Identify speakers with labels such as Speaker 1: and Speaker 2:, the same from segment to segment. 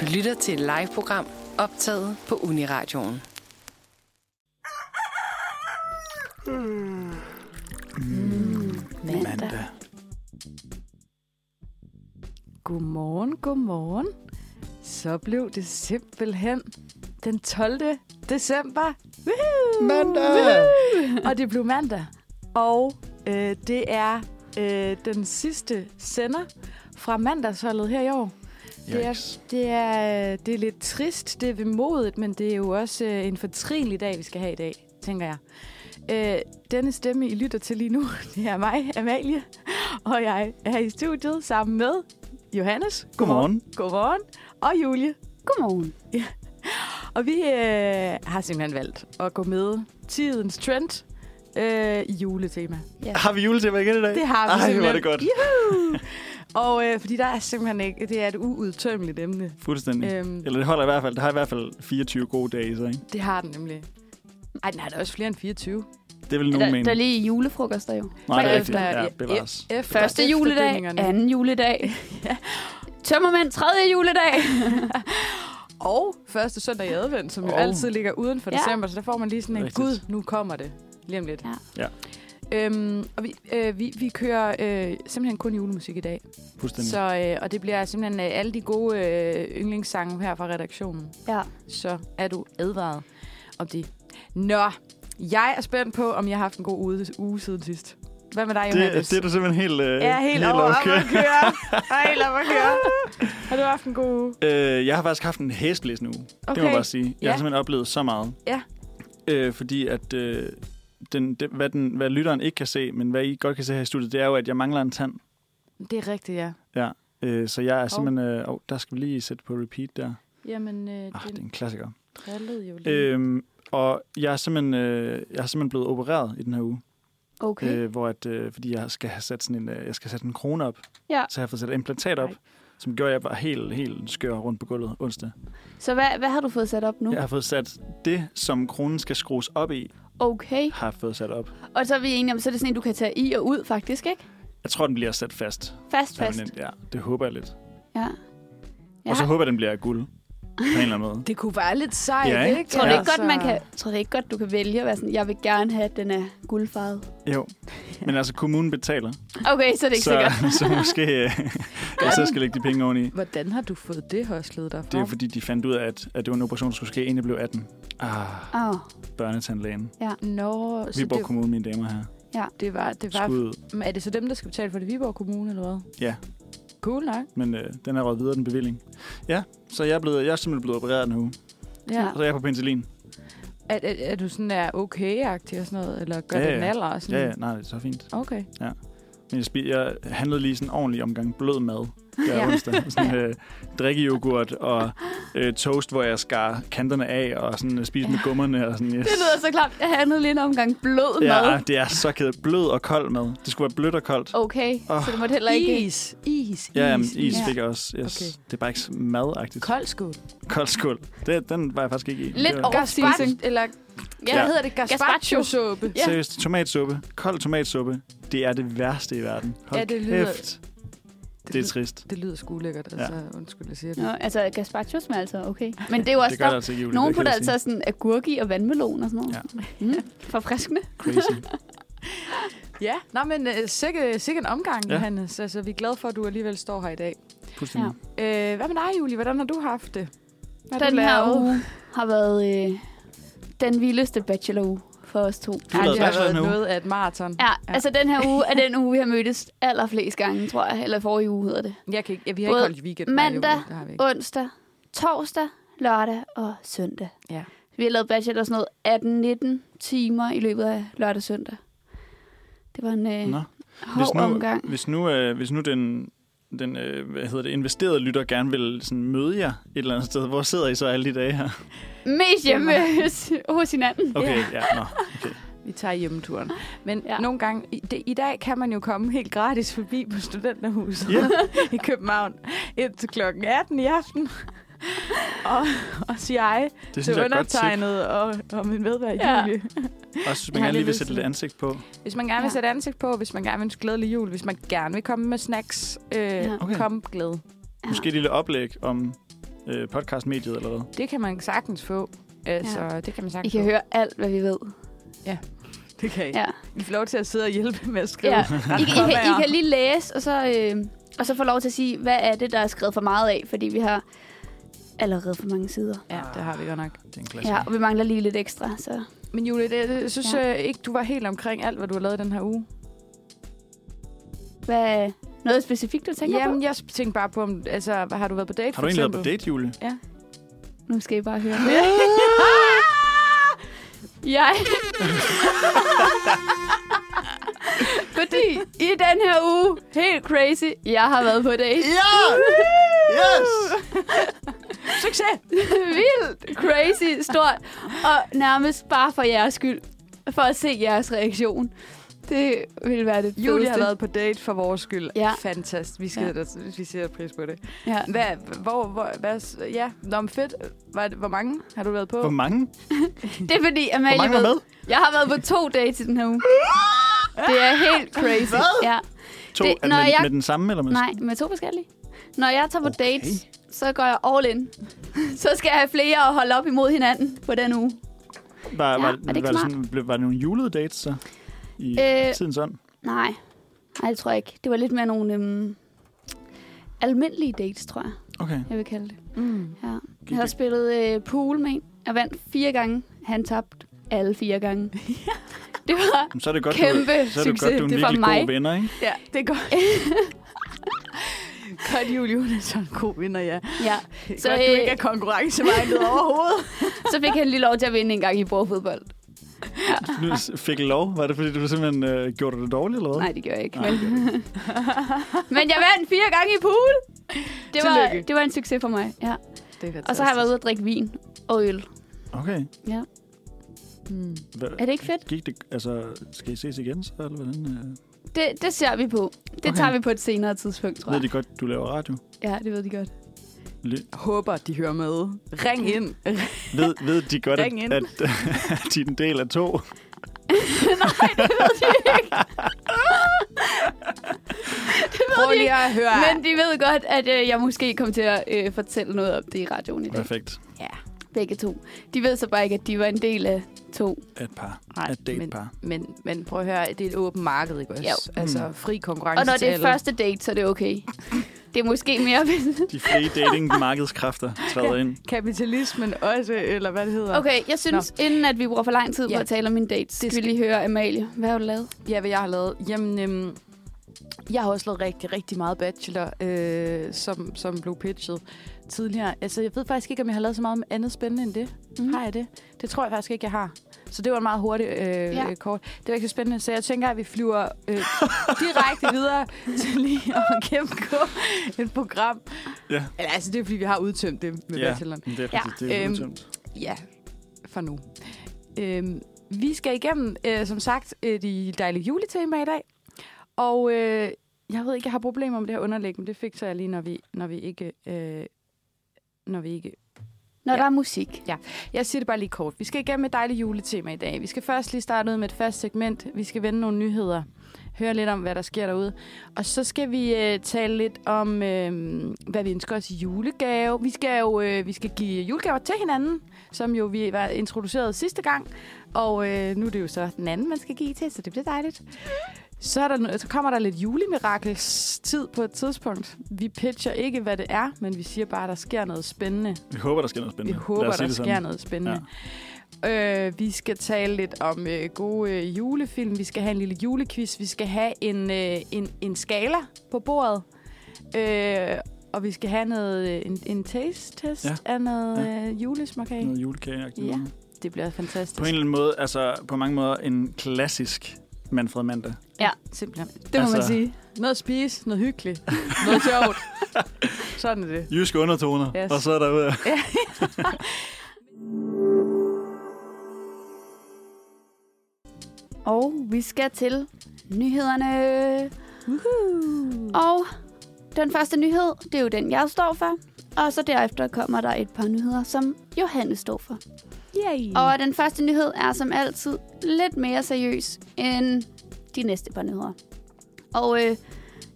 Speaker 1: Du lytter til et live-program optaget på Uniradioen.
Speaker 2: mandag.
Speaker 3: Godmorgen, godmorgen. Så blev det simpelthen den 12. december. Woohoo!
Speaker 2: Mandag!
Speaker 3: Og det blev mandag. Og øh, det er øh, den sidste sender fra mandagsholdet her i år. Det er,
Speaker 2: Yikes.
Speaker 3: det, er, øh, det er lidt trist, det er vemodigt, men det er jo også øh, en fortrinlig dag, vi skal have i dag, tænker jeg. Øh, denne stemme, I lytter til lige nu, det er mig, Amalie, og jeg er i studiet sammen med Johannes.
Speaker 2: Godmorgen.
Speaker 3: Godmorgen. Og Julie.
Speaker 4: Godmorgen.
Speaker 3: Og vi øh, har simpelthen valgt at gå med tidens trend øh, i juletema.
Speaker 2: Har vi juletema igen i dag?
Speaker 3: Det har vi
Speaker 2: Ej,
Speaker 3: simpelthen.
Speaker 2: hvor er det godt.
Speaker 3: Juhu! Og øh, fordi der er simpelthen ikke, det er et uudtømmeligt emne.
Speaker 2: Fuldstændig.
Speaker 3: Øhm,
Speaker 2: Eller det holder i hvert fald. Det har i hvert fald 24 gode dage i sig, ikke?
Speaker 3: det har den nemlig. Ej, den har da også flere end 24.
Speaker 2: Det vil nogen
Speaker 4: Der,
Speaker 2: mene.
Speaker 4: der er lige julefrokoster jo.
Speaker 2: Nej, det er rigtigt.
Speaker 3: Fredag efter-
Speaker 2: Ja, bevares.
Speaker 3: E- efter-
Speaker 4: Første
Speaker 3: efter
Speaker 4: juledag,
Speaker 3: dønningerne.
Speaker 4: anden juledag. Tømmermænd, tredje juledag.
Speaker 3: Og første søndag i advent, som jo
Speaker 2: Og-
Speaker 3: altid ligger uden for
Speaker 4: Ja.
Speaker 3: december, så der får man lige sådan en,
Speaker 2: Rigtigt.
Speaker 3: gud, nu kommer det lige om lidt.
Speaker 4: Ja.
Speaker 2: Ja.
Speaker 3: Øhm, og vi, øh, vi, vi kører øh, simpelthen kun julemusik i dag.
Speaker 2: Fuldstændig.
Speaker 3: Så, øh, og det bliver simpelthen øh, alle de gode øh, yndlingssange her fra redaktionen.
Speaker 4: Ja.
Speaker 3: Så er du advaret om det. Nå, jeg er spændt på, om jeg har haft en god uge, uge siden sidst. Hvad med dig, Johannes?
Speaker 2: det, det er du simpelthen helt, øh,
Speaker 3: jeg er helt,
Speaker 2: helt
Speaker 3: over okay.
Speaker 2: okay.
Speaker 3: at køre. Ej, lad mig køre. Har du haft en god uge?
Speaker 2: Øh, jeg har faktisk haft en hæsblæsende uge. Okay. Det må jeg bare sige. Jeg
Speaker 3: Ja.
Speaker 2: har simpelthen oplevet så meget.
Speaker 3: Ja.
Speaker 2: Øh, fordi at... Øh, den, det, hvad, den, hvad lytteren ikke kan se, men hvad I godt kan se her i studiet, det er jo, at jeg mangler en tand.
Speaker 3: Det er rigtigt, ja.
Speaker 2: Øh, så jeg er simpelthen... Øh, oh, der skal vi lige sætte på repeat der.
Speaker 3: Jamen, øh,
Speaker 2: Ah, det er
Speaker 3: den
Speaker 2: en klassiker.
Speaker 3: drillede jo lige.
Speaker 4: Mm-hmm.
Speaker 2: Øhm, og jeg er, simpelthen, øh, jeg er simpelthen blevet opereret i den her uge.
Speaker 4: Okay.
Speaker 2: øh, hvor at, øh, fordi jeg skal have sat sådan en, øh, jeg skal sætte en krone op,
Speaker 4: Ja.
Speaker 2: så jeg har fået sat et implantat op,
Speaker 3: Ej.
Speaker 2: som gjorde, at jeg var helt, helt skør rundt på gulvet onsdag.
Speaker 4: Så hvad, hvad har du fået sat op nu?
Speaker 2: Jeg har fået sat det, som kronen skal skrues op i,
Speaker 4: Okay.
Speaker 2: har jeg fået sat op.
Speaker 4: Og så er vi enige om, så er det sådan en, du kan tage i og ud faktisk, ikke?
Speaker 2: Jeg tror, den bliver sat fast.
Speaker 4: Fast, fast.
Speaker 2: Permanent, Ja, det håber jeg lidt.
Speaker 4: Ja.
Speaker 2: Ja.
Speaker 4: Ja.
Speaker 2: Og så håber jeg, den bliver af guld. På en eller anden måde.
Speaker 3: Det kunne være lidt sejt,
Speaker 2: Ja, ikke?
Speaker 3: ikke? Altså-
Speaker 4: Tror du
Speaker 2: Ja.
Speaker 4: ikke godt, man kan, tror du ikke godt, du kan vælge at være sådan, jeg vil gerne have, at den er guldfarvet?
Speaker 2: Jo. Men altså, kommunen betaler. Det
Speaker 4: Okay, så er det ikke
Speaker 2: så,
Speaker 4: så... sikkert.
Speaker 2: så måske øh, jeg så skal lægge de penge oveni.
Speaker 3: Hvordan har du fået det hørslet derfra?
Speaker 2: Det er jo fordi, de fandt ud af, at, at det var en operation, der skulle ske, inden jeg blev 18. Ah,
Speaker 4: Åh, oh,
Speaker 2: børnetandlægen.
Speaker 3: Nå, så
Speaker 2: Viborg
Speaker 3: det,
Speaker 2: Kommune, mine damer her.
Speaker 3: det var... Det var
Speaker 2: Skud.
Speaker 3: Men er det så dem, der skal betale for det Viborg Kommune eller hvad?
Speaker 2: Ja.
Speaker 3: Cool nok.
Speaker 2: Men øh, den er røget videre, den bevilling. Ja, så jeg er, blevet, jeg er simpelthen blevet opereret nu.
Speaker 4: Ja.
Speaker 2: Og så er jeg på penicillin.
Speaker 3: Er, er, er du sådan der okay-agtig og sådan noget? Eller gør
Speaker 2: Ja,
Speaker 3: ja,
Speaker 2: ja.
Speaker 3: det en alder og sådan
Speaker 2: Ja, ja, nej, det er så fint.
Speaker 3: Okay.
Speaker 2: Men jeg, spi- jeg handlede lige sådan en ordentlig omgang blød mad. Der
Speaker 4: Ja.
Speaker 2: ja. onsdag. Sådan øh, drikkejoghurt og øh, toast, hvor jeg skar kanterne af og sådan øh, spiste med gummerne. Og sådan, yes.
Speaker 4: det lyder så klart. Jeg handlede lige en omgang blød mad.
Speaker 2: Ja, ah, det er så kedeligt. Blød og kold mad. Det skulle være blødt og koldt.
Speaker 4: Okay,
Speaker 2: Åh.
Speaker 4: så du måtte heller ikke...
Speaker 3: Is, is,
Speaker 2: Ja, jamen,
Speaker 3: is,
Speaker 2: is
Speaker 4: is.
Speaker 2: fik jeg også. Yes.
Speaker 3: Okay.
Speaker 2: Okay. Det er bare ikke så madagtigt.
Speaker 3: Kold skud.
Speaker 2: Kold skål. Det, den var jeg faktisk ikke i.
Speaker 4: Lidt
Speaker 2: Det var-
Speaker 4: over-
Speaker 3: Gazpacho,
Speaker 4: Gazpacho.
Speaker 3: eller
Speaker 4: Ja.
Speaker 3: hvad hedder det? Gazpacho-suppe.
Speaker 4: Ja.
Speaker 2: Seriøst, tomatsuppe, kold tomatsuppe, det er det værste i verden. Hold
Speaker 3: Ja, det lyder-
Speaker 2: kæft, det er trist.
Speaker 3: det lyder sgu lækkert, altså. Undskyld, jeg siger det.
Speaker 4: Nå, altså, gazpacho smager altså okay. Men det er jo også
Speaker 2: Det gør det altså ikke, Julie.
Speaker 4: Nogen
Speaker 2: det kan
Speaker 4: putter
Speaker 2: jeg
Speaker 4: altså sådan agurk i og vandmelon og sådan noget.
Speaker 2: Ja.
Speaker 4: Mm. Forfriskende.
Speaker 2: sige. Crazy.
Speaker 3: Ja, Nå, men uh, sikke, sikke en omgang, ja.
Speaker 2: Ja.
Speaker 3: Johannes. Altså, vi er glade for, at du alligevel står her i dag.
Speaker 2: Fuldstændig.
Speaker 4: Ja.
Speaker 3: Øh, hvad med dig, Julie? Hvordan har du haft det? Hvad har du
Speaker 4: Den her
Speaker 3: lavet?
Speaker 4: uge har været øh, den vildeste bacheloruge for os to.
Speaker 2: Du har
Speaker 3: Ej,
Speaker 2: lavet
Speaker 3: det har
Speaker 2: bachelor
Speaker 3: været
Speaker 2: i en uge.
Speaker 3: noget af et maraton.
Speaker 4: Ja, altså den her uge er den uge, vi har mødtes allerflest gange, tror jeg. Eller forrige uge hedder det.
Speaker 3: Jeg kan ikke, ja, vi har ikke
Speaker 4: Både
Speaker 3: holdt weekend. Nej, Julie,
Speaker 4: mandag
Speaker 3: det har vi ikke.
Speaker 4: Onsdag, torsdag, lørdag og søndag.
Speaker 3: Ja.
Speaker 4: Vi har lavet bachelor sådan noget 18-19 timer i løbet af lørdag og søndag. Det var en øh,
Speaker 2: Nå.
Speaker 4: hård
Speaker 2: nu,
Speaker 4: omgang.
Speaker 2: Hvis nu, øh, hvis nu den, den øh, hvad hedder det, investerede lytter gerne vil sådan, møde jer et eller andet sted, hvor sidder I så alle de dage her?
Speaker 4: Mest hjemme hos, hos hinanden.
Speaker 2: Okay, ja, ja nå. Okay.
Speaker 3: Vi tager hjemmeturen. Men ja.
Speaker 4: Ja.
Speaker 3: nogle gange, i, det, i dag kan man jo komme helt gratis forbi på studenterhuset
Speaker 2: Ja.
Speaker 3: i København indtil klokken 18 i aften. og, og siger ej
Speaker 2: Det synes
Speaker 3: til
Speaker 2: jeg er et godt tip.
Speaker 3: undertegnet og, og min medværd ja.
Speaker 4: Ja.
Speaker 3: Julie.
Speaker 2: Også hvis
Speaker 3: Jeg
Speaker 2: man
Speaker 3: har
Speaker 2: gerne lige
Speaker 3: lidt
Speaker 2: vil
Speaker 3: lyst
Speaker 2: sætte
Speaker 3: til
Speaker 2: lidt
Speaker 3: det.
Speaker 2: ansigt på.
Speaker 3: Hvis man gerne vil
Speaker 4: Ja.
Speaker 3: sætte ansigt på, hvis man gerne vil ønske glædelig jul, hvis man gerne vil komme med snacks, øh,
Speaker 4: Ja.
Speaker 3: ja.
Speaker 2: Okay.
Speaker 3: kom glæde.
Speaker 4: Ja.
Speaker 2: Måske et lille oplæg om øh, podcastmediet eller hvad?
Speaker 3: Det kan man sagtens få. Altså, ja. det kan man
Speaker 4: I
Speaker 3: sagtens
Speaker 4: kan
Speaker 3: få.
Speaker 4: høre alt, hvad vi ved.
Speaker 3: Det kan I. Ja.
Speaker 4: Ja.
Speaker 3: I får lov til at sidde og hjælpe med at skrive.
Speaker 4: Ja.
Speaker 3: Ja.
Speaker 4: I, I, kan, I kan lige læse, og så, øh, og så få lov til at sige, hvad er det, der er skrevet for meget af, fordi vi har allerede for mange sider.
Speaker 3: ja, det har vi godt nok.
Speaker 2: Det er en klassiker.
Speaker 4: Ja, og vi mangler lige lidt ekstra, så...
Speaker 3: Men Julie, det, det, jeg synes ja. øh,
Speaker 4: Ja.
Speaker 3: ikke, du var helt omkring alt, hvad du har lavet den her uge.
Speaker 4: Hvad noget specifikt, du tænker
Speaker 3: Jamen,
Speaker 4: på?
Speaker 3: jeg tænkte bare på, om, altså, hvad har du været på date,
Speaker 2: Har
Speaker 3: for
Speaker 2: du egentlig været på
Speaker 3: eksempel?
Speaker 2: date, Julie?
Speaker 4: Nu skal I bare høre. jeg... Fordi i den her uge, helt crazy, jeg har været på date.
Speaker 2: Ja! Yes!
Speaker 3: Succes!
Speaker 4: Vildt crazy stort. Og nærmest bare for jeres skyld. For at se jeres reaktion. Det ville være det
Speaker 3: Julie har
Speaker 4: fedeste.
Speaker 3: været på date for vores skyld.
Speaker 4: Ja.
Speaker 3: Fantastisk. Vi, skal, ja. vi ser pris på det.
Speaker 4: Ja.
Speaker 3: Hvad, hvor, hvor, hvad, ja, Nå, men fedt. Hvor, hvor mange har du været på?
Speaker 2: Hvor mange?
Speaker 4: Det er fordi,
Speaker 2: Hvor
Speaker 4: Amalie
Speaker 2: mange var
Speaker 4: ved-
Speaker 2: med?
Speaker 4: Jeg har været på to dates i den her uge. Det er helt crazy.
Speaker 2: Hvad?
Speaker 4: Ja.
Speaker 2: To?
Speaker 4: Det-
Speaker 2: Det,
Speaker 4: Nå,
Speaker 2: med,
Speaker 4: jeg-
Speaker 2: med den samme, eller med
Speaker 4: Nej, med to forskellige. Når jeg tager på
Speaker 2: Okay.
Speaker 4: okay. dates, så går jeg all in. Så skal jeg have flere og holde op imod hinanden på den uge.
Speaker 2: Var,
Speaker 4: Ja,
Speaker 2: var,
Speaker 4: er det
Speaker 2: var,
Speaker 4: ikke
Speaker 2: det sådan, blev, var det nogle julede dates, så? I
Speaker 4: Øh.
Speaker 2: øh, tidens ånd?
Speaker 4: Nej, nej det tror jeg ikke. Det var lidt mere nogle øhm, almindelige dates, tror jeg,
Speaker 2: Okay.
Speaker 4: jeg vil kalde det.
Speaker 3: Mm.
Speaker 4: Ja.
Speaker 2: Gik
Speaker 4: Jeg har
Speaker 2: det-
Speaker 4: spillet øh, pool med en. Jeg vandt fire gange. Han tabte alle fire gange. Det var
Speaker 2: Jamen, Så er det godt,
Speaker 4: kæmpe
Speaker 2: du, så er det
Speaker 4: succes.
Speaker 2: godt, du er en
Speaker 4: Det var
Speaker 2: virkelig
Speaker 4: mig.
Speaker 2: god venner, ikke?
Speaker 3: Ja, det er godt. godt, Julie, hun er sådan en god vinder, ja.
Speaker 4: ja.
Speaker 3: Så
Speaker 4: Så,
Speaker 3: godt, du
Speaker 4: øh,
Speaker 3: ikke er konkurrencevejlet overhovedet.
Speaker 4: Så fik han lige lov til at vinde en gang i bordfodbold.
Speaker 2: Du s- fik lov. Var det, fordi du simpelthen øh, gjorde det dårligt, eller hvad?
Speaker 4: Nej, det gjorde jeg ikke.
Speaker 2: Nej,
Speaker 4: Men, men jeg vandt fire gange i pool. Det var,
Speaker 3: Tillykke.
Speaker 4: det var en succes for mig. Ja.
Speaker 3: Det er fantastisk.
Speaker 4: Og så har jeg været ude og drikke vin og øl.
Speaker 2: Okay.
Speaker 3: Mm.
Speaker 2: Hva,
Speaker 4: Er det ikke fedt?
Speaker 2: Gik det, altså, skal I ses igen, så? Eller hvordan? Øh,
Speaker 4: Det, det ser vi på. Det
Speaker 2: Okay.
Speaker 4: okay. tager vi på et senere tidspunkt, tror
Speaker 2: ved de
Speaker 4: jeg.
Speaker 2: godt, du laver radio?
Speaker 4: Ja, det ved de godt.
Speaker 2: Le-
Speaker 3: Håber, de hører med. Ring ind.
Speaker 2: ved, ved de godt, at,
Speaker 3: Ring ind.
Speaker 2: at, at de er en del af to?
Speaker 4: Nej, det ved de ikke. det ved
Speaker 3: Prøv
Speaker 4: de
Speaker 3: lige
Speaker 4: ikke.
Speaker 3: at høre.
Speaker 4: Men de ved godt, at øh, jeg måske kommer til at øh, fortælle noget om det i radioen i dag.
Speaker 2: Perfekt.
Speaker 4: Begge to. De ved så bare ikke, at de var en del af to.
Speaker 2: Et par.
Speaker 3: Nej,
Speaker 2: Et date
Speaker 3: men,
Speaker 2: par.
Speaker 3: men, men prøv at høre, det er et åbent marked, ikke også?
Speaker 4: Jo.
Speaker 3: Altså
Speaker 2: Mm.
Speaker 3: fri konkurrence
Speaker 4: Og når
Speaker 3: til
Speaker 4: det er
Speaker 3: alle.
Speaker 4: første date, så er det okay. Det er måske mere...
Speaker 2: De frie dating-markedskræfter træder ind.
Speaker 3: Kapitalismen også, eller hvad det hedder.
Speaker 4: Okay, jeg synes, Nå. inden at vi bruger for lang tid på
Speaker 3: Ja.
Speaker 4: at tale om min date, skal vi
Speaker 3: skal-
Speaker 4: lige høre Amalie. Hvad har du lavet?
Speaker 3: Ja, hvad jeg har lavet? Jamen, øhm, jeg har også lavet rigtig, rigtig meget bachelor, øh, som, som blev pitchet tidligere. Altså, jeg ved faktisk ikke, om jeg har lavet så meget andet spændende end det. Mm. Har jeg det? Det tror jeg faktisk ikke, jeg har. Så det var en meget hurtig øh,
Speaker 4: Ja.
Speaker 3: ja. kort. Det var ikke så spændende, så jeg tænker, at vi flyver øh, direkte videre til lige at gennemgå et program.
Speaker 2: Ja.
Speaker 3: Eller altså, det er fordi, vi har udtømt det med ja.
Speaker 2: ja,
Speaker 3: bacheloren.
Speaker 2: men det er
Speaker 4: Ja,
Speaker 2: rigtigt. Det er
Speaker 3: øhm,
Speaker 2: øhm,
Speaker 3: Ja, for nu. Øhm, vi skal igennem, øh, som sagt, øh, de dejlige juletemaer i dag. Og øh, jeg ved ikke, jeg har problemer med det her underlæg, men det fik så jeg lige, når vi, når vi ikke... Øh, når vi ikke...
Speaker 4: Når
Speaker 3: Ja.
Speaker 4: ja. der er musik.
Speaker 3: Jeg siger det bare lige kort. Vi skal igennem et dejligt juletema i dag. Vi skal først lige starte ud med et fast segment. Vi skal vende nogle nyheder. Høre lidt om, hvad der sker derude. Og så skal vi øh, tale lidt om, øh, hvad vi ønsker os i julegave. Vi skal jo øh, vi skal give julegaver til hinanden, som jo vi var introduceret sidste gang. Og øh, nu er det jo så den anden, man skal give til, så det bliver dejligt. Så, er der, no- så kommer der lidt julemirakels tid på et tidspunkt. Vi pitcher ikke, hvad det er, men vi siger bare, at der sker noget spændende.
Speaker 2: Vi håber, der sker noget
Speaker 3: Vi
Speaker 2: spændende.
Speaker 3: håber,
Speaker 2: Lad
Speaker 3: der
Speaker 2: os sige
Speaker 3: sker
Speaker 2: det sådan.
Speaker 3: noget spændende. Ja. Øh, vi skal tale lidt om øh, gode øh, julefilm. Vi skal have en lille julequiz. Vi skal have en, øh, en, en skala på bordet. Øh, og vi skal have noget, øh, en, en taste-test
Speaker 2: Ja.
Speaker 3: ja. af noget øh, julesmørkage.
Speaker 2: Noget julekage
Speaker 3: Ja.
Speaker 2: ja.
Speaker 3: Det bliver fantastisk.
Speaker 2: På en eller anden måde, altså på mange måder en klassisk Manfred Mandag.
Speaker 3: Simpelthen.
Speaker 4: Det må altså, man
Speaker 2: Altså-
Speaker 4: sige.
Speaker 3: Noget at spise, noget hyggeligt, noget sjovt. Sådan er det.
Speaker 2: Jyske undertoner,
Speaker 3: Yes.
Speaker 2: yes. og så er der ud af.
Speaker 4: Og vi skal til nyhederne.
Speaker 3: Woohoo.
Speaker 4: Og den første nyhed, det er jo den, jeg står for. Og så derefter kommer der et par nyheder, som Johanne står for.
Speaker 3: Yay.
Speaker 4: Og den første nyhed er som altid lidt mere seriøs end de næste par nyheder. Og øh,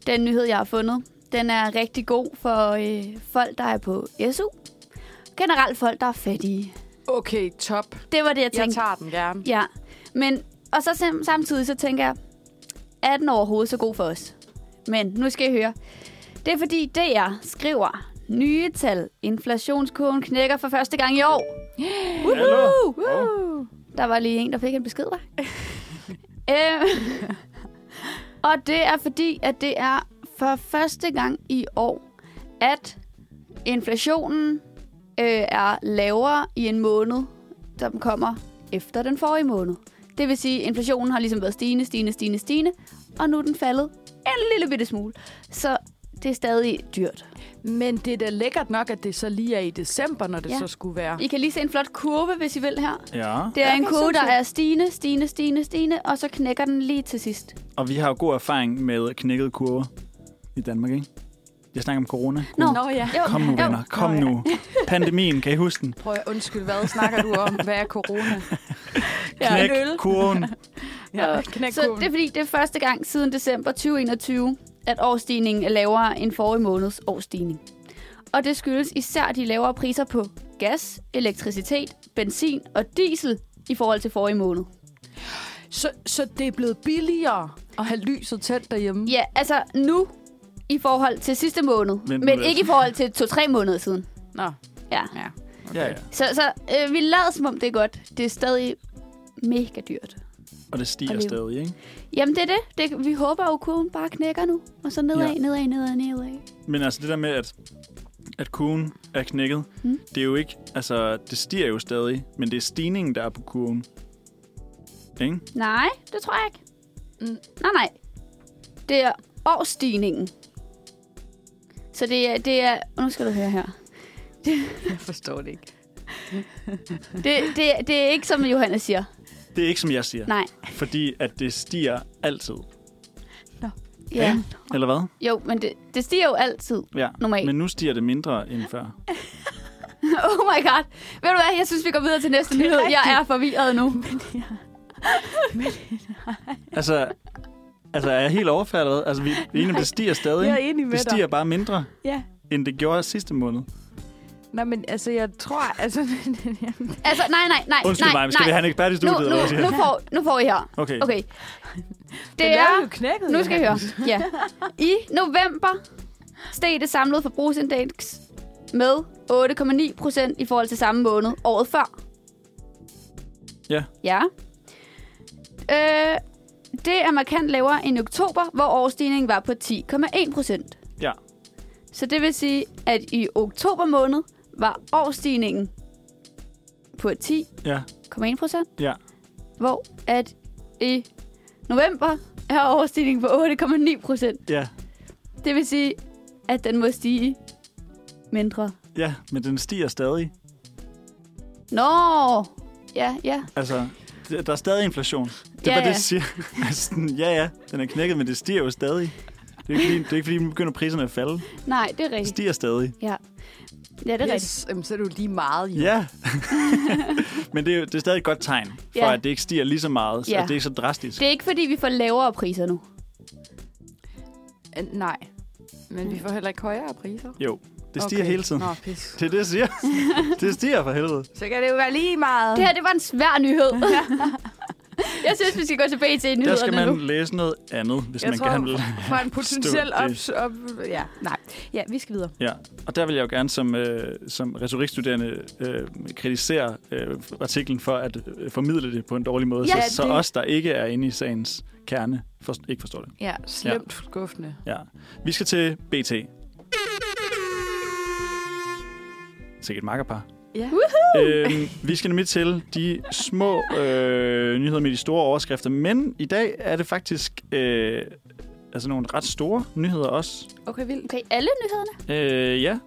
Speaker 4: den nyhed, jeg har fundet, den er rigtig god for øh, folk, der er på SU. Generelt folk, der er fattige.
Speaker 3: Okay, top.
Speaker 4: Det var det, jeg
Speaker 3: Jeg
Speaker 4: tænkte.
Speaker 3: tager den gerne.
Speaker 4: Ja, men... Og så sam- samtidig så tænker jeg, er den overhovedet så god for os? Men nu skal I høre. Det er fordi DR skriver nye tal. Inflationskurven knækker for første gang i år.
Speaker 2: Hallo?
Speaker 4: Woo! Der var lige en, der fik en besked, var. øhm, og det er fordi, at det er for første gang i år, at inflationen øh, er lavere i en måned, som kommer efter den forrige måned. Det vil sige, at inflationen har ligesom været stigende, stigende, stigende, stigende, og nu er den faldet en lille bitte smule. Så det er stadig dyrt.
Speaker 3: Men det er da lækkert nok, at det så lige er i december, når det
Speaker 4: Ja.
Speaker 3: ja. så skulle være.
Speaker 4: I kan lige se en flot kurve, hvis I vil her.
Speaker 2: Ja.
Speaker 4: Det er
Speaker 3: Ja,
Speaker 4: en
Speaker 3: det er
Speaker 4: kurve, der
Speaker 3: sindssygt.
Speaker 4: er stigende, stigende, stigende, stigende, og så knækker den lige til sidst.
Speaker 2: Og vi har jo god erfaring med knækkede kurver i Danmark, ikke? Jeg snakker om corona.
Speaker 4: Nå.
Speaker 3: Nå ja.
Speaker 4: Jo,
Speaker 2: Kom nu,
Speaker 4: jo.
Speaker 2: venner. Kom
Speaker 3: Nå, ja.
Speaker 2: nu. Pandemien, kan I huske den?
Speaker 3: Prøv at undskyld, hvad snakker du om? Hvad er corona?
Speaker 2: Knæk kurven.
Speaker 3: Ja, knæk
Speaker 4: Så det er fordi, det er første gang siden december 2021, at årsstigningen er lavere end forrige måneds årsstigning. Og det skyldes især de lavere priser på gas, elektricitet, benzin og diesel i forhold til forrige måned.
Speaker 3: Så, så det er blevet billigere at have lyset tændt derhjemme?
Speaker 4: Ja, altså nu i forhold til sidste måned,
Speaker 2: nu
Speaker 4: men, men
Speaker 2: lidt.
Speaker 4: ikke i forhold til to-tre måneder siden.
Speaker 3: Nå,
Speaker 4: Ja.
Speaker 3: ja.
Speaker 2: Ja, ja.
Speaker 4: Så, så øh, vi lader som om det er godt. Det er stadig mega dyrt.
Speaker 2: Og det stiger
Speaker 4: Og leve.
Speaker 2: stadig, ikke?
Speaker 4: Jamen det er det. det vi håber jo, at kurven bare knækker nu. Og så nedad,
Speaker 2: Ja.
Speaker 4: ja. nedad, nedad, nedad.
Speaker 2: Men altså det der med, at, at kurven er knækket,
Speaker 4: Mm.
Speaker 3: Hmm?
Speaker 2: mm. det er jo ikke... Altså, det stiger jo stadig, men det er stigningen, der er på kurven. Ikke?
Speaker 4: Nej, det tror jeg ikke.
Speaker 3: Mm.
Speaker 4: Nej, nej. Det er årsstigningen. Så det er, det er... Nu skal du høre her.
Speaker 3: Jeg forstår det ikke.
Speaker 4: Det, det, det er ikke, som Johannes siger.
Speaker 2: Det er ikke, som jeg siger.
Speaker 4: Nej.
Speaker 2: Fordi at det stiger altid.
Speaker 4: Ja.
Speaker 2: Eller hvad?
Speaker 4: Jo, men det, det stiger jo altid.
Speaker 2: Ja.
Speaker 4: Normalt.
Speaker 2: Men nu stiger det mindre end før.
Speaker 4: oh my god. Ved du hvad? Jeg synes, vi går videre til næste nyhed. Jeg er forvirret nu.
Speaker 2: Altså, altså er jeg helt overfaldet? Altså, vi vi er enige om, det stiger stadig.
Speaker 3: Jeg er
Speaker 2: ikke?
Speaker 3: enig med
Speaker 2: det stiger bare mindre,
Speaker 3: dig. Ja.
Speaker 2: end det gjorde sidste måned.
Speaker 3: Nej, men altså, jeg tror... Altså,
Speaker 4: Altså, nej, nej, nej.
Speaker 2: Undskyld
Speaker 4: nej,
Speaker 2: mig, skal
Speaker 4: nej.
Speaker 2: vi have en ekspert i
Speaker 4: nu,
Speaker 2: studiet?
Speaker 4: nu,
Speaker 2: eller hvad siger
Speaker 4: nu,
Speaker 2: jeg?
Speaker 4: får, nu får I her.
Speaker 2: okay.
Speaker 4: Okay.
Speaker 3: den
Speaker 4: Det er...
Speaker 3: jo knækket.
Speaker 4: Nu skal I høre.
Speaker 3: Johannes.
Speaker 4: Ja. I november steg det samlede forbrugsindeks med 8,9 procent i forhold til samme måned året før.
Speaker 2: Ja.
Speaker 4: Ja. Øh, det er markant lavere end i oktober, hvor årsstigningen var på 10,1 procent.
Speaker 2: Ja.
Speaker 4: Så det vil sige, at i oktober måned var årsstigningen på 10,1
Speaker 2: Ja,
Speaker 4: procent.
Speaker 2: ja.
Speaker 4: Hvor at i november er overstigningen på 8,9 procent.
Speaker 2: Ja,
Speaker 4: Det vil sige, at den må stige mindre.
Speaker 2: ja, men den stiger stadig.
Speaker 4: Nå! Ja, ja.
Speaker 2: Altså, d- der er stadig inflation. Det er bare
Speaker 4: Ja,
Speaker 2: det,
Speaker 4: ja.
Speaker 2: jeg siger. Altså, sådan, ja, ja, den er knækket, men det stiger jo stadig. Det er ikke fordi, det er ikke fordi nu begynder priserne at falde.
Speaker 4: Nej, det er
Speaker 2: Det
Speaker 4: rigtigt.
Speaker 2: stiger stadig.
Speaker 4: Ja, ja det er yes. rigtigt.
Speaker 3: Yes, jamen, så er det jo lige meget, jo.
Speaker 2: Ja. men det er, jo- det er stadig et godt tegn for,
Speaker 4: Ja.
Speaker 2: at det ikke stiger lige så meget, så at
Speaker 4: Ja.
Speaker 2: det er ikke så drastisk.
Speaker 4: Det er ikke, fordi vi får lavere priser nu.
Speaker 3: Øh, Nej. Men vi får heller ikke højere priser.
Speaker 2: Jo, det stiger hele tiden.
Speaker 3: Nå, pis.
Speaker 2: Det er det, jeg siger. Det stiger for helvede.
Speaker 3: Så kan det jo være lige meget.
Speaker 4: Det her, det var en svær nyhed. Jeg synes, vi skal gå tilbage til
Speaker 2: Der skal
Speaker 4: nyhederne nu.
Speaker 2: man læse noget andet, hvis
Speaker 3: jeg
Speaker 2: man
Speaker 3: tror,
Speaker 2: gerne vil.
Speaker 3: for en potentiel op,
Speaker 2: det.
Speaker 3: op... Ja, nej. Ja, vi skal videre.
Speaker 2: Ja, og der vil jeg jo gerne som, øh, som retorikstuderende øh, kritisere øh, artiklen for at øh, formidle det på en dårlig måde,
Speaker 4: Ja,
Speaker 2: så, så
Speaker 3: det-
Speaker 2: os, der ikke er inde i sagens kerne, forst- ikke forstår det.
Speaker 3: Ja, slemt ja. skuffende.
Speaker 2: Ja. Vi skal til BT. Sikkert et makkerpar.
Speaker 3: Ja.
Speaker 2: Øhm, vi skal nemlig til de små øh, nyheder med de store overskrifter, men i dag er det faktisk øh, altså nogle ret store nyheder også.
Speaker 3: Uh, Okay, vildt.
Speaker 4: Okay, alle nyhederne?
Speaker 2: Øh, ja.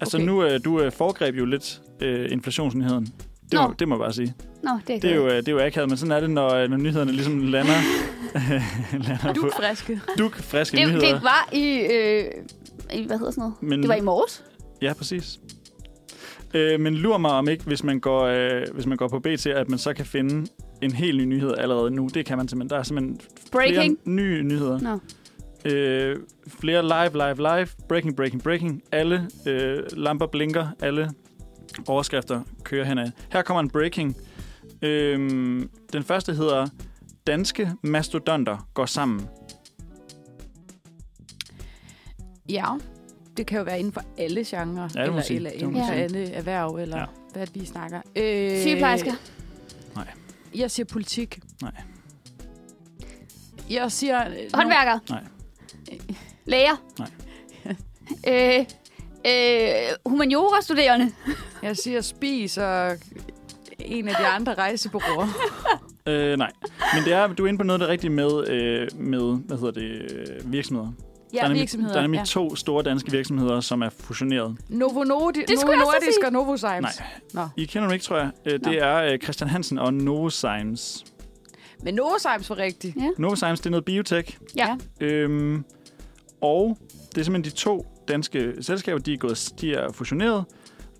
Speaker 2: Altså
Speaker 3: Okay.
Speaker 2: okay. nu, øh, du øh, foregreb jo lidt øh, inflationsnyheden. Det må,
Speaker 4: Nå.
Speaker 2: det må jeg bare sige.
Speaker 4: Nå, det er,
Speaker 2: Det er jo, øh, det er jo akavet, men sådan er det, når, øh, når nyhederne ligesom lander, lander
Speaker 3: Du
Speaker 2: på
Speaker 3: er friske.
Speaker 2: duk friske
Speaker 4: det,
Speaker 2: nyheder.
Speaker 4: det var i, øh, i... Hvad hedder sådan noget?
Speaker 2: Men,
Speaker 4: Det var i morges.
Speaker 2: Ja, præcis. Øh, men lur mig om ikke, hvis man, går, øh, hvis man går på BT, at man så kan finde en helt ny nyhed allerede nu. Det kan man simpelthen. Der er simpelthen
Speaker 4: Breaking.
Speaker 2: flere nye nyheder.
Speaker 4: Nå.
Speaker 2: Øh, flere live, live, live. Breaking, breaking, breaking. Alle øh, lamper blinker. Alle overskrifter kører henad. Her kommer en breaking. Øhm, den første hedder, danske mastodonter går sammen.
Speaker 3: Ja. Det kan jo være inden for alle genrer,
Speaker 2: Ja, det må man
Speaker 3: eller,
Speaker 2: sige.
Speaker 3: eller
Speaker 2: Det må
Speaker 3: inden
Speaker 4: man
Speaker 3: for
Speaker 2: sige.
Speaker 3: alle erhverv, eller
Speaker 2: Ja.
Speaker 3: ja. hvad vi snakker. Øh,
Speaker 4: Sygeplejersker.
Speaker 3: Jeg siger politik.
Speaker 2: Nej.
Speaker 3: Jeg siger... øh,
Speaker 4: Håndværkere.
Speaker 2: Nej.
Speaker 4: Læger.
Speaker 2: Nej.
Speaker 4: øh, øh, humaniora-studerende.
Speaker 3: nogle- Jeg siger spis og en af de andre rejsebureauer.
Speaker 2: Øh, nej. Men det er, du er inde på noget, der er rigtigt med, øh, med hvad hedder det, øh, virksomheder. der er
Speaker 3: Ja,
Speaker 2: nemlig,
Speaker 3: virksomheder.
Speaker 2: Der er nemlig
Speaker 3: ja.
Speaker 2: to store danske virksomheder, som er fusioneret.
Speaker 3: Novo, Nordi,
Speaker 4: Det
Speaker 3: Novo
Speaker 4: skulle jeg også
Speaker 3: Nordisk
Speaker 4: sige.
Speaker 3: og Novo Science.
Speaker 2: Nej.
Speaker 3: Nå.
Speaker 2: I kender dem ikke, tror jeg. Øh, det
Speaker 3: Nå.
Speaker 2: er øh, Christian Hansen og Novozymes.
Speaker 3: Men Novo Science var rigtigt.
Speaker 2: Novozymes, det er noget biotech.
Speaker 4: Ja.
Speaker 2: Øhm, og det er simpelthen de to danske selskaber, de er, gået, de er fusioneret.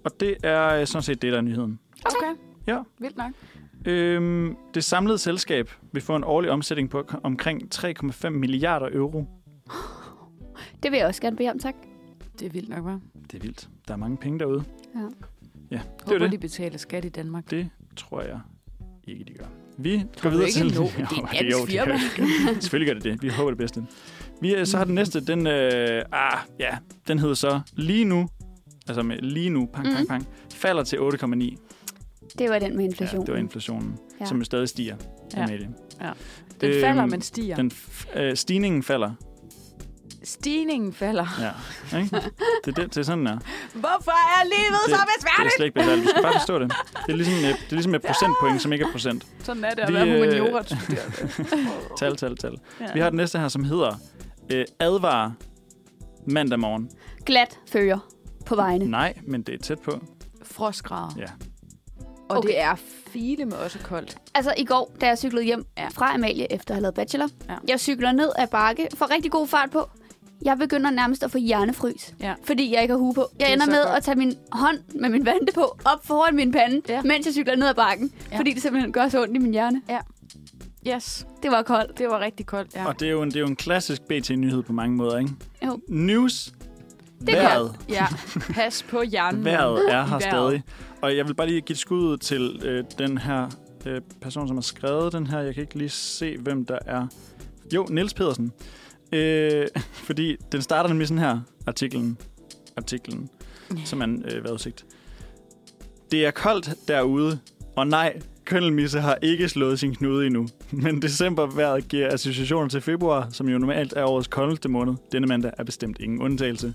Speaker 2: Og det er øh, sådan set det, der er nyheden.
Speaker 4: Okay.
Speaker 3: okay.
Speaker 2: Ja.
Speaker 3: Vildt nok.
Speaker 2: Øhm, det samlede selskab vil få en årlig omsætning på k- omkring 3,5 milliarder euro.
Speaker 4: Det vil jeg også gerne bede om, tak.
Speaker 3: Det er vildt nok, hva'?
Speaker 2: Det er vildt. Der er mange penge derude.
Speaker 4: Ja.
Speaker 2: Ja, det var
Speaker 3: Håber,
Speaker 2: det.
Speaker 3: de betaler skat i Danmark.
Speaker 2: Det tror jeg ikke, de gør. Vi går
Speaker 3: du
Speaker 2: videre
Speaker 3: ikke?
Speaker 2: til...
Speaker 3: Jo, det er
Speaker 2: Jo,
Speaker 3: et dansk
Speaker 2: det gør det. Selvfølgelig gør det det. Vi håber det bedste. Vi, øh, så har den næste, den, øh, ah, ja, den hedder så lige nu, altså med lige nu, pang, pang,
Speaker 3: Mm.
Speaker 4: Mhm.
Speaker 2: pang, falder til 8,9.
Speaker 4: Det var den med
Speaker 2: Ja,
Speaker 4: inflation.
Speaker 2: det var inflationen, ja.
Speaker 4: Ja.
Speaker 2: som jo stadig stiger.
Speaker 3: Ja.
Speaker 2: Amalie.
Speaker 3: Den
Speaker 2: Øhm,
Speaker 3: falder, men stiger. Den...
Speaker 2: Den f- øh, stigningen falder.
Speaker 3: Stigningen falder.
Speaker 2: Ja, ikke? Det, er det, det er sådan, den er.
Speaker 3: Hvorfor er livet
Speaker 2: Det- Det
Speaker 3: så
Speaker 2: er
Speaker 3: besværligt?
Speaker 2: slet ikke besværligt. Du skal bare forstå det. Det er ligesom, øh, det er ligesom et procentpoint, som ikke er procent.
Speaker 3: Sådan er det at
Speaker 2: Vi,
Speaker 3: være
Speaker 2: øh,
Speaker 3: humaniora.
Speaker 2: Tal, tal, tal.
Speaker 3: Ja.
Speaker 2: Vi har den næste her, som hedder øh, advarer mandag morgen.
Speaker 4: Mm. Glat fører på vejene.
Speaker 2: Nej, men det er tæt på.
Speaker 3: Frostgrader.
Speaker 2: Ja.
Speaker 3: Og
Speaker 4: Okay.
Speaker 3: det er file med også koldt.
Speaker 4: Altså i går, da jeg cyklede hjem
Speaker 3: Ja.
Speaker 4: ja. fra Amalie efter at have lavet bachelor.
Speaker 3: Ja.
Speaker 4: Ja. Jeg cykler ned ad bakke, får rigtig god fart på. Jeg begynder nærmest at få hjernefrys,
Speaker 3: Ja.
Speaker 4: fordi jeg ikke har hue på. Jeg
Speaker 3: er
Speaker 4: ender
Speaker 3: så
Speaker 4: med
Speaker 3: godt.
Speaker 4: at tage min hånd med min vante på op foran min pande,
Speaker 3: Ja.
Speaker 4: ja. mens jeg cykler ned ad bakken,
Speaker 3: Ja.
Speaker 4: ja. fordi det simpelthen gør så ondt i min hjerne.
Speaker 3: Yes,
Speaker 4: Det var koldt.
Speaker 3: det var rigtig koldt. Ja.
Speaker 2: Og det er jo en, det er jo en klassisk BT-nyhed på mange måder, ikke?
Speaker 4: Jo.
Speaker 2: News.
Speaker 4: er
Speaker 2: Vejret.
Speaker 3: ja. Pas på hjernen.
Speaker 2: Vejret er
Speaker 3: I
Speaker 2: her
Speaker 3: vejret.
Speaker 2: stadig. Og jeg vil bare lige give et skud ud til øh, den her øh, person, som har skrevet den her. Jeg kan ikke lige se, hvem der er. Jo, Niels Pedersen. Øh, fordi den starter nemlig sådan her, artiklen. Artiklen, som er en øh, vejrudsigt. Det er koldt derude, og nej, køndelmisse har ikke slået sin knude endnu. Men decembervejret giver associationer til februar, som jo normalt er årets koldeste måned. Denne mandag er bestemt ingen undtagelse.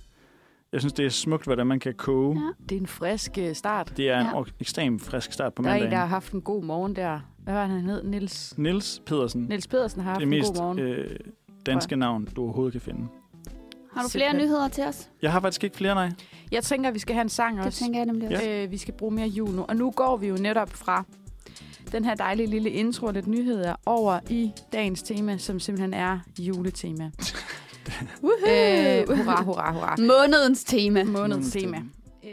Speaker 2: Jeg synes, det er smukt, hvordan man kan koge.
Speaker 4: Ja.
Speaker 3: Det er en frisk øh, start.
Speaker 2: Det er en
Speaker 4: Ja.
Speaker 2: ja. ekstrem frisk start på
Speaker 3: Der er en,
Speaker 2: mandagen.
Speaker 3: der har haft en god morgen der. Hvad var han, han hed? Nils,
Speaker 2: Nils Pedersen.
Speaker 3: Nils Pedersen har haft
Speaker 2: det
Speaker 3: en
Speaker 2: mest
Speaker 3: god morgen.
Speaker 2: øh, danske navn, du overhovedet kan finde.
Speaker 4: Har du flere
Speaker 3: Simpelthen.
Speaker 4: nyheder til os?
Speaker 2: Jeg har faktisk ikke flere, nej.
Speaker 3: Jeg tænker, at vi skal have en sang
Speaker 4: Det
Speaker 3: også.
Speaker 4: tænker jeg nemlig også. Ja.
Speaker 3: Øh, vi skal bruge mere jul nu. Og nu går vi jo netop fra den her dejlige lille intro og lidt nyheder over i dagens tema, som simpelthen er juletema. øh, hurra, hurra, hurra.
Speaker 4: Månedens tema.
Speaker 3: Månedens tema.
Speaker 5: Øh,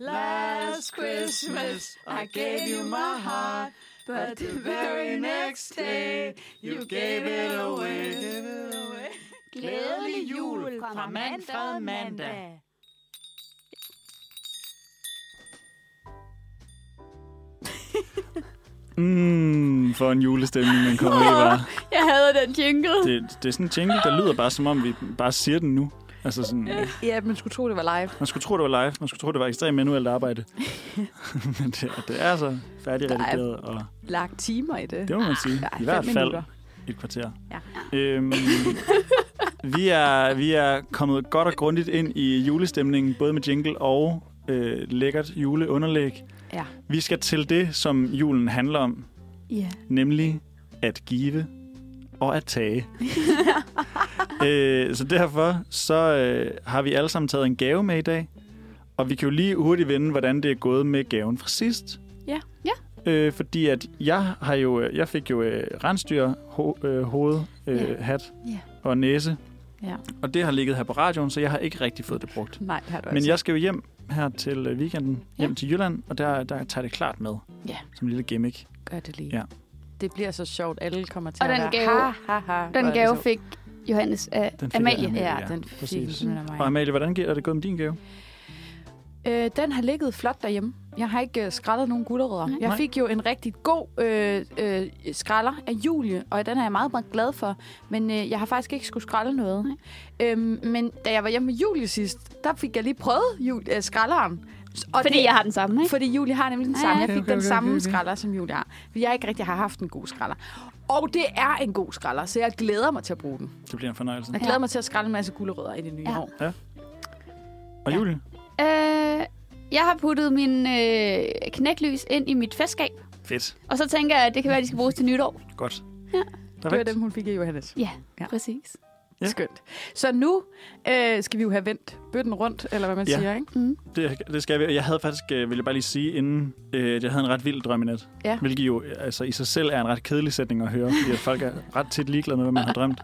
Speaker 5: Last Christmas, I gave you my heart, but the very next day, you gave it away.
Speaker 4: Glædelig
Speaker 5: jul fra mand fra mandag.
Speaker 2: Mm, for en julestemning, man kommer i, var.
Speaker 4: Jeg havde den jingle.
Speaker 2: Det, det er sådan en jingle, der lyder bare, som om vi bare siger den nu. Altså sådan,
Speaker 3: Ja, man skulle tro, det var live.
Speaker 2: man skulle tro, det var live. Man skulle tro, det var ekstremt manuelt arbejde. Men det, det er altså færdigredigeret, og
Speaker 3: Lagt timer i det.
Speaker 2: det må man sige.
Speaker 3: Ja,
Speaker 2: I
Speaker 3: Ah, fem
Speaker 2: hvert fald
Speaker 3: minutter.
Speaker 2: et kvarter.
Speaker 3: Ja.
Speaker 2: Øhm, vi, er, vi er kommet godt og grundigt ind i julestemningen, både med jingle og øh, lækkert juleunderlæg.
Speaker 3: Ja.
Speaker 2: Vi skal til det, som julen handler om,
Speaker 4: Ja.
Speaker 2: nemlig at give og at tage. øh, så derfor så øh, har vi alle sammen taget en gave med i dag, og vi kan jo lige hurtigt vende, hvordan det er gået med gaven fra sidst.
Speaker 3: Ja.
Speaker 2: Øh, fordi at jeg har jo, øh, jeg fik jo øh, rensdyr ho- øh, hoved, øh,
Speaker 3: Ja.
Speaker 2: hat
Speaker 3: Ja.
Speaker 2: og næse,
Speaker 3: Ja.
Speaker 2: og det har ligget her på radioen, så jeg har ikke rigtig fået det brugt.
Speaker 3: Nej, det har du
Speaker 2: Men
Speaker 3: altså.
Speaker 2: jeg skal jo hjem her til øh, weekenden, hjem
Speaker 3: Ja.
Speaker 2: til Jylland, og der, der tager jeg det klart med,
Speaker 3: Ja.
Speaker 2: som en lille gimmick.
Speaker 3: Gør det lige.
Speaker 2: Ja.
Speaker 3: Det bliver så sjovt. Alle kommer til
Speaker 4: Og
Speaker 3: at
Speaker 4: den
Speaker 3: være,
Speaker 4: gave-
Speaker 3: ha, ha, ha, hvor er
Speaker 4: Den
Speaker 3: det
Speaker 4: gave
Speaker 3: sjovt.
Speaker 4: fik Johannes af
Speaker 2: Den fik
Speaker 4: Amalie.
Speaker 2: jeg.
Speaker 4: Ja.
Speaker 3: Ja,
Speaker 2: Ja,
Speaker 3: den
Speaker 2: præcis.
Speaker 3: fik den af mig.
Speaker 2: Og Amalie, hvordan gik- er det gået med din gave?
Speaker 3: Øh, den har ligget flot derhjemme. Jeg har ikke øh, skrællet nogen gulerødder.
Speaker 4: Nej.
Speaker 3: Jeg
Speaker 2: Nej.
Speaker 3: fik jo en rigtig god øh, øh, skralder af Julie, og den er jeg meget, meget glad for. Men øh, jeg har faktisk ikke skulle skrælle noget. Øhm, men da jeg var hjemme med Julie sidst, der fik jeg lige prøvet jul, øh, skrælleren. S- Og
Speaker 4: Fordi jeg har den samme, ikke?
Speaker 3: fordi Julie har nemlig den
Speaker 4: Mm. Ja,
Speaker 3: samme. Jeg
Speaker 4: ja.
Speaker 3: fik
Speaker 2: Okay,
Speaker 3: den
Speaker 2: okay,
Speaker 3: samme
Speaker 2: okay, okay.
Speaker 3: skralder, som Julie har. Fordi jeg ikke rigtig har haft en god skralder. Og det er en god skralder, så jeg glæder mig til at bruge den.
Speaker 2: Det bliver en fornøjelse.
Speaker 3: Jeg
Speaker 4: Ja.
Speaker 3: glæder mig til at skrælle en masse gulerødder i det nye
Speaker 4: Ja.
Speaker 3: år.
Speaker 2: Og
Speaker 3: Ja.
Speaker 2: Julie?
Speaker 4: Øh, jeg har puttet min øh, knæklys ind i mit festskab.
Speaker 2: Fedt.
Speaker 4: Og så tænker jeg, at det kan være, at de skal bruges til nytår.
Speaker 2: Godt.
Speaker 4: Ja.
Speaker 3: Det var
Speaker 2: Perfekt.
Speaker 3: dem, hun fik af Johannes.
Speaker 4: Ja,
Speaker 3: Ja.
Speaker 4: ja. præcis.
Speaker 2: Ja.
Speaker 3: Ja. Skønt. Så nu øh, skal vi jo have vendt bøtten rundt, eller hvad man
Speaker 2: Ja.
Speaker 3: siger, ikke?
Speaker 4: Mm.
Speaker 2: Det, det skal jeg. Jeg havde faktisk, øh, vil jeg bare lige sige, inden øh, at jeg havde en ret vild drøm i nat.
Speaker 3: Ja.
Speaker 2: Hvilket jo øh, altså, i sig selv er en ret kedelig sætning at høre, fordi at folk er ret tit ligeglade med, hvad man har drømt.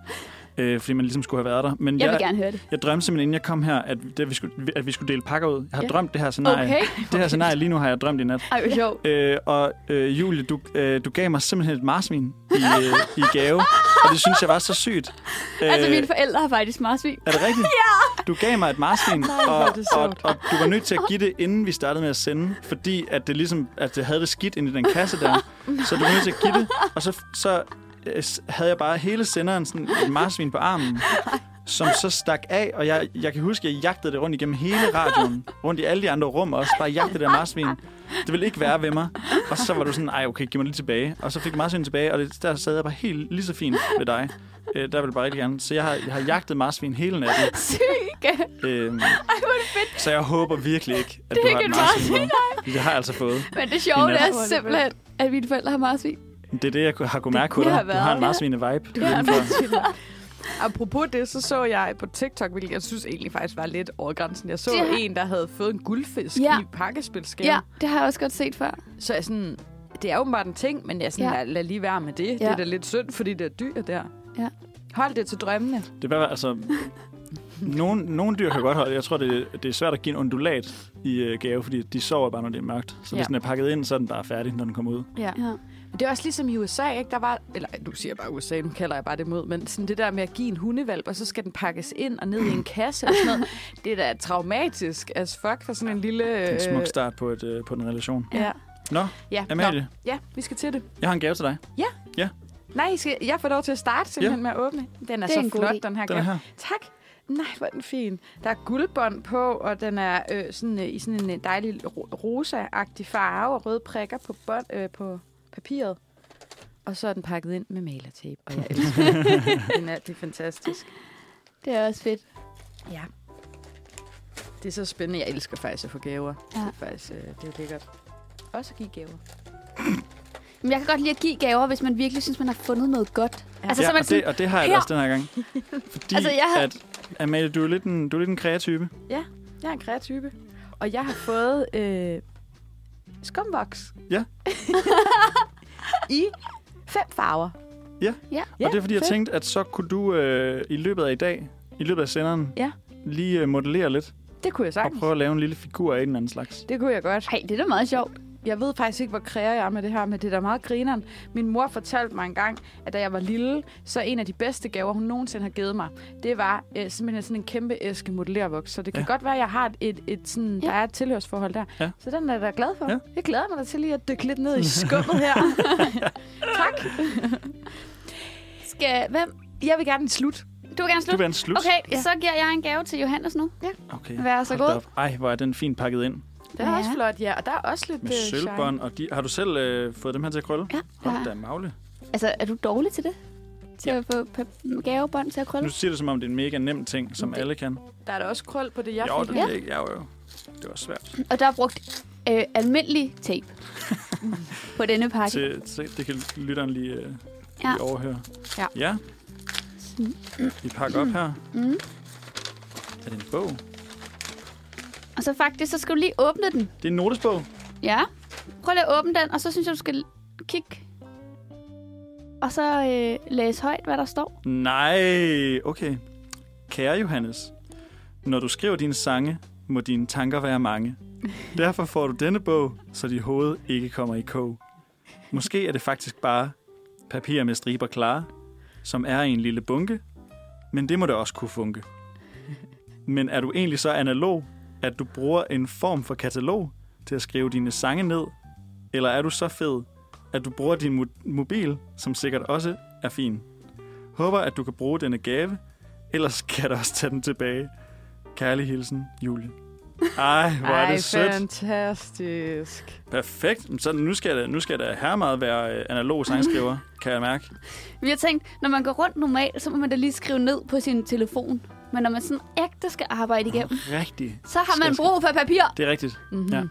Speaker 2: Øh, fordi man ligesom skulle have været der. Men
Speaker 4: Jeg
Speaker 2: jeg,
Speaker 4: vil gerne høre det.
Speaker 2: jeg drømte simpelthen, inden jeg kom her, at, det, vi, skulle, at vi skulle dele pakker ud. Jeg har
Speaker 3: Ja.
Speaker 2: ja. drømt det her scenarie.
Speaker 4: Okay.
Speaker 2: Det her scenarie lige nu har jeg drømt i nat.
Speaker 4: Ej, hvor sjovt.
Speaker 2: Øh, og øh, Julie, du, øh, du gav mig simpelthen et marsvin i, øh, i gave, og det synes jeg var så sygt. Øh,
Speaker 4: Altså, mine forældre har faktisk marsvin.
Speaker 2: er det rigtigt? Ja! Du gav mig et marsvin, og,
Speaker 3: hvor er det
Speaker 2: og,
Speaker 3: sjovt.
Speaker 2: og du var nødt til at give det, inden vi startede med at sende, fordi at det ligesom at det havde det skidt inde i den kasse der. Så du var nødt til at give det, og så, så øh, s- havde jeg bare hele senderen sådan et marsvin på armen, som så stak af, og jeg, jeg kan huske, at jeg jagtede det rundt igennem hele radioen, rundt i alle de andre rum også, bare jagtede det der marsvin. Det ville ikke være ved mig. Og så var du sådan, ej okay, giv mig lige tilbage. Og så fik du marsvin tilbage, og det, der sad jeg bare helt lige så fint ved dig. Øh, der ville jeg bare rigtig gerne. Så jeg har, jeg har jagtet marsvin hele natten.
Speaker 4: Syge.
Speaker 2: Øhm, så jeg håber virkelig ikke, at
Speaker 4: Det er
Speaker 2: du har
Speaker 4: ikke
Speaker 2: et
Speaker 4: et
Speaker 2: marsvin med. Det har jeg altså fået.
Speaker 4: Men det sjove
Speaker 2: Nå.
Speaker 4: det er simpelthen, at mine forældre har marsvin.
Speaker 2: Det er det, jeg har kunnet mærke på
Speaker 3: kunne
Speaker 2: dig.
Speaker 3: have
Speaker 2: Du
Speaker 3: været.
Speaker 2: har en marsvine-vibe.
Speaker 3: Ja,
Speaker 2: indenfor.
Speaker 3: Apropos det, så så jeg på TikTok, hvilket jeg synes egentlig faktisk var lidt over grænsen. Jeg så
Speaker 4: Det har-
Speaker 3: en, der havde fået en guldfisk
Speaker 4: Ja.
Speaker 3: i pakkespilskab.
Speaker 4: Ja, det har jeg også godt set før.
Speaker 3: Så jeg sådan, det er åbenbart en ting, men jeg er sådan,
Speaker 4: Ja.
Speaker 3: ja. lad, lad lige være med det. Ja. Det
Speaker 4: Ja.
Speaker 3: er da lidt synd, fordi det er dyr der.
Speaker 4: Ja.
Speaker 3: Hold det til drømmene.
Speaker 2: Det er bare, altså... Nogle, nogle dyr kan godt holde. Jeg tror, det, det er svært at give en undulat i øh, gave, fordi de sover bare, når det er mørkt. Så
Speaker 3: Ja.
Speaker 2: hvis den er pakket ind, så er den bare færdig, når den kommer ud.
Speaker 3: Ja.
Speaker 4: Ja.
Speaker 3: Men det er også ligesom i USA, ikke? Der var, eller nu siger jeg bare USA, nu kalder jeg bare det mod, men sådan det der med at give en hundevalp, og så skal den pakkes ind og ned i en kasse og sådan noget, det er da traumatisk as fuck for sådan en lille...
Speaker 2: Det er en smuk start på, et, øh, på en relation.
Speaker 3: Ja.
Speaker 2: Nå,
Speaker 3: Ja.
Speaker 2: Amalie,
Speaker 3: Nå. ja, vi skal til det.
Speaker 2: jeg har en gave til dig.
Speaker 3: Nej, I skal, jeg får lov til at starte simpelthen ja. med at åbne. Den er,
Speaker 4: Det er
Speaker 3: så
Speaker 4: en god
Speaker 3: flot,
Speaker 4: idé.
Speaker 3: den her
Speaker 2: Den er
Speaker 3: gave.
Speaker 2: her.
Speaker 3: Tak. Nej, hvor er den fin. Der er guldbånd på, og den er øh, sådan, øh, i sådan en øh, dejlig ro- rosa-agtig farve og røde prikker på, bånd, øh, på papiret. Og så er den pakket ind med malertape, og jeg elsker den. den. Er, det er fantastisk.
Speaker 4: Det er også fedt.
Speaker 3: Ja. Det er så spændende. Jeg elsker faktisk at få gaver. Ja. Det, er faktisk, øh, det er lækkert. Også at give gaver.
Speaker 4: Men jeg kan godt lide at give gaver, hvis man virkelig synes, man har fundet noget godt.
Speaker 3: Ja.
Speaker 4: Altså,
Speaker 2: Ja,
Speaker 4: så er man
Speaker 2: og, det,
Speaker 4: sådan,
Speaker 2: og det har jeg
Speaker 4: her.
Speaker 2: her. også den her gang. Fordi
Speaker 4: Altså,
Speaker 2: altså,
Speaker 4: jeg
Speaker 2: jeg
Speaker 4: har-
Speaker 2: at, Amalie, du er lidt en, du er lidt en kreatype.
Speaker 3: Jeg er en kreatype. Og jeg har fået øh, skumvoks.
Speaker 2: Ja.
Speaker 3: I fem farver.
Speaker 2: Ja, og det er fordi, jeg
Speaker 3: fedt.
Speaker 2: tænkte, at så kunne du øh, i løbet af i dag, i løbet af senderen,
Speaker 3: Ja.
Speaker 2: lige øh, modellere lidt
Speaker 3: Det kunne jeg
Speaker 2: og
Speaker 3: sagtens.
Speaker 2: prøve at lave en lille figur af en eller anden slags.
Speaker 3: Det kunne jeg godt.
Speaker 4: hey, det er da meget sjovt.
Speaker 3: Jeg ved faktisk ikke, hvor kræver jeg er med det her, men det er da meget grineren. Min mor fortalte mig engang, at da jeg var lille, så en af de bedste gaver, hun nogensinde har givet mig, det var øh, simpelthen sådan en kæmpe æske modellervoks. Så det kan ja.
Speaker 2: Ja.
Speaker 3: godt være, at jeg har et, et, et sådan,
Speaker 4: Ja.
Speaker 3: ja. der er et tilhørsforhold der.
Speaker 2: Ja.
Speaker 3: Så den er jeg da glad for.
Speaker 2: Ja.
Speaker 3: Jeg glæder mig da til lige at dykke lidt ned i skummet her. tak.
Speaker 4: Skal, hvem?
Speaker 3: Jeg vil gerne slutte.
Speaker 4: Du vil gerne
Speaker 2: Du vil
Speaker 4: slutte.
Speaker 2: en slut.
Speaker 4: Okay,
Speaker 3: Ja.
Speaker 4: så giver jeg en gave til Johannes nu.
Speaker 2: okay.
Speaker 4: Vær så
Speaker 2: Hold da
Speaker 4: god.
Speaker 2: op. Ej, hvor er den fint pakket ind.
Speaker 3: Den er
Speaker 4: Ja.
Speaker 3: også flot, ja. Og der er også lidt
Speaker 2: Med
Speaker 3: øh, shine.
Speaker 2: sølvbånd. Og de, har du selv øh, fået dem her til at krølle?
Speaker 4: Ja,
Speaker 2: Hold
Speaker 4: ja.
Speaker 2: da magle.
Speaker 4: Altså, er du dårlig til det? Til at få pap- gavebånd til at krølle?
Speaker 2: Nu siger du, som om det er en mega nem ting, som alle kan.
Speaker 3: Der er da også krøl på det, jeg
Speaker 2: jo,
Speaker 3: fik.
Speaker 2: det
Speaker 4: Ja.
Speaker 2: er ikke. Ja, jo. Det var svært.
Speaker 4: Og der er brugt øh, almindelig tape på denne pakke.
Speaker 2: Til, til, det kan lytteren lige, øh,
Speaker 4: Ja.
Speaker 2: lige overhøre.
Speaker 3: Ja.
Speaker 2: ja. Vi pakker op her.
Speaker 4: Mm.
Speaker 2: Er det en bog?
Speaker 4: Og så faktisk, så skal du lige åbne den.
Speaker 2: Det er en notesbog.
Speaker 4: Ja. Prøv lige at åbne den, og så synes jeg, du skal kigge. Og så øh, læse højt, hvad der står.
Speaker 2: Nej, okay. Kære Johannes, når du skriver dine sange, må dine tanker være mange. Derfor får du denne bog, så dit hoved ikke kommer i kog. Måske er det faktisk bare papir med striber klare, som er i en lille bunke, Men det må da også kunne funke. Men er du egentlig så analog, at du bruger en form for katalog til at skrive dine sange ned? Eller er du så fed, at du bruger din mo- mobil, som sikkert også er fin? Håber, at du kan bruge denne gave, ellers kan jeg da også tage den tilbage. Kærlig hilsen, Julie. Ej, hvor er
Speaker 3: Ej,
Speaker 2: det sødt.
Speaker 3: fantastisk.
Speaker 2: Perfekt. Men Så nu skal jeg da, nu skal jeg da her meget være øh, analog sangskriver, kan jeg mærke.
Speaker 4: Vi har tænkt, når man går rundt normalt, så må man da lige skrive ned på sin telefon. Men når man sådan ægte skal arbejde igennem,
Speaker 2: Rigtigt.
Speaker 4: så har
Speaker 2: Skal-
Speaker 4: man brug for papir.
Speaker 2: Det er rigtigt.
Speaker 3: Mm-hmm.
Speaker 2: Ja.
Speaker 4: Ja.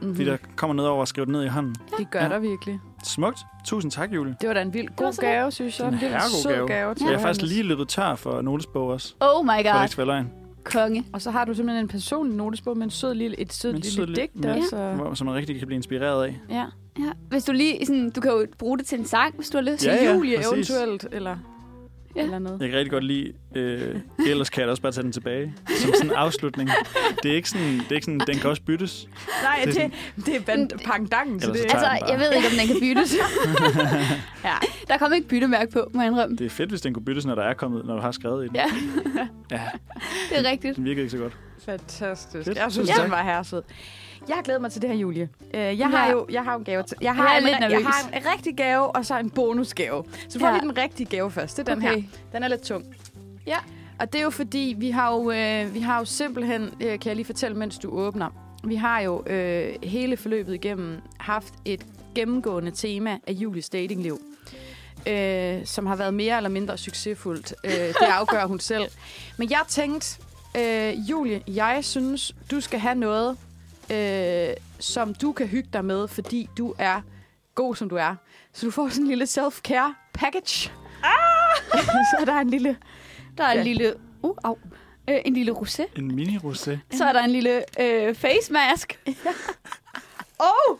Speaker 3: Mm-hmm.
Speaker 2: Fordi der kommer noget over at skrive det ned i hånden.
Speaker 3: Det gør
Speaker 2: Ja.
Speaker 3: der virkelig.
Speaker 2: Smukt. Tusind tak, Julie.
Speaker 3: Det var da en vild
Speaker 4: var
Speaker 3: god
Speaker 4: så lidt.
Speaker 3: gave, synes jeg.
Speaker 2: Det er en
Speaker 3: vild
Speaker 2: herregod
Speaker 3: sød
Speaker 2: gave.
Speaker 3: gave til
Speaker 2: Ja. Jeg er
Speaker 3: Johannes.
Speaker 2: faktisk lige løbet tør for notesbog også.
Speaker 4: Oh my
Speaker 2: For det
Speaker 4: god,
Speaker 2: ikke skal være løgn.
Speaker 4: konge.
Speaker 3: Og så har du simpelthen en personlig notesbog med en sød lille, et sødt
Speaker 2: Med en sød
Speaker 3: lille
Speaker 2: lille-
Speaker 3: digt
Speaker 2: Ja.
Speaker 3: også. og-
Speaker 2: Hvor- Som man rigtig kan blive inspireret af.
Speaker 3: Ja.
Speaker 4: Ja. Hvis du lige sådan, du kan jo bruge det til en sang, hvis du har lyst.
Speaker 3: Til
Speaker 2: Ja, ja,
Speaker 3: Julie
Speaker 2: præcis.
Speaker 3: eventuelt, eller,
Speaker 4: Ja.
Speaker 3: eller noget.
Speaker 2: Jeg kan rigtig godt lide, øh, ellers kan jeg da også bare tage den tilbage. Som sådan en afslutning. Det er ikke sådan, det er ikke sådan den kan også byttes.
Speaker 3: Nej,
Speaker 2: Det er
Speaker 3: det,
Speaker 2: sådan- Mm.
Speaker 3: det er band- pangdangen, så
Speaker 2: Ellers
Speaker 3: det
Speaker 2: så
Speaker 3: er...
Speaker 2: tager-
Speaker 4: Altså,
Speaker 2: den bare.
Speaker 4: jeg ved ikke, om den kan byttes.
Speaker 3: Ja.
Speaker 4: Der kom ikke byttemærke på, må jeg indrømme.
Speaker 2: Det er fedt, hvis den kunne byttes, når der er kommet, når du har skrevet i den.
Speaker 4: Ja.
Speaker 2: ja
Speaker 4: Det er rigtigt.
Speaker 2: den virkede ikke så godt.
Speaker 3: Fantastisk.
Speaker 2: Fedt.
Speaker 3: Jeg synes,
Speaker 2: Ja.
Speaker 3: den var herresød. Jeg glæder mig til det her, Julie. Øh, Jeg har
Speaker 4: Ja.
Speaker 3: jo jeg har jo en gave til... Jeg
Speaker 4: Jeg
Speaker 3: har,
Speaker 4: er
Speaker 3: en,
Speaker 4: lidt
Speaker 3: jeg
Speaker 4: nervøs.
Speaker 3: har en rigtig gave, og så en bonusgave. Så får
Speaker 4: Ja.
Speaker 3: vi den rigtige gave først. Det er den
Speaker 4: Okay.
Speaker 3: her. Den er lidt tung. Ja. Og det er jo fordi, vi har jo, øh, vi har jo simpelthen, øh, kan jeg lige fortælle, mens du åbner, vi har jo øh, hele forløbet igennem haft et gennemgående tema af Julies datingliv, øh, som har været mere eller mindre succesfuldt. Øh, det afgør hun selv. Men jeg tænkte, øh, Julie, jeg synes, du skal have noget, øh, som du kan hygge dig med, fordi du er god, som du er. Så du får sådan en lille self-care package. Ah! så der er en lille...
Speaker 4: Der er en
Speaker 3: Ja.
Speaker 4: lille... Uh, au. Øh, en lille rosé.
Speaker 2: En mini-rosé.
Speaker 4: Så er der en lille øh, face mask. oh!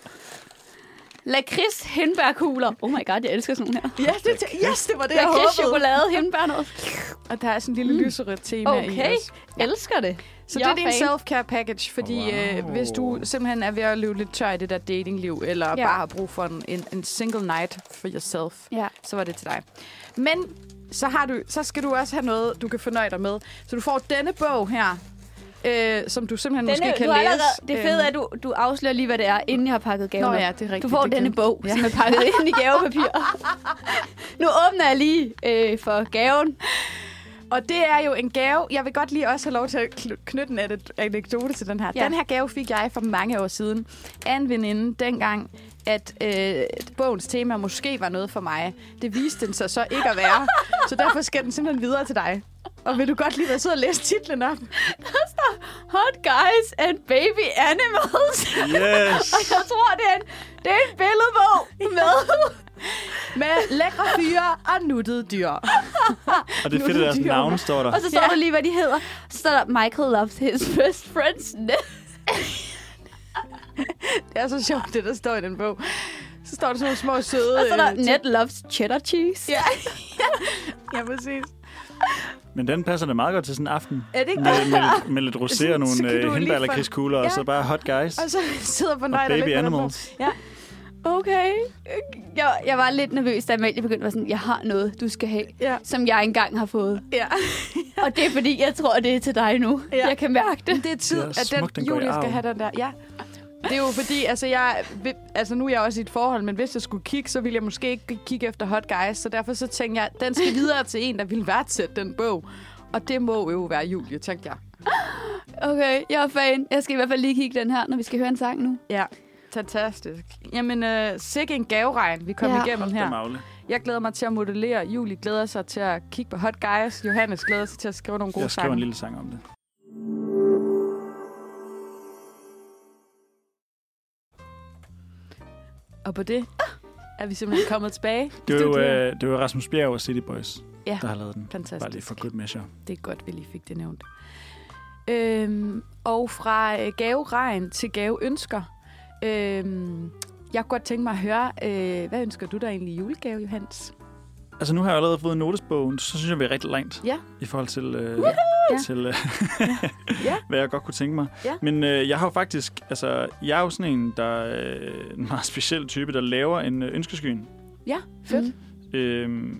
Speaker 4: Lakrids hindbærkugler. Oh my god, jeg elsker sådan nogle her.
Speaker 3: Ja, det, yes, det var det,
Speaker 4: Lakrids chokolade, hindbær noget.
Speaker 3: Og der er sådan en lille
Speaker 4: Mm.
Speaker 3: lyserødt tema
Speaker 4: Okay.
Speaker 3: i os.
Speaker 4: Elsker det.
Speaker 3: Så
Speaker 4: Jeg
Speaker 3: det er din
Speaker 4: er fan.
Speaker 3: self-care package, fordi wow. øh,
Speaker 2: Wow.
Speaker 3: hvis du simpelthen er ved at løbe lidt tør i det der datingliv, eller ja.
Speaker 4: Ja.
Speaker 3: bare har brug for en, en, en single night for yourself,
Speaker 4: Ja.
Speaker 3: så var det til dig. Men så, har du, så skal du også have noget, du kan fornøje dig med. Så du får denne bog her, øh, som du simpelthen
Speaker 4: Denne,
Speaker 3: måske kan
Speaker 4: du har
Speaker 3: læse.
Speaker 4: allerede, det
Speaker 3: Øhm,
Speaker 4: fede er, at du, du afslører lige, hvad det er, inden jeg har pakket gaven
Speaker 3: Nå
Speaker 4: op.
Speaker 3: ja, det er rigtigt.
Speaker 4: Du får
Speaker 3: det
Speaker 4: denne
Speaker 3: kan-
Speaker 4: bog, som er pakket ind i gavepapir. nu åbner jeg lige øh, for gaven.
Speaker 3: Og det er jo en gave. Jeg vil godt lige også have lov til at kl- knytte en ane- anekdote til den her. Ja.
Speaker 4: Ja.
Speaker 3: Den her gave fik jeg for mange år siden af en veninde, dengang at øh, bogens tema måske var noget for mig. Det viste den sig så ikke at være. Så derfor skal den simpelthen videre til dig. Og vil du godt lige være sød og læse titlen op?
Speaker 4: Hot guys and baby animals.
Speaker 2: Yes!
Speaker 4: Og jeg tror, det er en, det er en billedbog med...
Speaker 3: Med lækre fyre og nuttede dyr.
Speaker 2: Og det er fedt, at deres navn står der.
Speaker 4: Og så står der lige, hvad de hedder. Så står der, Michael loves his best friends.
Speaker 3: Det er så sjovt, det der står i den bog. Så står der sådan nogle små søde...
Speaker 4: Og så er der,
Speaker 3: øh, ting.
Speaker 4: Ned loves cheddar cheese.
Speaker 3: Ja. ja, præcis.
Speaker 2: Men den passer da meget godt til sådan en aften.
Speaker 3: Er det ikke
Speaker 2: Med, med, med lidt rosé og
Speaker 3: Så kan du
Speaker 2: nogle
Speaker 3: lige
Speaker 2: hindbærlekridskugler, og
Speaker 3: Ja.
Speaker 2: så bare hot guys.
Speaker 3: Og så sidder på
Speaker 2: Og
Speaker 3: nøjder
Speaker 2: baby
Speaker 3: lidt på den bog.
Speaker 2: animals.
Speaker 4: Okay. Jeg, jeg var lidt nervøs, da Amalie begyndte at være sådan, jeg har noget, du skal have,
Speaker 3: Ja.
Speaker 4: som jeg engang har fået.
Speaker 3: Ja.
Speaker 4: Og det er fordi, jeg tror, det er til dig nu.
Speaker 3: Ja.
Speaker 4: Ja. Jeg kan mærke det.
Speaker 3: Men det er tid,
Speaker 2: Det er
Speaker 3: at
Speaker 2: smukt,
Speaker 3: den,
Speaker 2: den går i
Speaker 3: Julie skal
Speaker 2: arv.
Speaker 3: have den der. Ja. Det er jo fordi, altså, jeg, vil- altså nu er jeg også i et forhold, men hvis jeg skulle kigge, så ville jeg måske ikke kigge efter hot guys. Så derfor så tænkte jeg, den skal videre til en, der ville værdsætte den bog. Og det må jo være Julie, tænkte jeg.
Speaker 4: Okay, jeg er fan. Jeg skal i hvert fald lige kigge den her, når vi skal høre en sang nu.
Speaker 3: Ja, fantastisk. Jamen, øh, sikke en gaveregn, vi kom ja.
Speaker 4: Ja.
Speaker 3: igennem
Speaker 2: Ja.
Speaker 3: her. Jeg glæder mig til at modellere. Julie glæder sig til at kigge på hot guys. Johannes glæder sig til at skrive nogle gode
Speaker 2: Jeg skriver en
Speaker 3: sange.
Speaker 2: lille sang om det.
Speaker 3: Og på det er vi simpelthen kommet tilbage.
Speaker 2: Det var, jo,
Speaker 3: Studiet.
Speaker 2: øh, det var Rasmus Bjerg og City Boys,
Speaker 3: Ja.
Speaker 2: der har lavet den.
Speaker 3: Fantastisk.
Speaker 2: Bare lige for good measure.
Speaker 3: Det er godt, vi lige fik det nævnt. Øhm, og fra øh, gaveregn til gaveønsker. Øhm, jeg kunne godt tænke mig at høre, øh, hvad ønsker du dig egentlig i julegave, Johans?
Speaker 2: Altså nu har jeg allerede fået notesbogen, så synes jeg, vi er rigtig langt
Speaker 3: Ja.
Speaker 2: i forhold til, øh,
Speaker 3: Ja.
Speaker 2: til øh,
Speaker 3: Ja.
Speaker 2: hvad jeg godt kunne tænke mig.
Speaker 3: Ja.
Speaker 2: Men øh, jeg har jo faktisk, altså jeg er jo sådan en, der er øh, en meget speciel type, der laver en øh, ønskeskyen.
Speaker 3: Ja, fedt.
Speaker 2: Øh,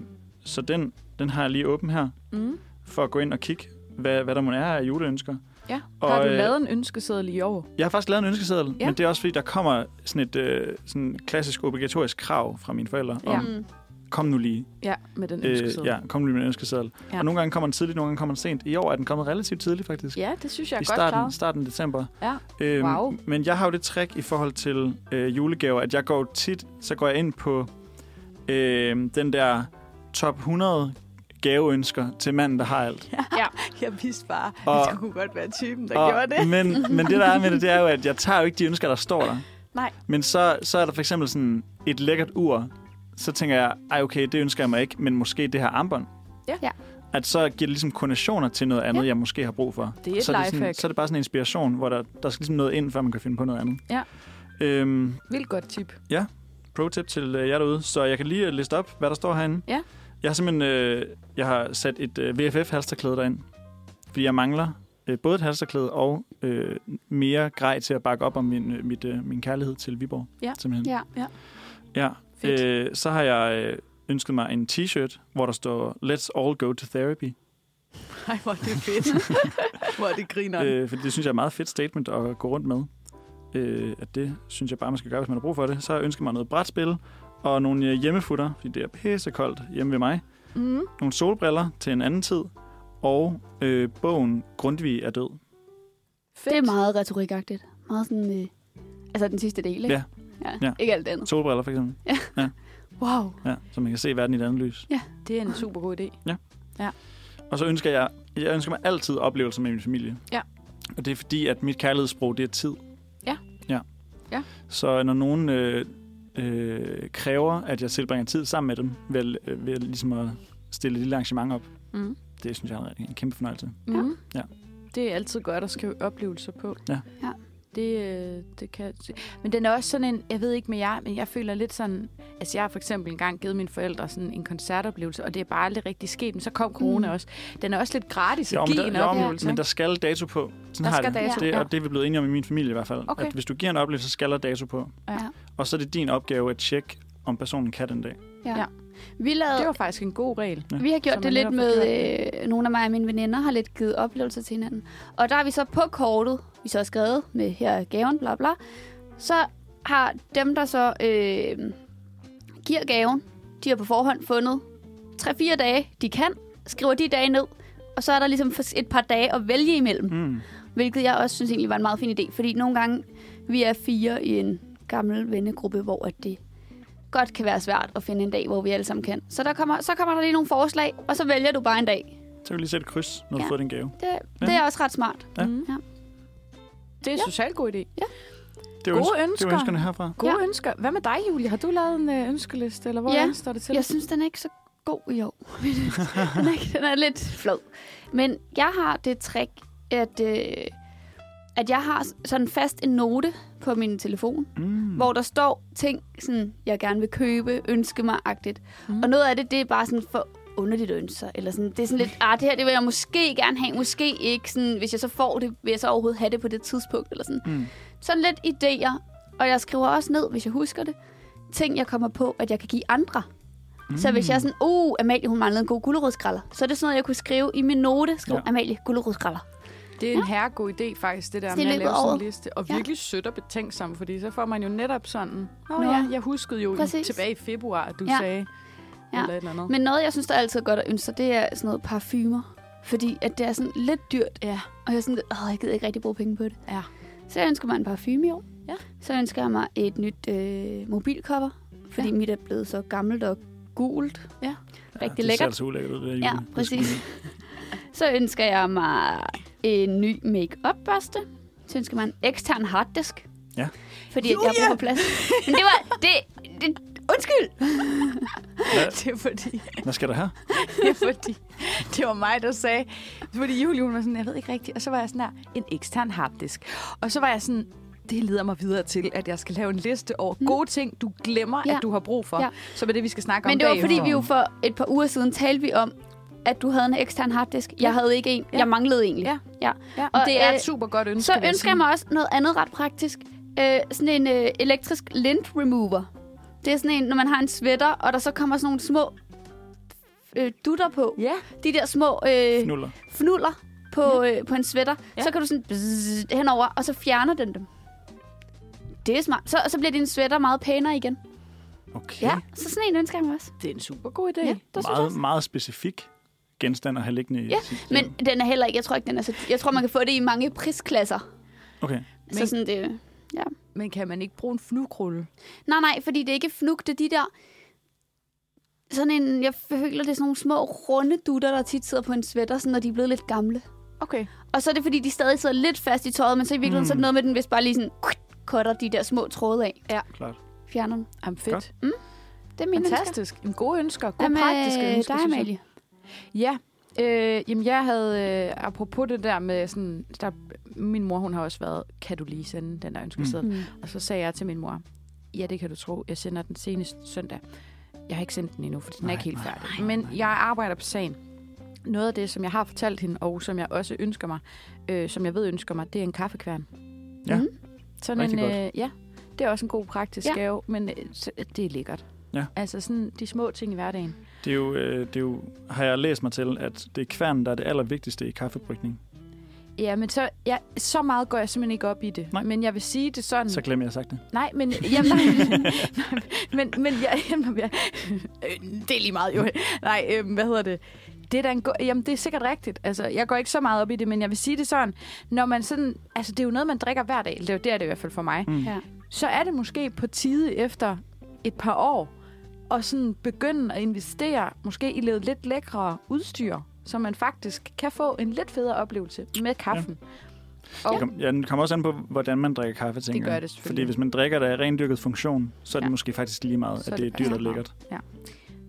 Speaker 2: så den, den har jeg lige åben her.
Speaker 3: Mm. Mm.
Speaker 2: for at gå ind og kigge, hvad, hvad der må er af juleønsker.
Speaker 3: Ja.
Speaker 2: Og,
Speaker 3: Har du
Speaker 2: øh,
Speaker 3: lavet en ønskeseddel i år?
Speaker 2: Jeg har faktisk lavet en ønskeseddel,
Speaker 3: Ja.
Speaker 2: ja. men det er også fordi, der kommer sådan et øh, sådan klassisk obligatorisk krav fra mine forældre
Speaker 3: Ja.
Speaker 2: om,
Speaker 4: Mm.
Speaker 2: kom nu lige.
Speaker 3: Ja, med den
Speaker 2: Øh,
Speaker 3: ønskeseddel.
Speaker 2: ja, kom nu lige med en ønskeseddel.
Speaker 3: Ja.
Speaker 2: Ja. Og nogle gange kommer den tidligt, nogle gange kommer den sent. I år er den kommet relativt tidligt faktisk.
Speaker 3: ja, det synes jeg er
Speaker 2: I
Speaker 3: godt
Speaker 2: starten,
Speaker 3: starten.
Speaker 2: starten af december.
Speaker 3: Ja.
Speaker 2: Øhm,
Speaker 3: Wow.
Speaker 2: Men jeg har jo det trick i forhold til øh, julegaver, at jeg går jo tit, så går jeg ind på øh, den der top 100 gaveønsker til manden, der har alt.
Speaker 3: Jeg vidste bare,
Speaker 2: Og-
Speaker 3: at jeg kunne godt være typen, der gjorde det.
Speaker 2: Men, men det, der er med det, det er jo, at jeg tager jo ikke de ønsker, der står der.
Speaker 3: Nej.
Speaker 2: Men så, så er der for eksempel sådan et lækkert ur. Så tænker jeg, ej okay, det ønsker jeg mig ikke, men måske det her armbånd.
Speaker 3: Ja.
Speaker 4: Ja.
Speaker 2: At så giver det ligesom konditioner til noget andet,
Speaker 3: Ja.
Speaker 2: jeg måske har brug for.
Speaker 3: Det er et
Speaker 2: så, er det sådan,
Speaker 3: lifehack.
Speaker 2: så er det bare sådan en inspiration, hvor der, der skal ligesom noget ind, før man kan finde på noget andet.
Speaker 3: Ja.
Speaker 2: Øhm,
Speaker 3: Vildt godt tip.
Speaker 2: pro-tip til øh, jer derude, så jeg kan lige øh, liste op, hvad der står herinde.
Speaker 3: Ja.
Speaker 2: Jeg har simpelthen øh, jeg har sat et øh, VFF-halsterklæde derind, fordi jeg mangler øh, både et halsterklæde og øh, mere grej til at bakke op om min, øh, mit, øh, min kærlighed til Viborg.
Speaker 3: Ja.
Speaker 2: Simpelthen.
Speaker 4: Ja.
Speaker 3: Ja.
Speaker 2: ja.
Speaker 3: Fedt.
Speaker 2: Øh, så har jeg øh, ønsket mig en t-shirt, hvor der står Let's all go to therapy.
Speaker 3: Nej, hvor er det fedt. hvor er det griner. Øh,
Speaker 2: Øh, for det synes jeg er et meget fedt statement at gå rundt med. Øh, at det synes jeg bare, man skal gøre, hvis man har brug for det. Så har jeg ønsket mig noget brætspil og nogle øh, hjemmefutter, fordi det er pissekoldt hjemme ved mig.
Speaker 3: mm.
Speaker 2: Nogle solbriller til en anden tid. Og øh, bogen Grundtvig er død.
Speaker 3: Fedt.
Speaker 4: Det er meget retorikagtigt. Meget sådan... Øh, altså den sidste del, ikke?
Speaker 2: Ja.
Speaker 4: ja.
Speaker 2: Ja.
Speaker 4: Ikke alt det andet.
Speaker 2: Solbriller for eksempel.
Speaker 4: Wow.
Speaker 2: Ja, så man kan se verden i et andet lys.
Speaker 3: Det er en super god idé.
Speaker 2: Og så ønsker jeg, jeg ønsker mig altid oplevelser med min familie.
Speaker 3: Ja.
Speaker 2: Og det er fordi, at mit kærlighedssprog, det er tid.
Speaker 3: Ja.
Speaker 2: Ja.
Speaker 3: Ja.
Speaker 2: Så når nogen øh, øh, kræver, at jeg tilbringer tid sammen med dem, ved, øh, ved ligesom at stille et lille arrangement op,
Speaker 3: Mm.
Speaker 2: det synes jeg er en kæmpe fornøjelse.
Speaker 4: Ja.
Speaker 3: Mm.
Speaker 2: Ja.
Speaker 3: Det er altid godt at skrive oplevelser på.
Speaker 2: Ja.
Speaker 4: Ja.
Speaker 3: Det, øh, det kan... Men den er også sådan en, jeg ved ikke med jer, men jeg føler lidt sådan... Altså jeg har for eksempel engang givet mine forældre sådan en koncertoplevelse, og det er bare aldrig rigtig sket, men så kom corona
Speaker 4: Mm.
Speaker 3: også. Den er også lidt gratis
Speaker 2: Jo,
Speaker 3: at
Speaker 2: men,
Speaker 3: give en
Speaker 2: der, jo,
Speaker 3: oplevelse.
Speaker 2: men der skal dato på. Sådan
Speaker 3: Der
Speaker 2: har
Speaker 3: skal
Speaker 2: jeg det.
Speaker 3: dato,
Speaker 2: det,
Speaker 3: ja.
Speaker 2: og det er vi blevet enige om i min familie i hvert fald.
Speaker 3: Okay.
Speaker 2: At hvis du giver en oplevelse, så skal der dato på.
Speaker 3: Ja.
Speaker 2: Og så er det din opgave at tjekke, om personen kan den dag.
Speaker 4: Ja.
Speaker 3: Ja.
Speaker 4: ja. Vi, lavede,
Speaker 3: Det var faktisk en god regel.
Speaker 4: vi har
Speaker 3: Så
Speaker 4: gjort det
Speaker 3: man
Speaker 4: lidt
Speaker 3: netop
Speaker 4: med...
Speaker 3: får
Speaker 4: Øh, nogle af mig og mine veninder har lidt givet oplevelser til hinanden. Og der er vi så på kortet, vi så har skrevet med her er gaven, bla bla. Så har dem, der så øh, giver gaven, de har på forhånd fundet 3-4 dage, de kan, skriver de dage ned, og så er der ligesom et par dage at vælge imellem.
Speaker 2: Mm.
Speaker 4: Hvilket jeg også synes egentlig var en meget fin idé, fordi nogle gange, vi er fire i en gammel vennegruppe, hvor at det godt kan være svært at finde en dag, hvor vi alle sammen kan. Så, der kommer, så kommer der lige nogle forslag, og så vælger du bare en dag.
Speaker 2: Så kan du lige sætte et kryds, når du
Speaker 4: Ja.
Speaker 2: har fået din gave.
Speaker 4: Det, det er også ret smart.
Speaker 2: Ja.
Speaker 3: Mm.
Speaker 4: Ja.
Speaker 3: Det er en
Speaker 4: Ja.
Speaker 3: socialt god idé.
Speaker 2: Det er
Speaker 3: Gode
Speaker 2: øns- Det
Speaker 3: ønsker.
Speaker 2: er ønskerne herfra.
Speaker 3: Gode ja. ønsker. Hvad med dig, Julie? Har du lavet en øh, ønskeliste, eller hvor
Speaker 4: Ja.
Speaker 3: står det til?
Speaker 4: Jeg synes, den er ikke så god i år. den, er, ikke- den er lidt flad. Men jeg har det trick, at, øh, at jeg har sådan fast en note på min telefon,
Speaker 2: Mm.
Speaker 4: hvor der står ting, sådan, jeg gerne vil købe, ønske mig-agtigt.
Speaker 3: Mm.
Speaker 4: Mm. Og noget af det, det er bare sådan for underligt ønsker. Eller sådan, det er sådan lidt, ah, det her det vil jeg måske gerne have, måske ikke. Sådan, hvis jeg så får det, vil jeg så overhovedet have det på det tidspunkt. Eller sådan.
Speaker 2: Mm.
Speaker 4: sådan lidt idéer. Og jeg skriver også ned, hvis jeg husker det, ting, jeg kommer på, at jeg kan give andre. Mm. Så hvis jeg er sådan, uh, Amalie, hun manglede en god gulerodskralder, så er det sådan noget, jeg kunne skrive i min note. Skriv,
Speaker 2: Ja.
Speaker 4: ja. Amalie, gulerodskralder.
Speaker 3: Det er en herre god idé faktisk, det der
Speaker 4: Så
Speaker 3: med
Speaker 4: det er
Speaker 3: at
Speaker 4: løbet
Speaker 3: lave sådan en
Speaker 4: over.
Speaker 3: liste. Og
Speaker 4: Ja.
Speaker 3: virkelig sødt og betænksom, fordi så får man jo netop sådan... Nå
Speaker 4: Nå
Speaker 3: ja,
Speaker 4: ja,
Speaker 3: jeg huskede jo i,
Speaker 4: præcis.
Speaker 3: tilbage i februar, at du ja.
Speaker 4: Ja.
Speaker 3: sagde... Ja.
Speaker 4: Ja.
Speaker 3: Eller et eller andet.
Speaker 4: Men noget, jeg synes, der er altid godt at ønske sig, det er sådan noget parfumer. Fordi at det er sådan lidt dyrt.
Speaker 3: Ja.
Speaker 4: Og jeg er sådan lidt, åh, jeg gider ikke rigtig bruge penge på det.
Speaker 3: Ja.
Speaker 4: Så jeg ønsker mig en parfume i år.
Speaker 3: Ja.
Speaker 4: Så ønsker jeg mig et nyt øh, mobilcover. Fordi
Speaker 3: Ja.
Speaker 4: ja. mit er blevet så gammelt og gult.
Speaker 3: Ja.
Speaker 4: Rigtig
Speaker 2: det ser
Speaker 4: lækkert.
Speaker 2: altså ulækkert ud, det der
Speaker 4: Ja,
Speaker 2: jule.
Speaker 4: præcis. Så ønsker jeg mig en ny make børste Så ønsker jeg mig en ekstern harddisk.
Speaker 2: Ja.
Speaker 4: Fordi Julia! jeg bruger plads. Men det var... Det, det, undskyld!
Speaker 2: Hvad,
Speaker 3: Det er fordi,
Speaker 2: hvad skal der her?
Speaker 3: det er fordi, det var mig, der sagde, fordi Julie hun var sådan, jeg ved ikke rigtigt, og så var jeg sådan her, en ekstern harddisk. Og så var jeg sådan, det leder mig videre til, at jeg skal lave en liste over gode ting, du glemmer,
Speaker 4: Mm. Ja.
Speaker 3: at du har brug for.
Speaker 4: Ja.
Speaker 3: Som er det, vi skal snakke om
Speaker 4: Men det var
Speaker 3: bagefter.
Speaker 4: fordi, vi jo for et par uger siden talte vi om, at du havde en ekstern harddisk. Jeg
Speaker 3: Ja.
Speaker 4: havde ikke en.
Speaker 3: Ja.
Speaker 4: Jeg manglede egentlig.
Speaker 3: Ja.
Speaker 4: ja.
Speaker 3: Ja, og
Speaker 4: Og,
Speaker 3: det er
Speaker 4: øh,
Speaker 3: et super godt ønske.
Speaker 4: Så
Speaker 3: vil
Speaker 4: ønsker
Speaker 3: sige.
Speaker 4: jeg mig også noget andet ret praktisk. Øh, sådan en øh, elektrisk lint remover. Det er sådan en, når man har en sweater, og der så kommer sådan nogle små øh, dutter på.
Speaker 3: Ja.
Speaker 4: De der små øh,
Speaker 2: Fnuller.
Speaker 4: fnuller på, øh, på en sweater.
Speaker 3: Ja.
Speaker 4: Så kan du sådan bzzz, henover, og så fjerner den dem. Det er smart. Så, så bliver din sweater meget pænere igen.
Speaker 2: Okay.
Speaker 4: Ja, så sådan en ønsker jeg mig også.
Speaker 3: Det er en super god idé.
Speaker 4: Ja,
Speaker 3: Ja.
Speaker 4: der synes jeg
Speaker 2: meget,
Speaker 4: også.
Speaker 2: meget specifik genstand at have liggende i
Speaker 4: Ja,
Speaker 2: sit
Speaker 4: Men
Speaker 2: hjem.
Speaker 4: den er heller ikke, jeg tror ikke, den er så... Jeg tror, man kan få det i mange prisklasser.
Speaker 2: Okay.
Speaker 4: Så
Speaker 3: Men-
Speaker 4: sådan det...
Speaker 3: Men kan man ikke bruge en fnugrulle?
Speaker 4: Nej, nej, fordi det er ikke fnug, det er de der... Sådan en, jeg føler, det er sådan nogle små runde dutter, der tit sidder på en sweater, sådan, når de er blevet lidt gamle.
Speaker 3: Okay.
Speaker 4: Og så er det, fordi de stadig sidder lidt fast i tøjet, men så i
Speaker 2: Mm.
Speaker 4: virkeligheden, mm. så er det noget med, at den hvis bare lige sådan kutter de der små tråde af.
Speaker 2: Klart.
Speaker 4: Fjerner dem.
Speaker 3: Jamen fedt.
Speaker 2: Godt.
Speaker 3: Godt.
Speaker 4: Det er mine ønsker.
Speaker 3: Fantastisk. En god ønsker. God
Speaker 4: Hvad med
Speaker 3: praktiske ønsker,
Speaker 4: dig,
Speaker 3: synes jeg.
Speaker 4: Amalie?
Speaker 3: Ja, øh, jamen jeg havde, øh, apropos det der med sådan, der, min mor hun har også været, kan du lige sende den der ønskeseddel?
Speaker 4: Mm.
Speaker 3: Mm. Og så sagde jeg til min mor, ja det kan du tro, jeg sender den senest søndag. Jeg har ikke sendt den endnu, for den
Speaker 2: Nej,
Speaker 3: er ikke helt
Speaker 2: nej,
Speaker 3: færdig.
Speaker 2: nej,
Speaker 3: Men
Speaker 2: nej.
Speaker 3: jeg arbejder på sagen. Noget af det, som jeg har fortalt hende, og som jeg også ønsker mig, øh, som jeg ved ønsker mig, det er en kaffekværn.
Speaker 2: Ja.
Speaker 4: Mhm.
Speaker 3: Sådan
Speaker 2: Rigtig
Speaker 3: en,
Speaker 2: godt.
Speaker 3: øh, ja, det er også en god praktisk
Speaker 4: Ja.
Speaker 3: ja. gave, men øh, så- det er lækkert.
Speaker 2: Ja.
Speaker 3: Altså sådan de små ting i hverdagen.
Speaker 2: Det er, jo, øh, det er jo, har jeg læst mig til, at det er kværnen, der er det allervigtigste i kaffebrygning.
Speaker 3: Ja, men så, ja, så meget går jeg simpelthen ikke op i det.
Speaker 2: Nej.
Speaker 3: Men jeg vil sige det
Speaker 4: Mm.
Speaker 3: sådan...
Speaker 2: Så glemmer jeg sagt det.
Speaker 3: Nej, men... Jamen, nej, men, men jeg, jamen, jeg, øh, det er lige meget jo. Nej, øh, hvad hedder det? Det er, da en go- jamen, det er sikkert rigtigt. Altså, jeg går ikke så meget op i det, men jeg vil sige det sådan. Når man sådan... Altså, det er jo noget, man drikker hver dag. Det er jo det, er det i hvert fald for mig.
Speaker 2: Mm.
Speaker 4: Ja.
Speaker 3: Så er det måske på tide efter et par år at sådan begynde at investere måske i lidt, lidt lækre udstyr, så man faktisk kan få en lidt federe oplevelse med kaffen. Ja.
Speaker 2: Det kom, ja, den kommer også an på, hvordan man drikker kaffe, tænker
Speaker 3: gør
Speaker 2: jeg.
Speaker 3: det selvfølgelig.
Speaker 2: Fordi hvis man drikker, der er rendyrket funktion, så er det
Speaker 3: Ja.
Speaker 2: måske faktisk lige meget,
Speaker 3: Så
Speaker 2: at
Speaker 3: det
Speaker 2: det er dyrt
Speaker 3: passer
Speaker 2: og lækkert.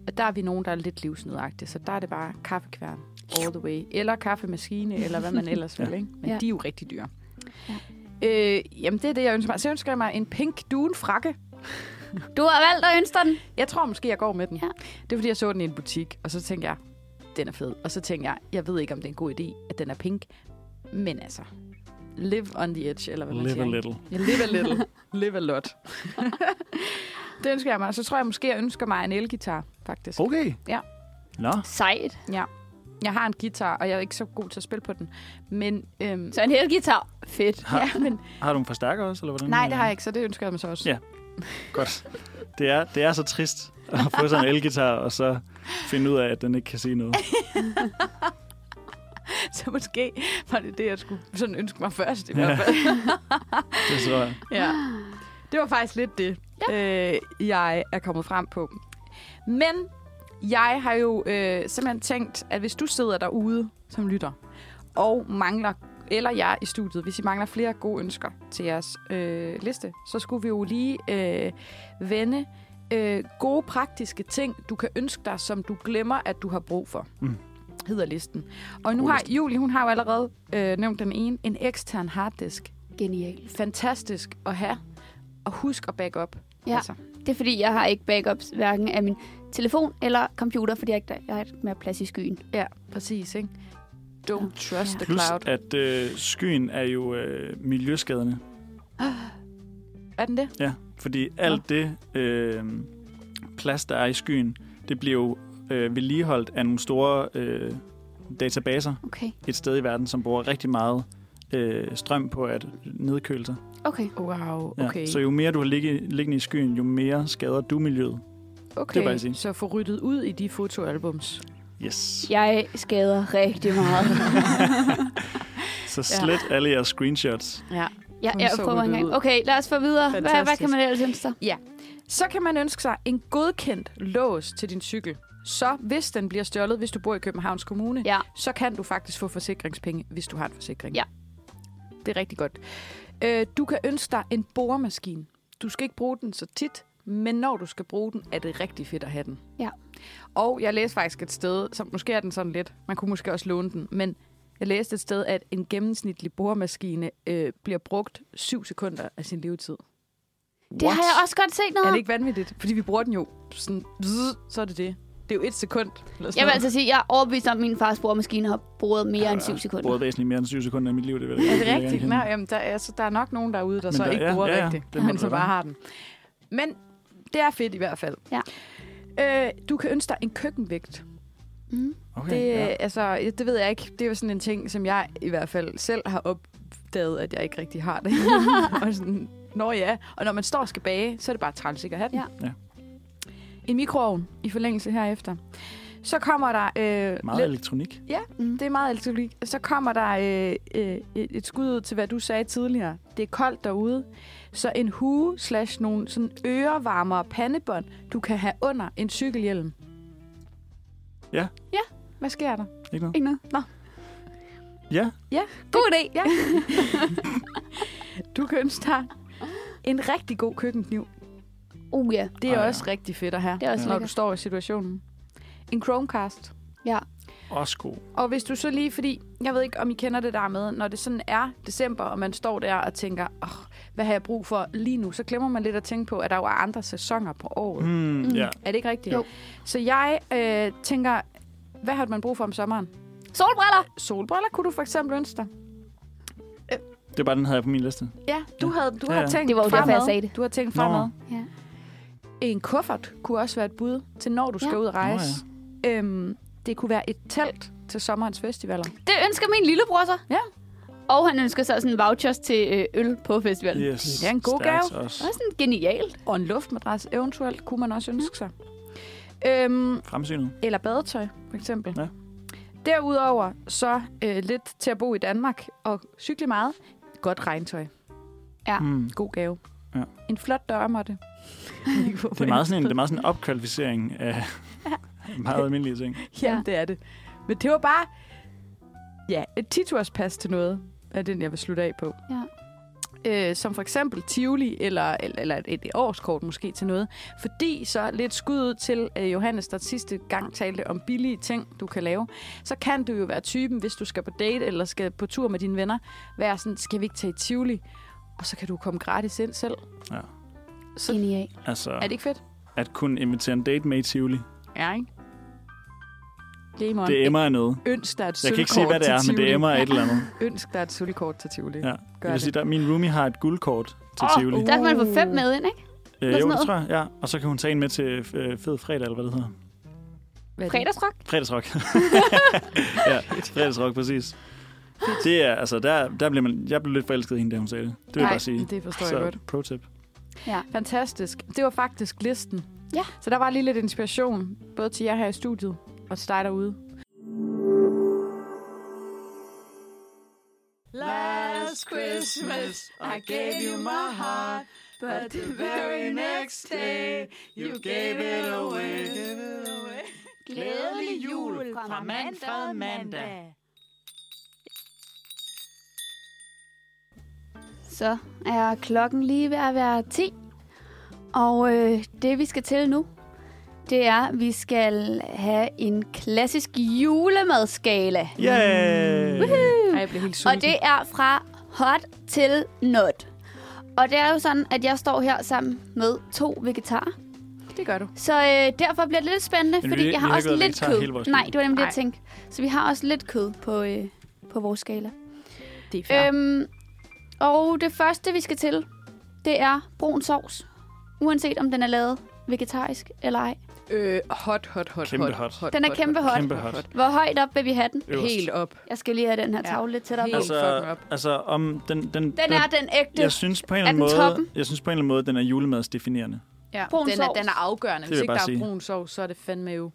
Speaker 3: Og der er vi nogen, der er lidt livsnødagtige, så der er det bare kaffekværn all the way. Eller kaffemaskine, eller hvad man ellers vil,
Speaker 2: Ja.
Speaker 3: ikke? Men
Speaker 4: Ja.
Speaker 3: ja. de er jo rigtig dyre. Ja. Øh, jamen, det er det, jeg ønsker mig. Så ønsker jeg mig en pink duen frakke.
Speaker 4: Du har valgt at ønske dig den.
Speaker 3: Jeg tror måske, jeg går med den.
Speaker 4: Ja.
Speaker 3: Det er, fordi jeg så den i en butik, og så tænkte jeg, den er fed. Og så tænkte jeg, jeg ved ikke, om det er en god idé, at den er pink. Men altså, live on the edge, eller hvad man
Speaker 2: Live
Speaker 3: siger.
Speaker 2: a
Speaker 3: ikke?
Speaker 2: little.
Speaker 3: Jeg live a little. live a lot. det ønsker jeg mig. Så tror jeg måske, jeg ønsker mig en elgitar, faktisk.
Speaker 2: Okay.
Speaker 3: Ja.
Speaker 2: Nå,
Speaker 4: Sejt.
Speaker 3: Jeg har en guitar, og jeg er ikke så god til at spille på den. Men, øhm,
Speaker 4: Så en hel guitar. Fedt.
Speaker 2: har,
Speaker 3: ja, men
Speaker 2: har du en forstærker også? Eller hvordan?
Speaker 3: nej, det har jeg ikke, så det ønsker jeg mig så også.
Speaker 2: Ja. Godt. Det er, det er så trist at få sådan en elgitar, og så finde ud af, at den ikke kan sige noget.
Speaker 3: Så måske var det det, jeg skulle sådan ønske mig først i
Speaker 2: Ja.
Speaker 3: hvert fald.
Speaker 2: Det tror jeg.
Speaker 3: Ja. Det var faktisk lidt det, ja. øh, jeg er kommet frem på. Men jeg har jo øh, simpelthen tænkt, at hvis du sidder derude som lytter og mangler, eller jeg i studiet, hvis I mangler flere gode ønsker til jeres øh, liste, så skulle vi jo lige øh, vende øh, gode praktiske ting, du kan ønske dig, som du glemmer, at du har brug for.
Speaker 2: Mm.
Speaker 3: Hedder listen. Og nu
Speaker 2: God
Speaker 3: har Julie, hun har jo allerede øh, nævnt den ene, en ekstern harddisk
Speaker 4: Genialt.
Speaker 3: fantastisk at have. Og husk at back up. Altså,
Speaker 4: Ja. Det er fordi, jeg har ikke backups hverken af min telefon eller computer, fordi jeg, ikke, jeg har ikke mere plads i skyen.
Speaker 3: ja, præcis, ikke? Don't trust the
Speaker 2: Plus,
Speaker 3: cloud.
Speaker 2: at øh, skyen er jo øh, miljøskadende.
Speaker 3: Er den det?
Speaker 2: Ja, fordi alt det øh, plads, der er i skyen, det bliver jo øh, vedligeholdt af nogle store øh, databaser
Speaker 4: Okay.
Speaker 2: et sted i verden, som bruger rigtig meget øh, strøm på at nedkøle sig.
Speaker 4: Okay.
Speaker 3: Wow,
Speaker 2: Ja.
Speaker 3: okay.
Speaker 2: Så jo mere du har ligge, liggende i skyen, jo mere skader du miljøet.
Speaker 3: okay.
Speaker 2: det vil jeg sige.
Speaker 3: Så få ryddet ud i de fotoalbums.
Speaker 2: Yes.
Speaker 4: Jeg skader rigtig meget.
Speaker 2: Så slet ja. alle jeres screenshots.
Speaker 3: Ja.
Speaker 4: ja,
Speaker 3: Hun
Speaker 4: jeg
Speaker 3: så
Speaker 4: prøver
Speaker 3: ryddet
Speaker 4: engang.
Speaker 3: ud.
Speaker 4: Okay, lad os få videre. Hvad, hvad
Speaker 3: Fantastisk.
Speaker 4: kan man ellers ønske sig?
Speaker 3: Så kan man ønske sig en godkendt lås til din cykel. Så hvis den bliver stjålet, hvis du bor i Københavns Kommune,
Speaker 4: Ja.
Speaker 3: så kan du faktisk få forsikringspenge, hvis du har en forsikring.
Speaker 4: Ja.
Speaker 3: Det er rigtig godt. Øh, Du kan ønske dig en boremaskine. Du skal ikke bruge den så tit, men når du skal bruge den, er det rigtig fedt at have den.
Speaker 4: Ja.
Speaker 3: Og jeg læste faktisk et sted, som måske er den sådan lidt, man kunne måske også låne den, men jeg læste et sted, at en gennemsnitlig boremaskine øh, bliver brugt 7 sekunder af sin levetid.
Speaker 4: Det har jeg også godt set noget
Speaker 3: Er
Speaker 4: om.
Speaker 3: det ikke vanvittigt? Fordi vi bruger den jo sådan, bzzz, så er det det. Det er jo et sekund. Eller sådan
Speaker 4: Jeg vil
Speaker 3: noget.
Speaker 4: altså sige, at jeg er overbevist om, at min fars boremaskine har boret mere end 7
Speaker 2: Jeg
Speaker 4: sekunder.
Speaker 2: bruger væsentligt mere end 7 sekunder af mit liv. Det vil jeg
Speaker 3: Er
Speaker 2: vil
Speaker 3: det
Speaker 2: jeg
Speaker 3: rigtigt?
Speaker 2: gerne
Speaker 3: Nå,
Speaker 2: kende.
Speaker 3: jamen, der, er, så der er nok nogen derude, der
Speaker 2: Men
Speaker 3: så
Speaker 2: der-
Speaker 3: ikke
Speaker 2: ja,
Speaker 3: bruger
Speaker 2: ja, ja.
Speaker 3: rigtigt,
Speaker 2: Det må
Speaker 3: men
Speaker 2: der
Speaker 3: så
Speaker 2: være.
Speaker 3: bare har den. Men det er fedt i hvert fald.
Speaker 4: Ja.
Speaker 3: Øh, du kan ønske dig en køkkenvægt.
Speaker 4: Mm.
Speaker 2: Okay,
Speaker 3: Det,
Speaker 2: ja.
Speaker 3: ja. altså, det ved jeg ikke. Det er jo sådan en ting, som jeg i hvert fald selv har opdaget, at jeg ikke rigtig har det. og sådan, Nå ja, og når man står og skal bage, så er det bare træls ikke at have den.
Speaker 4: Ja.
Speaker 2: Ja.
Speaker 3: En mikroovn i forlængelse herefter. Så kommer der... Øh,
Speaker 2: Meget
Speaker 3: lidt-
Speaker 2: elektronik.
Speaker 4: Mm.
Speaker 3: det er meget elektronik. Så kommer der øh, øh, et et skud ud til, hvad du sagde tidligere. Det er koldt derude. Så en hue slash nogle sådan ørevarmere pandebånd, du kan have under en cykelhjelm.
Speaker 2: Ja.
Speaker 4: Ja.
Speaker 3: Hvad sker der?
Speaker 2: Ikke noget?
Speaker 4: Ikke noget. Nå.
Speaker 2: Ja,
Speaker 4: God idé.
Speaker 3: Ja. du kan ønske dig en rigtig god køkkenkniv.
Speaker 4: Uh, ja.
Speaker 3: Det er
Speaker 2: Ej, ja.
Speaker 3: også rigtig fedt at have,
Speaker 4: Det er
Speaker 2: Ja.
Speaker 4: også ja.
Speaker 3: når du
Speaker 4: lækkert.
Speaker 3: står i situationen. En Chromecast.
Speaker 4: Ja.
Speaker 2: også god.
Speaker 3: Og hvis du så lige, fordi jeg ved ikke, om I kender det der med, når det sådan er december, og man står der og tænker, oh, hvad har jeg brug for lige nu? Så glemmer man lidt at tænke på, at der jo er andre sæsoner på året. Mm.
Speaker 2: Mm, mm. Ja.
Speaker 3: Er det ikke rigtigt?
Speaker 4: Jo.
Speaker 3: Så jeg øh, tænker, hvad har man brug for om sommeren?
Speaker 4: Solbriller.
Speaker 3: Solbriller kunne du for eksempel ønske dig.
Speaker 2: Det er bare den, havde jeg på min liste.
Speaker 3: Ja, du,
Speaker 2: Ja.
Speaker 3: Havde, du
Speaker 2: Ja,
Speaker 3: har
Speaker 2: ja.
Speaker 3: tænkt
Speaker 4: Det var jo
Speaker 3: fremad.
Speaker 4: derfor, jeg sagde det.
Speaker 3: Du har tænkt
Speaker 2: Nå.
Speaker 3: fremad.
Speaker 4: Ja.
Speaker 3: En kuffert kunne også være et bud til, når du
Speaker 4: Ja.
Speaker 3: skal ud og rejse. ja. øhm, det kunne være et telt til sommerens festivaler.
Speaker 4: Det ønsker min lillebror sig.
Speaker 3: Ja.
Speaker 4: Og han ønsker sig sådan vouchers til øh, øl på festivalen.
Speaker 2: Yes.
Speaker 3: Det er en god
Speaker 2: Stærkt
Speaker 4: Det
Speaker 2: Også.
Speaker 4: var sådan genialt.
Speaker 3: Og en luftmadras eventuelt kunne man også ønske sig. Øhm,
Speaker 2: Fremsynet.
Speaker 3: eller badetøj, for eksempel.
Speaker 2: Ja.
Speaker 3: Derudover så øh, lidt til at bo i Danmark og cykle meget. Godt regntøj.
Speaker 4: Ja.
Speaker 2: Mm.
Speaker 3: God gave.
Speaker 2: Ja.
Speaker 3: En flot dørmåtte.
Speaker 2: Det er meget sådan en, det er meget sådan en opkvalificering af meget almindelige ting.
Speaker 3: Ja,
Speaker 4: Ja.
Speaker 3: det er det. Men det var bare ja, et 10 pas til noget, er den, jeg vil slutte af på.
Speaker 4: Ja.
Speaker 3: Øh, som for eksempel Tivoli, eller, eller, eller et, et årskort måske til noget. Fordi så lidt skud ud til øh, Johannes, der sidste gang talte om billige ting, du kan lave. Så kan du jo være typen, hvis du skal på date eller skal på tur med dine venner, være sådan, skal vi ikke tage i Tivoli? Og så kan du komme gratis ind selv.
Speaker 2: Ja.
Speaker 3: Så
Speaker 4: Genialt.
Speaker 2: Altså,
Speaker 3: er det ikke fedt?
Speaker 2: at kunne invitere en date med i Tivoli,
Speaker 3: Ja, ikke? Game on.
Speaker 2: det emmer af noget.
Speaker 3: Ønsk dig et
Speaker 2: Jeg kan ikke se, hvad det er, men det emmer af et eller andet.
Speaker 3: Ønsk dig et sølvkort til Tivoli.
Speaker 2: Ja.
Speaker 3: Gør
Speaker 2: Det vil
Speaker 3: det.
Speaker 2: sige, der, min roomie har et guldkort til
Speaker 4: Åh,
Speaker 2: Tivoli.
Speaker 3: uh,
Speaker 4: Der kan man få fem med ind, ikke?
Speaker 2: Øh,
Speaker 4: sådan
Speaker 2: jo, det
Speaker 4: noget.
Speaker 2: tror jeg. Ja. Og så kan hun tage en med til øh, Fed Fredag, eller hvad det hedder.
Speaker 3: Hvad er det?
Speaker 4: Fredagsrock.
Speaker 2: Fredagsrock. ja, fredagsrock, præcis. Det er, altså, der, der blev man, jeg blev lidt forelsket i hende, da hun sagde det. Det vil jeg
Speaker 3: Nej,
Speaker 2: bare sige.
Speaker 3: det forstår
Speaker 2: så,
Speaker 3: jeg godt.
Speaker 2: pro-tip.
Speaker 3: Fantastisk. Det var faktisk listen.
Speaker 4: Ja.
Speaker 3: Så der var lige lidt inspiration, både til jer her i studiet og til dig derude.
Speaker 5: Last Christmas, I gave you my heart, but the very next day, you gave it away. Glædelig jul fra mand fra mandag.
Speaker 4: Så er klokken lige ved at være 10. Og øh, det, vi skal til nu, det er, at vi skal have en klassisk julemadskala.
Speaker 2: Yeah!
Speaker 3: Ej, jeg blev helt
Speaker 4: Og
Speaker 3: sulten.
Speaker 4: det er fra hot til not. Og det er jo sådan, at jeg står her sammen med to vegetarer.
Speaker 3: det gør du.
Speaker 4: Så øh, derfor bliver det lidt spændende,
Speaker 2: Men vi-
Speaker 4: fordi
Speaker 2: vi
Speaker 4: jeg
Speaker 2: har
Speaker 4: har også
Speaker 2: ikke været
Speaker 4: lidt
Speaker 2: vegetarer hele
Speaker 4: kød.
Speaker 2: vores
Speaker 4: Nej,
Speaker 2: liv.
Speaker 4: det var nemlig det,
Speaker 3: Nej.
Speaker 4: jeg tænkte. Så vi har også lidt kød på, øh, på vores skala.
Speaker 3: Det er
Speaker 4: Ja.
Speaker 3: fair.
Speaker 4: Øhm, og det første, vi skal til, det er brun sovs. Uanset om den er lavet vegetarisk eller ej.
Speaker 3: Øh, hot, hot, hot,
Speaker 2: Kæmpe hot.
Speaker 4: Den er kæmpe hot.
Speaker 2: Kæmpe hot.
Speaker 4: Hvor højt op vil vi have den?
Speaker 2: Øverst.
Speaker 3: Helt op.
Speaker 4: Jeg skal lige have den her
Speaker 3: Ja.
Speaker 4: tavle lidt tættere
Speaker 3: Helt.
Speaker 4: på.
Speaker 3: Altså, fucking op.
Speaker 2: altså om den, den,
Speaker 4: Den er den ægte.
Speaker 2: jeg synes på en eller
Speaker 4: er
Speaker 2: anden
Speaker 4: den
Speaker 2: måde,
Speaker 4: toppen?
Speaker 2: jeg synes på en eller anden måde, den er julemadsdefinerende.
Speaker 3: Ja,
Speaker 4: Brun
Speaker 3: den, er,
Speaker 4: sovs.
Speaker 3: den er afgørende.
Speaker 2: Det vil
Speaker 3: Hvis
Speaker 2: jeg
Speaker 3: ikke
Speaker 2: bare
Speaker 3: der
Speaker 2: sige.
Speaker 3: er brun sovs, så er det fandme jo.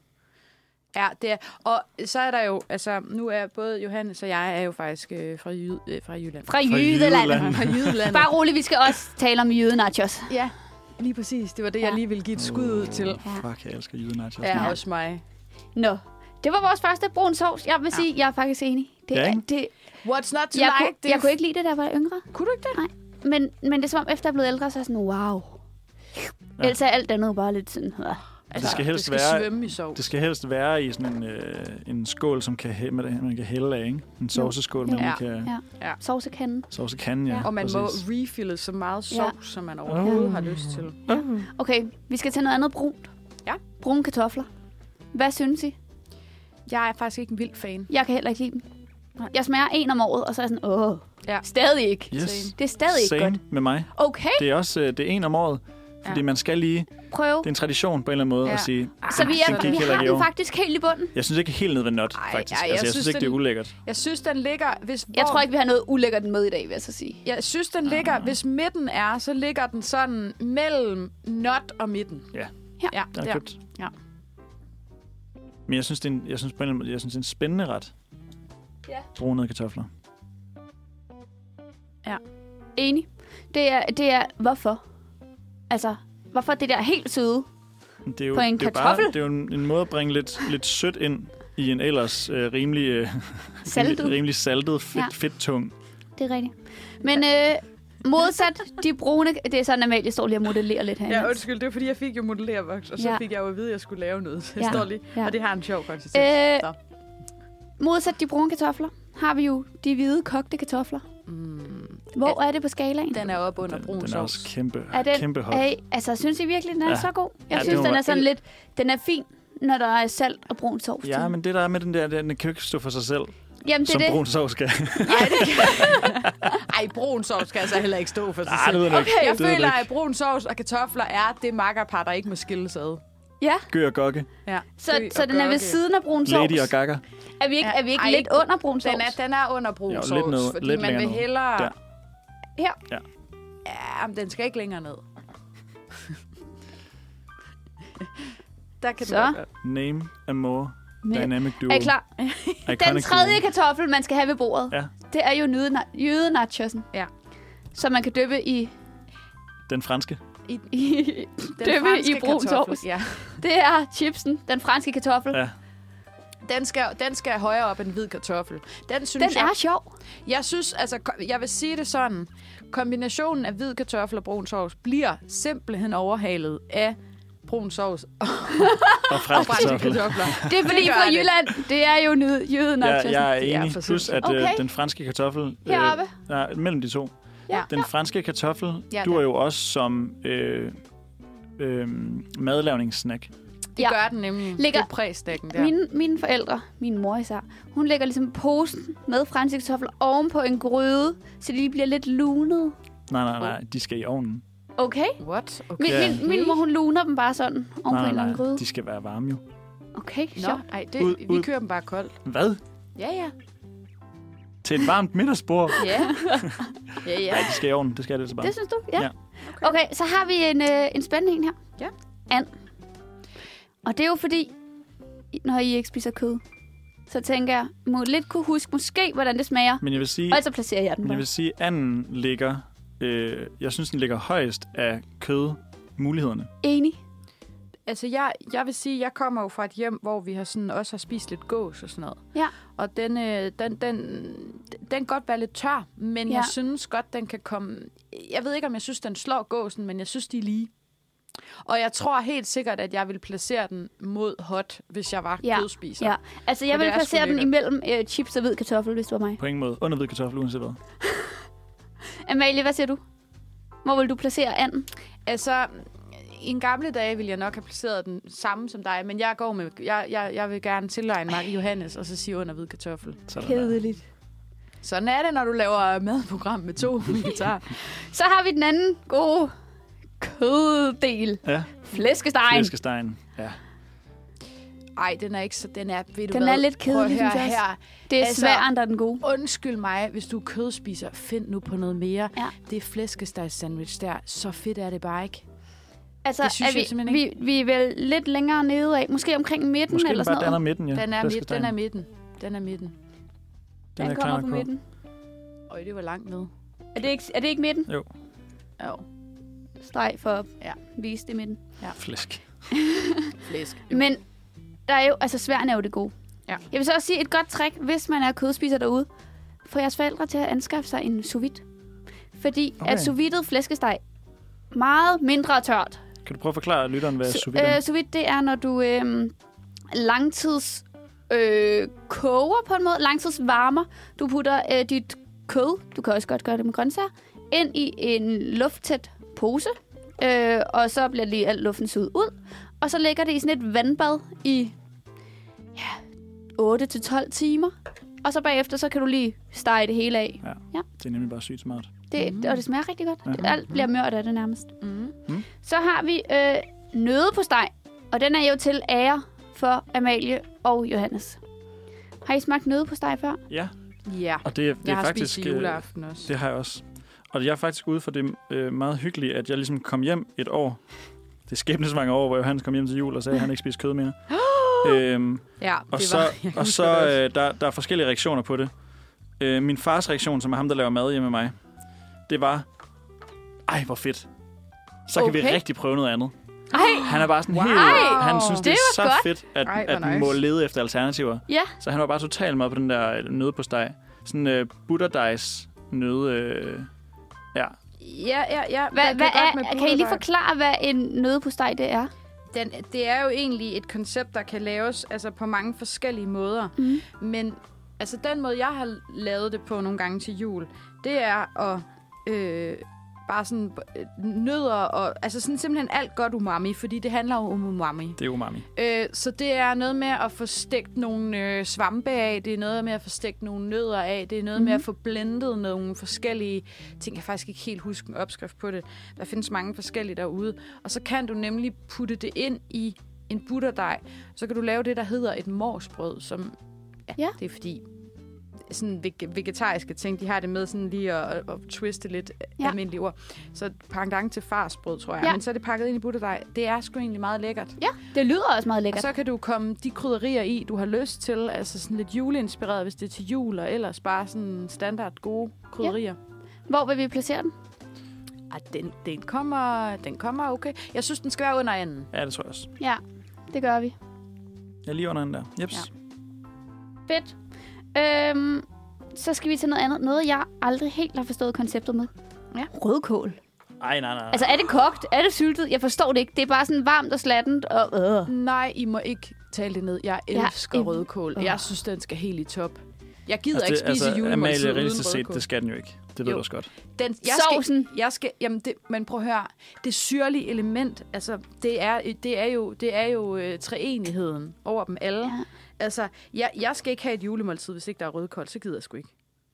Speaker 3: Ja, det er. Og så er der jo, altså nu er både Johannes og jeg er jo faktisk øh, fra, Jyd, øh, fra Jylland.
Speaker 4: Fra
Speaker 2: Fra
Speaker 4: Jylland.
Speaker 2: Jylland.
Speaker 3: Fra Jylland.
Speaker 4: Bare rolig, vi skal også tale om jydenachos.
Speaker 3: Ja, lige præcis. Det var det,
Speaker 4: Ja.
Speaker 3: jeg lige ville give et skud ud til.
Speaker 2: Fuck, jeg elsker julenachos.
Speaker 3: Ja, også mig.
Speaker 4: Nå, det var vores første brun sovs. Jeg vil sige, jeg er faktisk enig. Det,
Speaker 2: Ja,
Speaker 4: er,
Speaker 2: ikke?
Speaker 4: det,
Speaker 3: What's not to
Speaker 4: jeg,
Speaker 3: like?
Speaker 4: kunne, jeg kunne ikke lide det, da jeg var yngre.
Speaker 3: Kunne du ikke det?
Speaker 4: Men, men det er som om, efter jeg er blevet ældre, så er jeg sådan, wow. Ja. Ellers er alt andet jo bare lidt sådan, ja.
Speaker 2: Det skal helst
Speaker 3: Altså, det skal
Speaker 2: være-
Speaker 3: svømme i sov.
Speaker 2: Det skal helst være i sådan en, øh, en skål, som kan, hæ- med- man kan hælde af, ikke? En sovseskål, man
Speaker 4: Jo.
Speaker 2: ja. kan...
Speaker 4: ja.
Speaker 3: Ja.
Speaker 4: Sovsekanden.
Speaker 2: Sovsekanden, ja.
Speaker 4: Ja.
Speaker 3: Og man må
Speaker 2: præcis.
Speaker 3: refille så meget sov,
Speaker 4: Ja.
Speaker 3: ja. som man overhovedet
Speaker 2: Uh.
Speaker 3: har lyst til.
Speaker 4: Okay, vi skal til noget andet brunt.
Speaker 3: Ja.
Speaker 4: Brune kartofler. Hvad synes I?
Speaker 3: Jeg er faktisk ikke en vild fan.
Speaker 4: Jeg kan heller ikke lide dem. Jeg smager en om året, og så er jeg sådan, åh,
Speaker 3: Ja.
Speaker 4: stadig ikke.
Speaker 2: Yes.
Speaker 4: Det er stadig ikke
Speaker 2: Same
Speaker 4: godt.
Speaker 2: med mig.
Speaker 4: Okay,
Speaker 2: Det er også øh, det er en om året.
Speaker 4: Ja.
Speaker 2: Fordi man skal lige...
Speaker 4: Prøve.
Speaker 2: Det er en tradition på en eller anden måde
Speaker 1: Ja.
Speaker 2: at sige...
Speaker 4: Så vi, er,
Speaker 2: den gik
Speaker 4: vi
Speaker 2: heller
Speaker 4: har
Speaker 2: ikke i
Speaker 4: den
Speaker 2: år.
Speaker 4: faktisk helt i bunden.
Speaker 2: Jeg synes ikke helt ned ved not,
Speaker 3: Ej,
Speaker 2: faktisk.
Speaker 3: ej,
Speaker 2: altså,
Speaker 3: jeg
Speaker 2: jeg synes,
Speaker 3: synes,
Speaker 2: ikke, det er
Speaker 3: den-
Speaker 2: ulækkert.
Speaker 3: Jeg synes, den ligger... Hvis hvor...
Speaker 4: Jeg tror ikke, vi har noget ulækkert med i dag, vil jeg så sige.
Speaker 3: Jeg synes, den ligger...
Speaker 2: Ah.
Speaker 3: Hvis midten er, så ligger den sådan mellem not og midten.
Speaker 2: Ja.
Speaker 4: Ja.
Speaker 3: ja
Speaker 2: Den er
Speaker 3: der.
Speaker 2: købt.
Speaker 3: Ja.
Speaker 2: Men jeg synes, det er en, jeg synes på en eller anden måde, jeg synes, det er en spændende ret.
Speaker 4: Ja.
Speaker 2: Brunede kartofler.
Speaker 4: Enig. Det er, det er hvorfor? Altså, hvorfor det der helt søde?
Speaker 2: Det er jo,
Speaker 4: På en
Speaker 2: det er jo
Speaker 4: kartoffel?
Speaker 2: Bare, det er jo en, en måde at bringe lidt, lidt sødt ind i en ellers øh, rimelig, øh,
Speaker 4: Saltet.
Speaker 2: rimelig saltet, fedt,
Speaker 4: Ja.
Speaker 2: ja. fedtung.
Speaker 4: Det er rigtigt. Men øh, modsat de brune... Det er sådan, Amalie står lige og modellerer lidt her.
Speaker 5: Ja, undskyld, det var fordi, jeg fik jo modellervoks, og så
Speaker 4: Ja.
Speaker 5: ja. fik jeg jo at vide, at jeg skulle lave noget. Så
Speaker 4: Ja.
Speaker 5: jeg står lige,
Speaker 4: Ja.
Speaker 5: og det har en sjov konsistens.
Speaker 4: Øh.
Speaker 5: Så.
Speaker 4: Modsat de brune kartofler har vi jo de hvide kogte kartofler.
Speaker 3: Mm.
Speaker 4: Hvor er det på skalaen?
Speaker 3: Den er oppe under
Speaker 2: Den,
Speaker 3: brun
Speaker 2: den er
Speaker 3: sovs.
Speaker 2: også kæmpe,
Speaker 4: Er den-
Speaker 2: kæmpe hot.
Speaker 4: Er, I- altså, synes I virkelig, den er ja.
Speaker 2: Ja.
Speaker 4: så god? Jeg
Speaker 2: Ja,
Speaker 4: ja,
Speaker 2: det
Speaker 4: synes,
Speaker 2: må
Speaker 4: den er
Speaker 2: være-
Speaker 4: sådan lidt... Den er fin, når der er salt og brun sovs.
Speaker 2: Ja,
Speaker 4: til.
Speaker 2: men det der er med den der, den kan jo ikke stå for sig selv, det
Speaker 4: Jamen, det er
Speaker 2: som
Speaker 4: det.
Speaker 2: brun sovs skal.
Speaker 3: Ej, det kan...
Speaker 5: Ej, brun sovs skal altså heller ikke stå for sig
Speaker 2: Nej, det
Speaker 5: selv.
Speaker 2: ved jeg ikke.
Speaker 3: Okay, jeg
Speaker 2: det ved
Speaker 3: føler,
Speaker 2: ikke.
Speaker 3: at brun sovs og kartofler er det makkerpar, der ikke må skilles ad.
Speaker 4: Ja,
Speaker 2: Gør og gokke.
Speaker 3: Ja.
Speaker 4: så,
Speaker 5: Gry
Speaker 4: så
Speaker 5: og
Speaker 4: den er ved
Speaker 5: Gokke.
Speaker 4: siden af brun sovs.
Speaker 2: Lady og gakker.
Speaker 4: Er vi ikke,
Speaker 3: Ja,
Speaker 4: er vi ikke
Speaker 3: ej,
Speaker 4: lidt under brun sovs?
Speaker 3: Den er, den er under brun
Speaker 2: Jo, lidt
Speaker 3: sovs,
Speaker 2: ned-
Speaker 3: fordi
Speaker 2: lidt
Speaker 3: man
Speaker 2: længere
Speaker 3: vil
Speaker 2: ned.
Speaker 3: hellere...
Speaker 2: Der.
Speaker 4: Her.
Speaker 2: Ja.
Speaker 3: Ja, men den skal ikke længere ned. Der kan
Speaker 4: Så.
Speaker 3: så. den godt være.
Speaker 2: Name, Amore,
Speaker 4: Men-
Speaker 2: Dynamic Duo.
Speaker 4: Er I klar? Den tredje kartoffel, man skal have ved bordet,
Speaker 2: Ja.
Speaker 4: det er jo jyde- jydenachosen.
Speaker 3: Ja.
Speaker 4: Som man kan døbe i,
Speaker 2: Den franske.
Speaker 4: Mm. i
Speaker 3: Den
Speaker 4: døbe i
Speaker 3: franske
Speaker 4: brun
Speaker 3: kartoffel,
Speaker 4: sovs.
Speaker 3: Ja.
Speaker 4: Det er chipsen, den franske kartoffel.
Speaker 2: Ja.
Speaker 3: Den, skal, den skal højere op end hvid kartoffel. Den, synes
Speaker 4: Den
Speaker 3: jeg,
Speaker 4: er sjov.
Speaker 3: jeg synes, altså, ko- jeg vil sige det sådan. Kombinationen af hvid kartoffel og brun sovs bliver simpelthen overhalet af brun sovs og
Speaker 2: Og fransk
Speaker 3: brændte
Speaker 2: kartoffel.
Speaker 3: kartofler.
Speaker 4: Det er fordi
Speaker 3: Det gør
Speaker 4: fra
Speaker 3: det.
Speaker 4: Jylland, det er jo nyde- jydenachosen.
Speaker 2: Ja, jeg er
Speaker 3: Det er
Speaker 2: enig.
Speaker 3: for sindssygt.
Speaker 2: Plus, at okay.
Speaker 4: Okay.
Speaker 2: øh, den franske kartoffel... øh,
Speaker 4: Heroppe.
Speaker 2: nej, mellem de to.
Speaker 4: Ja.
Speaker 2: Den franske kartoffel
Speaker 3: Ja,
Speaker 2: ja, duer jo også som øh, øh, madlavningssnack.
Speaker 3: Det
Speaker 4: Ja.
Speaker 3: ja. gør den nemlig.
Speaker 4: Ligger-
Speaker 3: Ligger... Det er præstakken der.
Speaker 4: Mine, mine forældre, min mor især, hun lægger ligesom posen med franske kartofler oven på en gryde, så de bliver lidt lunet.
Speaker 2: Nej, nej, nej. De skal i ovnen.
Speaker 4: Okay?
Speaker 3: What? Okay.
Speaker 4: Min,
Speaker 2: Ja.
Speaker 4: min, min mor, hun luner dem bare sådan oven på en
Speaker 2: nej,
Speaker 4: eller
Speaker 2: nej,
Speaker 4: anden gryde.
Speaker 2: De skal være varme jo.
Speaker 4: Okay,
Speaker 3: Nå,
Speaker 4: sjovt.
Speaker 3: ej, det,
Speaker 2: Ud-
Speaker 3: vi
Speaker 2: ud.
Speaker 3: kører dem bare koldt.
Speaker 2: Hvad?
Speaker 3: Ja, ja.
Speaker 2: Til et varmt middagsbord?
Speaker 3: Ja. ja, ja.
Speaker 2: Nej, de skal i ovnen. Det skal det så bare.
Speaker 4: Det synes du? Ja.
Speaker 2: Ja.
Speaker 4: Okay. okay, så har vi en, øh, en spændende en her.
Speaker 3: Ja.
Speaker 4: And. Og det er jo fordi, når I ikke spiser kød, så tænker jeg, må lidt kunne huske måske, hvordan det smager.
Speaker 2: Men jeg vil sige,
Speaker 4: Og så placerer jeg den
Speaker 2: men jeg vil
Speaker 4: bare.
Speaker 2: sige anden ligger... Øh, jeg synes, den ligger højst af kødmulighederne.
Speaker 4: Enig.
Speaker 3: Altså, jeg, jeg vil sige, jeg kommer jo fra et hjem, hvor vi har sådan, også har spist lidt gås og sådan noget.
Speaker 4: Ja.
Speaker 3: Og den, øh, den, den, den kan godt være lidt tør, men
Speaker 4: Ja.
Speaker 3: ja. jeg synes godt, den kan komme... Jeg ved ikke, om jeg synes, den slår gåsen, men jeg synes, de er lige. Og jeg tror helt sikkert, at jeg vil placere den mod hot, hvis jeg var
Speaker 4: Ja.
Speaker 3: ja. kødspiser.
Speaker 4: Ja, altså jeg
Speaker 3: Men
Speaker 4: vil
Speaker 3: det er sgu
Speaker 4: placere dem
Speaker 3: lækkert.
Speaker 4: imellem øh, chips og hvid kartoffel, hvis det var mig.
Speaker 2: På ingen måde. Under hvid kartoffel, uanset hvad.
Speaker 4: Amalie, hvad siger du? Hvor vil du placere anden?
Speaker 3: Altså, i en gamle dage ville jeg nok have placeret den samme som dig, men jeg går med, jeg, jeg, jeg vil gerne tilegne mig Johannes, og så sige under hvid kartoffel.
Speaker 2: Sådan der.
Speaker 4: Kedeligt.
Speaker 3: Sådan er det, når du laver madprogram med to guitar.
Speaker 4: Så har vi den anden gode køddel.
Speaker 2: Ja,
Speaker 4: Flæskestegen. Flæske.
Speaker 2: flæskestegen. Ja.
Speaker 3: Ej, den er ikke så... Den er, ved du
Speaker 4: Den
Speaker 3: hvad,
Speaker 4: er lidt kedelig,
Speaker 3: prøv at høre
Speaker 4: synes jeg også.
Speaker 3: her.
Speaker 4: Det er altså,
Speaker 3: Altså-
Speaker 4: sværere end der er den gode.
Speaker 3: Undskyld mig, hvis du er kødspiser. Find nu på noget mere.
Speaker 4: Ja.
Speaker 3: Det er flæskesteg sandwich der. Så fedt er det bare ikke.
Speaker 4: Altså,
Speaker 3: det synes
Speaker 4: er vi,
Speaker 3: jeg simpelthen
Speaker 4: vi, vi er vel lidt længere nede af. Måske omkring midten
Speaker 2: Måske
Speaker 4: eller
Speaker 2: den bare
Speaker 4: sådan
Speaker 2: danner
Speaker 4: noget.
Speaker 2: midten, ja.
Speaker 3: Den er, midt,
Speaker 2: Flæskestegen.
Speaker 3: den er midten. Den er midten.
Speaker 4: Den, den
Speaker 2: er klar
Speaker 4: kommer på
Speaker 2: nok
Speaker 4: midten.
Speaker 3: Øj, det var langt ned.
Speaker 4: Er det, ikke, er det ikke midten?
Speaker 2: Jo,
Speaker 3: Jo,
Speaker 4: Streg for at ja.
Speaker 3: Ja.
Speaker 4: vise det midten.
Speaker 2: flæsk.
Speaker 3: flæsk.
Speaker 4: Men der er jo, altså sværen er jo det gode.
Speaker 3: Ja.
Speaker 4: Jeg vil så også sige et godt trick, hvis man er kødspiser derude. Få jeres forældre til at anskaffe sig en sous vide. Fordi okay.
Speaker 2: Okay.
Speaker 4: at sous videt flæskesteg meget mindre tørt.
Speaker 2: Kan du prøve at forklare lytteren, hvad sous vide
Speaker 4: øh,
Speaker 2: er?
Speaker 4: sous vide, det er, når du øh, langtids øh, koger på en måde, langtids varmer. Du putter øh, dit kød, du kan også godt gøre det med grøntsager, ind i en lufttæt pose. Øh, og så bliver lige alt luften suget ud. Og så ligger det i sådan et vandbad i ja, 8-12 timer. og så bagefter, så kan du lige stege det hele af.
Speaker 2: Det er nemlig bare sygt smart.
Speaker 4: Det,
Speaker 6: Mhm.
Speaker 4: mm. Og det smager rigtig godt.
Speaker 2: Ja.
Speaker 4: Det, alt bliver mørt af det nærmest.
Speaker 6: Mm.
Speaker 4: Så har vi øh, nøde på steg, og den er jo til ære for Amalie og Johannes. Har I smagt nøde på steg før?
Speaker 2: Ja,
Speaker 6: Ja,
Speaker 2: og det, er- det
Speaker 6: jeg
Speaker 2: er
Speaker 6: har
Speaker 2: faktisk...
Speaker 6: spist i
Speaker 2: øh,
Speaker 6: juleaften også.
Speaker 2: Det har jeg også. Og jeg er faktisk ude for det øh, meget hyggelige, at jeg ligesom kom hjem et år. Det skæbnesvange år, hvor Johannes kom hjem til jul og sagde, at han ikke spiste kød mere. øhm,
Speaker 6: Ja,
Speaker 2: og
Speaker 6: det
Speaker 2: så,
Speaker 6: var, jeg
Speaker 2: og
Speaker 6: husker
Speaker 2: så
Speaker 6: det også.
Speaker 2: øh, der, der er forskellige reaktioner på det. Øh, min fars reaktion, som er ham, der laver mad hjemme med mig, det var, ej, hvor fedt. Så kan vi
Speaker 4: Okay.
Speaker 2: rigtig prøve noget andet.
Speaker 4: Ej,
Speaker 2: Han er bare sådan
Speaker 6: Wow.
Speaker 2: helt...
Speaker 4: Ej,
Speaker 2: Han synes, det,
Speaker 4: det
Speaker 2: er så
Speaker 4: var
Speaker 2: godt. fedt, at,
Speaker 6: Ej,
Speaker 2: Ej,
Speaker 6: hvor
Speaker 2: at man
Speaker 6: nice.
Speaker 2: må lede efter alternativer.
Speaker 4: Ja.
Speaker 2: Så han var bare totalt med på den der øh, nøde på steg. Sådan øh, butterdejs nøde... Øh, ja,
Speaker 3: Ja, ja, ja.
Speaker 4: hvad,
Speaker 3: Man
Speaker 4: hvad
Speaker 3: godt
Speaker 4: er,
Speaker 3: med
Speaker 4: kan I lige
Speaker 3: bulgerdej.
Speaker 4: forklare, hvad en nøde på steg det er?
Speaker 3: Den, det er jo egentlig et koncept, der kan laves altså, på mange forskellige måder.
Speaker 4: Mhm.
Speaker 3: Men altså, den måde, jeg har lavet det på nogle gange til jul, det er at øh, bare sådan øh, nødder og altså sådan simpelthen alt godt umami, fordi det handler jo om umami.
Speaker 2: det er umami.
Speaker 3: Øh, så det er noget med at få stegt nogle øh, svampe af, det er noget med at få stegt nogle nødder af, det er noget mm-hmm. med
Speaker 4: Mhm.
Speaker 3: at få blendet nogle forskellige ting. Jeg kan faktisk ikke helt huske en opskrift på det. Der findes mange forskellige derude. Og så kan du nemlig putte det ind i en butterdej. Så kan du lave det, der hedder et morsbrød, som... Ja,
Speaker 4: Ja.
Speaker 3: ja. det er fordi sådan vege- vegetariske ting, de har det med sådan lige at, at, at twiste lidt
Speaker 4: Ja.
Speaker 3: ja. almindelige ord. Så pangdang til farsbrød, tror jeg.
Speaker 4: Ja.
Speaker 3: Ja. Men så er det pakket ind i butterdej. Det er sgu egentlig meget lækkert.
Speaker 4: Ja, det lyder også meget
Speaker 3: Og
Speaker 4: lækkert.
Speaker 3: så kan du komme de krydderier i, du har lyst til. Altså sådan lidt juleinspireret, hvis det er til jul, og ellers bare sådan standard gode krydderier. Ja.
Speaker 4: Hvor vil vi placere den?
Speaker 3: Ej, den, den, kommer, den kommer okay. Jeg synes, den skal være under anden.
Speaker 2: Ja, det tror jeg også.
Speaker 4: Ja, det gør vi.
Speaker 2: Jeg er lige under den der. Jeps.
Speaker 4: Fedt. Øhm, så skal vi til noget andet. Noget, jeg aldrig helt har forstået konceptet med.
Speaker 3: Ja.
Speaker 4: Rødkål.
Speaker 2: Ja. Ej, nej, nej, nej.
Speaker 4: Altså, er det kogt? Er det syltet? Jeg forstår det ikke. Det er bare sådan varmt og slattent. Og, øh.
Speaker 3: Nej, I må ikke tale det ned. Jeg
Speaker 4: Ja,
Speaker 3: elsker
Speaker 4: en-
Speaker 3: rødkål.
Speaker 4: Åh.
Speaker 3: Jeg synes, den skal helt i top. Jeg gider altså, ikke spise altså,
Speaker 2: Amalie,
Speaker 3: julemåltid uden
Speaker 2: realistisk set,
Speaker 3: rødkål.
Speaker 2: det skal den jo ikke. Det ved
Speaker 3: Jo.
Speaker 2: du også godt.
Speaker 3: Den, jeg
Speaker 4: Sovsen.
Speaker 3: Skal, jeg skal, jamen det, men prøv at høre, det syrlige element, altså det er, det er jo, det er jo øh, treenigheden over dem alle.
Speaker 4: Ja.
Speaker 3: Ja. Altså, jeg, jeg skal ikke have et julemåltid, hvis ikke der er rødkål, så gider jeg sgu ikke.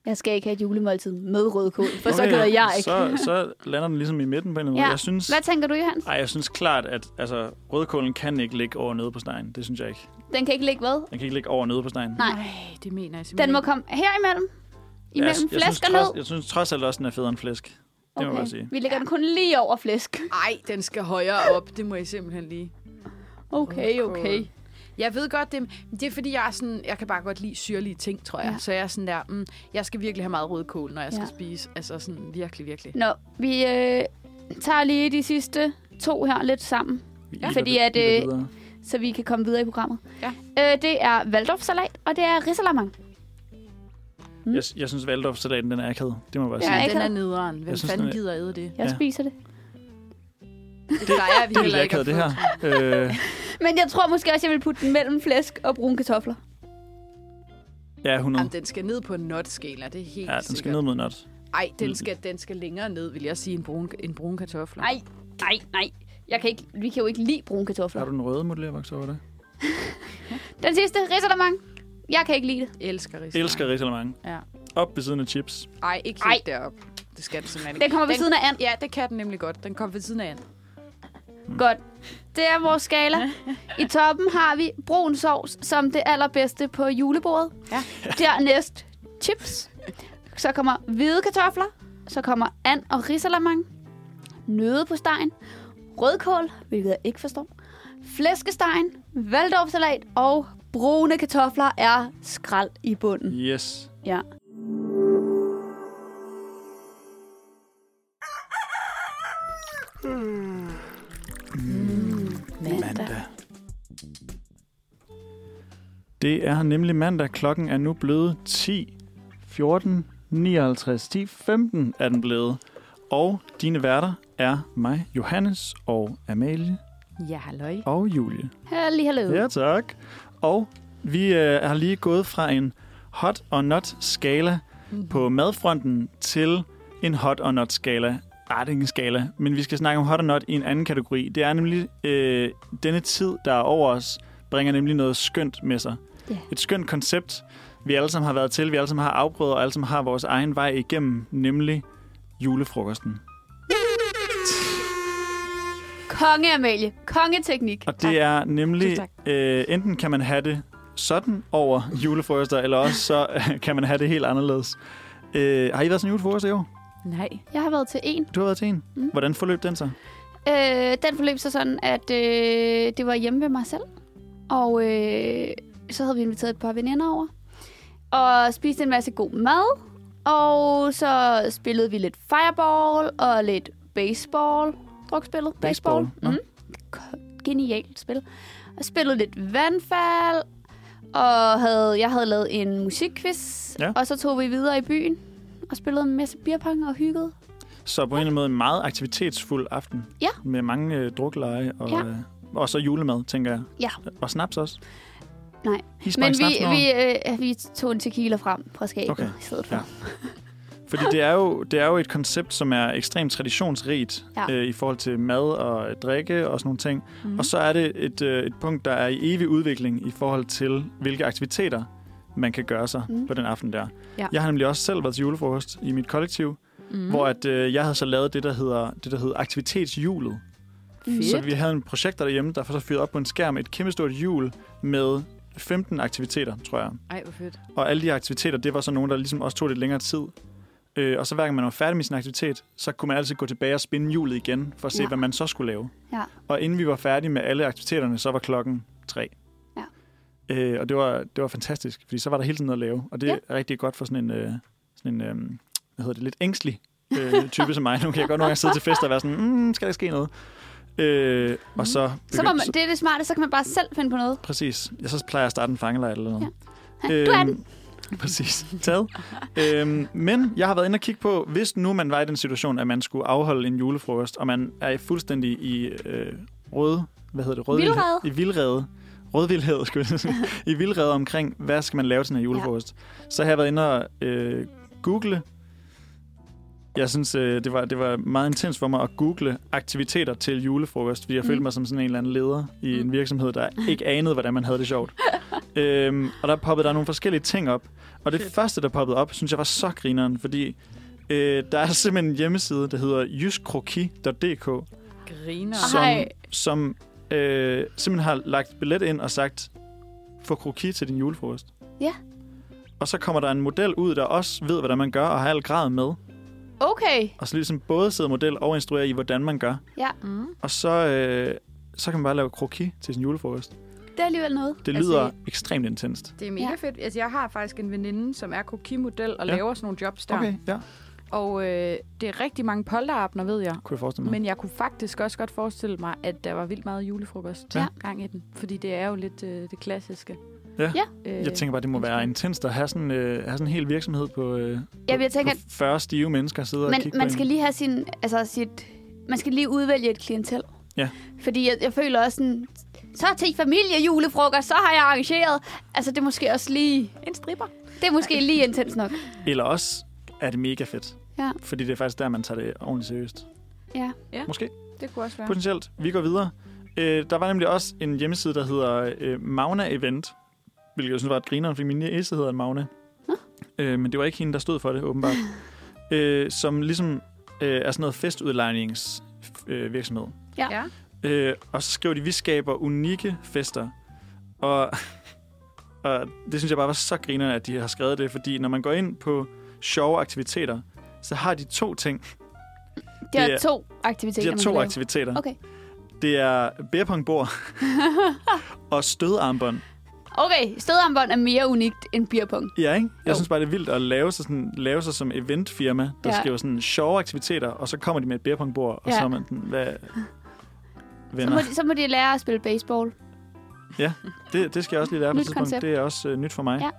Speaker 4: Jeg skal ikke have et julemåltid med rødkål, for okay, så
Speaker 2: Okay,
Speaker 4: gider jeg ikke.
Speaker 2: Så, så lander den ligesom i midten på en eller anden
Speaker 4: Ja.
Speaker 2: måde. Jeg synes,
Speaker 4: Hvad tænker du, Johan?
Speaker 2: ej, jeg synes klart, at altså, rødkålen kan ikke ligge over nede på stegen. Det synes jeg ikke.
Speaker 4: Den kan ikke ligge hvad?
Speaker 2: Den kan ikke ligge over nede på stegen.
Speaker 4: Nej.
Speaker 3: Ej, det mener jeg
Speaker 4: Den
Speaker 3: simpelthen.
Speaker 4: må komme her imellem. Imellem
Speaker 2: jeg, jeg,
Speaker 4: flæsk
Speaker 2: synes,
Speaker 4: og nød.
Speaker 2: trods, jeg synes trods alt også, den er federe end flæsk. Det okay. må jeg bare sige.
Speaker 4: Vi lægger den kun lige over flæsk.
Speaker 3: Ej, den skal højere op, det må jeg simpelthen lige.
Speaker 4: Okay, okay.
Speaker 3: Jeg ved godt, det, det er fordi, jeg, er sådan, jeg kan bare godt lide syrlige ting, tror jeg.
Speaker 4: Ja.
Speaker 3: Ja. Så jeg er sådan der, mm, jeg skal virkelig have meget rødkål, når jeg skal
Speaker 4: Ja.
Speaker 3: ja. spise. Altså sådan virkelig, virkelig.
Speaker 4: Nå, vi øh, tager lige de sidste to her lidt sammen,
Speaker 2: Vi
Speaker 4: Ja.
Speaker 2: iler
Speaker 4: Fordi
Speaker 2: lidt-
Speaker 4: at,
Speaker 2: iler
Speaker 4: øh,
Speaker 2: videre.
Speaker 4: så vi kan komme videre i programmet.
Speaker 3: Ja.
Speaker 4: Øh, det er Waldorfsalat, og det er risalamang. mm.
Speaker 2: Jeg, jeg synes, Valdorf-salaten, den er akavet. Det må jeg bare
Speaker 4: Ja,
Speaker 2: sige.
Speaker 4: ikke
Speaker 3: den er
Speaker 4: havde-
Speaker 3: nederen. Hvem
Speaker 2: Jeg synes,
Speaker 3: fanden
Speaker 2: den er-
Speaker 3: gider æde det?
Speaker 4: Jeg
Speaker 2: Ja.
Speaker 4: spiser det.
Speaker 3: Det plejer vi
Speaker 2: Det er
Speaker 3: heller
Speaker 2: lidt
Speaker 3: ikke
Speaker 2: akavet,
Speaker 3: at
Speaker 2: det
Speaker 3: få.
Speaker 2: her. øh,
Speaker 4: Men jeg tror måske også, jeg vil putte den mellem flæsk og brune kartofler.
Speaker 2: ja, 100.
Speaker 3: Jamen, den skal ned på en notskala, det er helt
Speaker 2: Ja, den skal ned mod not.
Speaker 3: Ej, den skal, den skal længere ned, vil jeg sige, en brun, en brun kartoffel.
Speaker 4: Nej, nej, nej. Jeg kan ikke, vi kan jo ikke lide brune kartofler.
Speaker 2: Har du den røde modellere vokset over det?
Speaker 4: Den sidste, risalamang. Jeg kan ikke lide det.
Speaker 3: Jeg elsker ris.
Speaker 2: Elsker risalemang.
Speaker 3: Ja.
Speaker 2: Op ved siden af chips.
Speaker 3: Ej, ikke helt derop. Det skal den simpelthen ikke.
Speaker 4: Den kommer ved siden af and.
Speaker 3: Ja, det kan den nemlig godt. Den kommer ved siden af and.
Speaker 4: Godt. Det er vores skala. I toppen har vi brun sovs som det allerbedste på julebordet.
Speaker 3: Ja.
Speaker 4: Dernæst chips. Så kommer hvide kartofler. Så kommer and og risalamang. Nøde på stegen. Rødkål, hvilket jeg ikke forstår. Flæskestegen, valdorfsalat og brune kartofler er skrald i bunden.
Speaker 2: Yes.
Speaker 4: Ja.
Speaker 2: Mandag. Det er nemlig mandag. Klokken er nu blevet 10. 14, 59, 10, 15 er den blevet. Og dine værter er mig, Johannes og Amalie
Speaker 3: Ja, halløj.
Speaker 2: og Julie.
Speaker 4: Halli, hallo.
Speaker 2: Ja, tak. Og vi øh, har lige gået fra en hot og not skala på madfronten til en hot og not skala. Ej, det er ikke en skala, men vi skal snakke om hot og not i en anden kategori. Det er nemlig øh, denne tid, der er over os, bringer nemlig noget skønt med sig.
Speaker 4: Ja.
Speaker 2: Et skønt koncept, vi alle sammen har været til, vi alle sammen har afprøvet, og alle sammen har vores egen vej igennem, nemlig julefrokosten.
Speaker 4: Konge, Amalie. Kongeteknik.
Speaker 2: Og det er nemlig,
Speaker 3: Tusind
Speaker 2: øh, enten kan man have det sådan over julefrokoster, eller også så øh, kan man have det helt anderledes. Øh, har I været sådan en julefrokost i år?
Speaker 3: Nej.
Speaker 4: Jeg har været til en.
Speaker 2: Du har været til en.
Speaker 4: Mm.
Speaker 2: Hvordan forløb den så?
Speaker 4: Øh, den forløb så sådan, at øh, det var hjemme ved mig selv. Og øh, så havde vi inviteret et par veninder over. Og spiste en masse god mad. Og så spillede vi lidt fireball og lidt baseball. Drukspillet. Baseball.
Speaker 2: Baseball, nå.
Speaker 4: Mm. Ko- Genialt spil. Og spillede lidt vandfald. Og havde, jeg havde lavet en musikquiz.
Speaker 2: Ja.
Speaker 4: Og så tog vi videre i byen. Og spillede en masse beerpong og hyggede.
Speaker 2: Så på en eller anden måde en meget aktivitetsfuld aften.
Speaker 4: Ja.
Speaker 2: Med mange øh, drukleje og,
Speaker 4: Ja.
Speaker 2: øh, og så julemad, tænker jeg.
Speaker 4: Ja.
Speaker 2: Og snaps også.
Speaker 4: Nej.
Speaker 2: I
Speaker 4: Men
Speaker 2: sprang
Speaker 4: vi,
Speaker 2: snapsen over?
Speaker 4: vi, øh, vi tog en tequila frem fra skabet
Speaker 2: Okay.
Speaker 4: okay. i stedet for.
Speaker 2: Ja. Fordi det er, jo, det er jo et koncept, som er ekstremt traditionsrigt ja.
Speaker 4: Ja.
Speaker 2: øh, i forhold til mad og øh, drikke og sådan nogle ting. Mm. Og så er det et, øh, et punkt, der er i evig udvikling i forhold til, hvilke aktiviteter man kan gøre sig mm.
Speaker 4: Mm.
Speaker 2: på den aften der.
Speaker 3: Ja.
Speaker 2: Jeg har nemlig også selv været til julefrokost i mit kollektiv, mm. hvor at, øh, jeg havde så lavet det, der hedder, det, der hedder aktivitetshjulet.
Speaker 4: Mm.
Speaker 2: Så vi havde en projekter derhjemme, der så fyrede op på en skærm et kæmpestort hjul med 15 aktiviteter, tror jeg.
Speaker 3: Ej, hvor fedt.
Speaker 2: Og alle de her aktiviteter, det var så nogen, der ligesom også tog lidt længere tid. Øh, og så hver gang man var færdig med sin aktivitet, så kunne man altid gå tilbage og spinde hjulet igen, for at se, ja.
Speaker 4: Ja.
Speaker 2: hvad man så skulle lave.
Speaker 4: Ja.
Speaker 2: Og inden vi var færdige med alle aktiviteterne, så var klokken tre.
Speaker 4: Ja.
Speaker 2: Øh, og det var, det var fantastisk, fordi så var der hele tiden noget at lave. Og det er rigtig godt for sådan en, øh, sådan en øh, hvad hedder det, lidt ængstelig øh, type som mig. Nu kan jeg godt nogle gange sidde til fester og være sådan, mm, skal der ske noget? Øh, og så,
Speaker 4: Mm. Så må
Speaker 2: begyndte-
Speaker 4: man, det er det smarte, så kan man bare selv finde på noget.
Speaker 2: Præcis. Jeg så plejer jeg at starte en fangelejr eller noget. Øhm,
Speaker 4: Ja. Du er
Speaker 2: Præcis. Taget. øhm, men jeg har været inde og kigge på, hvis nu man var i den situation, at man skulle afholde en julefrokost, og man er fuldstændig i øh, rød... Hvad hedder det? Rød
Speaker 4: Vildrede.
Speaker 2: I vildrede. Rødvildhed, skulle jeg sige. I vildrede omkring, hvad skal man lave til den her julefrokost. Ja. Så har jeg været inde og øh, google... Jeg synes, øh, det, var, det var meget intens for mig at google aktiviteter til julefrokost, fordi jeg mm.
Speaker 4: Mm.
Speaker 2: følte mig som sådan en eller anden leder i en
Speaker 4: Mm.
Speaker 2: virksomhed, der ikke anede, hvordan man havde det sjovt. øhm, og der poppede der nogle forskellige ting op. Og det første, der poppede op, synes jeg var så grineren, fordi øh, der er simpelthen en hjemmeside, der hedder jyskkroki.dk,
Speaker 3: Griner.
Speaker 4: Aha.
Speaker 2: som,
Speaker 4: Ej.
Speaker 2: som øh, simpelthen har lagt billet ind og sagt, få kroki til din julefrokost.
Speaker 4: Ja.
Speaker 2: Og så kommer der en model ud, der også ved, hvordan man gør, og har alt grad med.
Speaker 4: Okay.
Speaker 2: Og så ligesom både sidder model og instruerer i, hvordan man gør.
Speaker 3: Mm.
Speaker 2: Og så, øh, så kan man bare lave kroki til sin julefrokost.
Speaker 4: Det er alligevel noget.
Speaker 2: Det
Speaker 3: Altså,
Speaker 2: lyder ekstremt intenst.
Speaker 3: Det er mega ja.
Speaker 4: Ja.
Speaker 3: fedt. Altså, jeg har faktisk en veninde, som er kokimodel og
Speaker 2: Ja.
Speaker 3: ja. laver sådan nogle jobs der.
Speaker 2: Okay, ja.
Speaker 3: Og øh, det er rigtig mange polterabner, ved jeg.
Speaker 2: Kunne jeg forestille mig.
Speaker 3: Men jeg kunne faktisk også godt forestille mig, at der var vildt meget julefrokost
Speaker 2: Ja.
Speaker 3: ja. gang i den. Fordi det er jo lidt øh, det klassiske.
Speaker 2: Ja.
Speaker 3: Øh,
Speaker 2: Jeg tænker bare, det må være intenst at have sådan, øh, have sådan en hel virksomhed på, øh,
Speaker 4: Ja, men jeg
Speaker 2: på-
Speaker 4: tænker,
Speaker 2: på 40 stive mennesker sidder og
Speaker 4: Men
Speaker 2: kigger
Speaker 4: man
Speaker 2: på
Speaker 4: skal
Speaker 2: en.
Speaker 4: lige have sin, altså sit, man skal lige udvælge et klientel.
Speaker 2: Ja.
Speaker 4: Fordi jeg, jeg føler også sådan, så til familiejulefrokost, så har jeg arrangeret. Altså, det er måske også lige,
Speaker 3: En stripper.
Speaker 4: det er måske lige intens nok.
Speaker 2: Eller også er det mega fedt.
Speaker 4: Ja.
Speaker 2: Fordi det er faktisk der, man tager det ordentligt seriøst.
Speaker 4: Ja.
Speaker 3: Ja.
Speaker 2: Måske.
Speaker 3: Det kunne også være.
Speaker 2: Potentielt. Vi går videre. Øh, der var nemlig også en hjemmeside, der hedder øh, Magna Event. Hvilket jeg synes var et grineren, fordi min niece hedder Magna. Øh, men det var ikke hende, der stod for det, åbenbart. øh, som ligesom øh, er sådan noget festudlejningsvirksomhed. Øh, virksomhed.
Speaker 4: Ja.
Speaker 3: Ja.
Speaker 2: Øh, og så skriver de, vi skaber unikke fester. Og, og det synes jeg bare var så griner, at de har skrevet det, fordi når man går ind på sjove aktiviteter, så har de to ting.
Speaker 4: Det er
Speaker 2: Det er-
Speaker 4: to
Speaker 2: De
Speaker 4: aktiviteter,
Speaker 2: har
Speaker 4: man
Speaker 2: to
Speaker 4: kan lave.
Speaker 2: aktiviteter.
Speaker 4: Okay.
Speaker 2: Det er beerpongbord og stødarmbånd.
Speaker 4: Okay, stødarmbånd er mere unikt end beerpong.
Speaker 2: Ja, ikke? Jeg
Speaker 4: Jo.
Speaker 2: synes bare, det er vildt at lave sig, sådan, lave sig som eventfirma, der ja.
Speaker 4: Ja.
Speaker 2: skriver sådan sjove aktiviteter, og så kommer de med et beerpongbord, og
Speaker 4: Ja.
Speaker 2: så er man sådan, hvad...
Speaker 4: Så
Speaker 2: Venner.
Speaker 4: må, de, så må de lære at spille baseball.
Speaker 2: Det, det skal jeg også lige lære på et
Speaker 4: Nyt
Speaker 2: tidspunkt.
Speaker 4: koncept.
Speaker 2: Det er også øh, nyt for mig.
Speaker 4: Ja.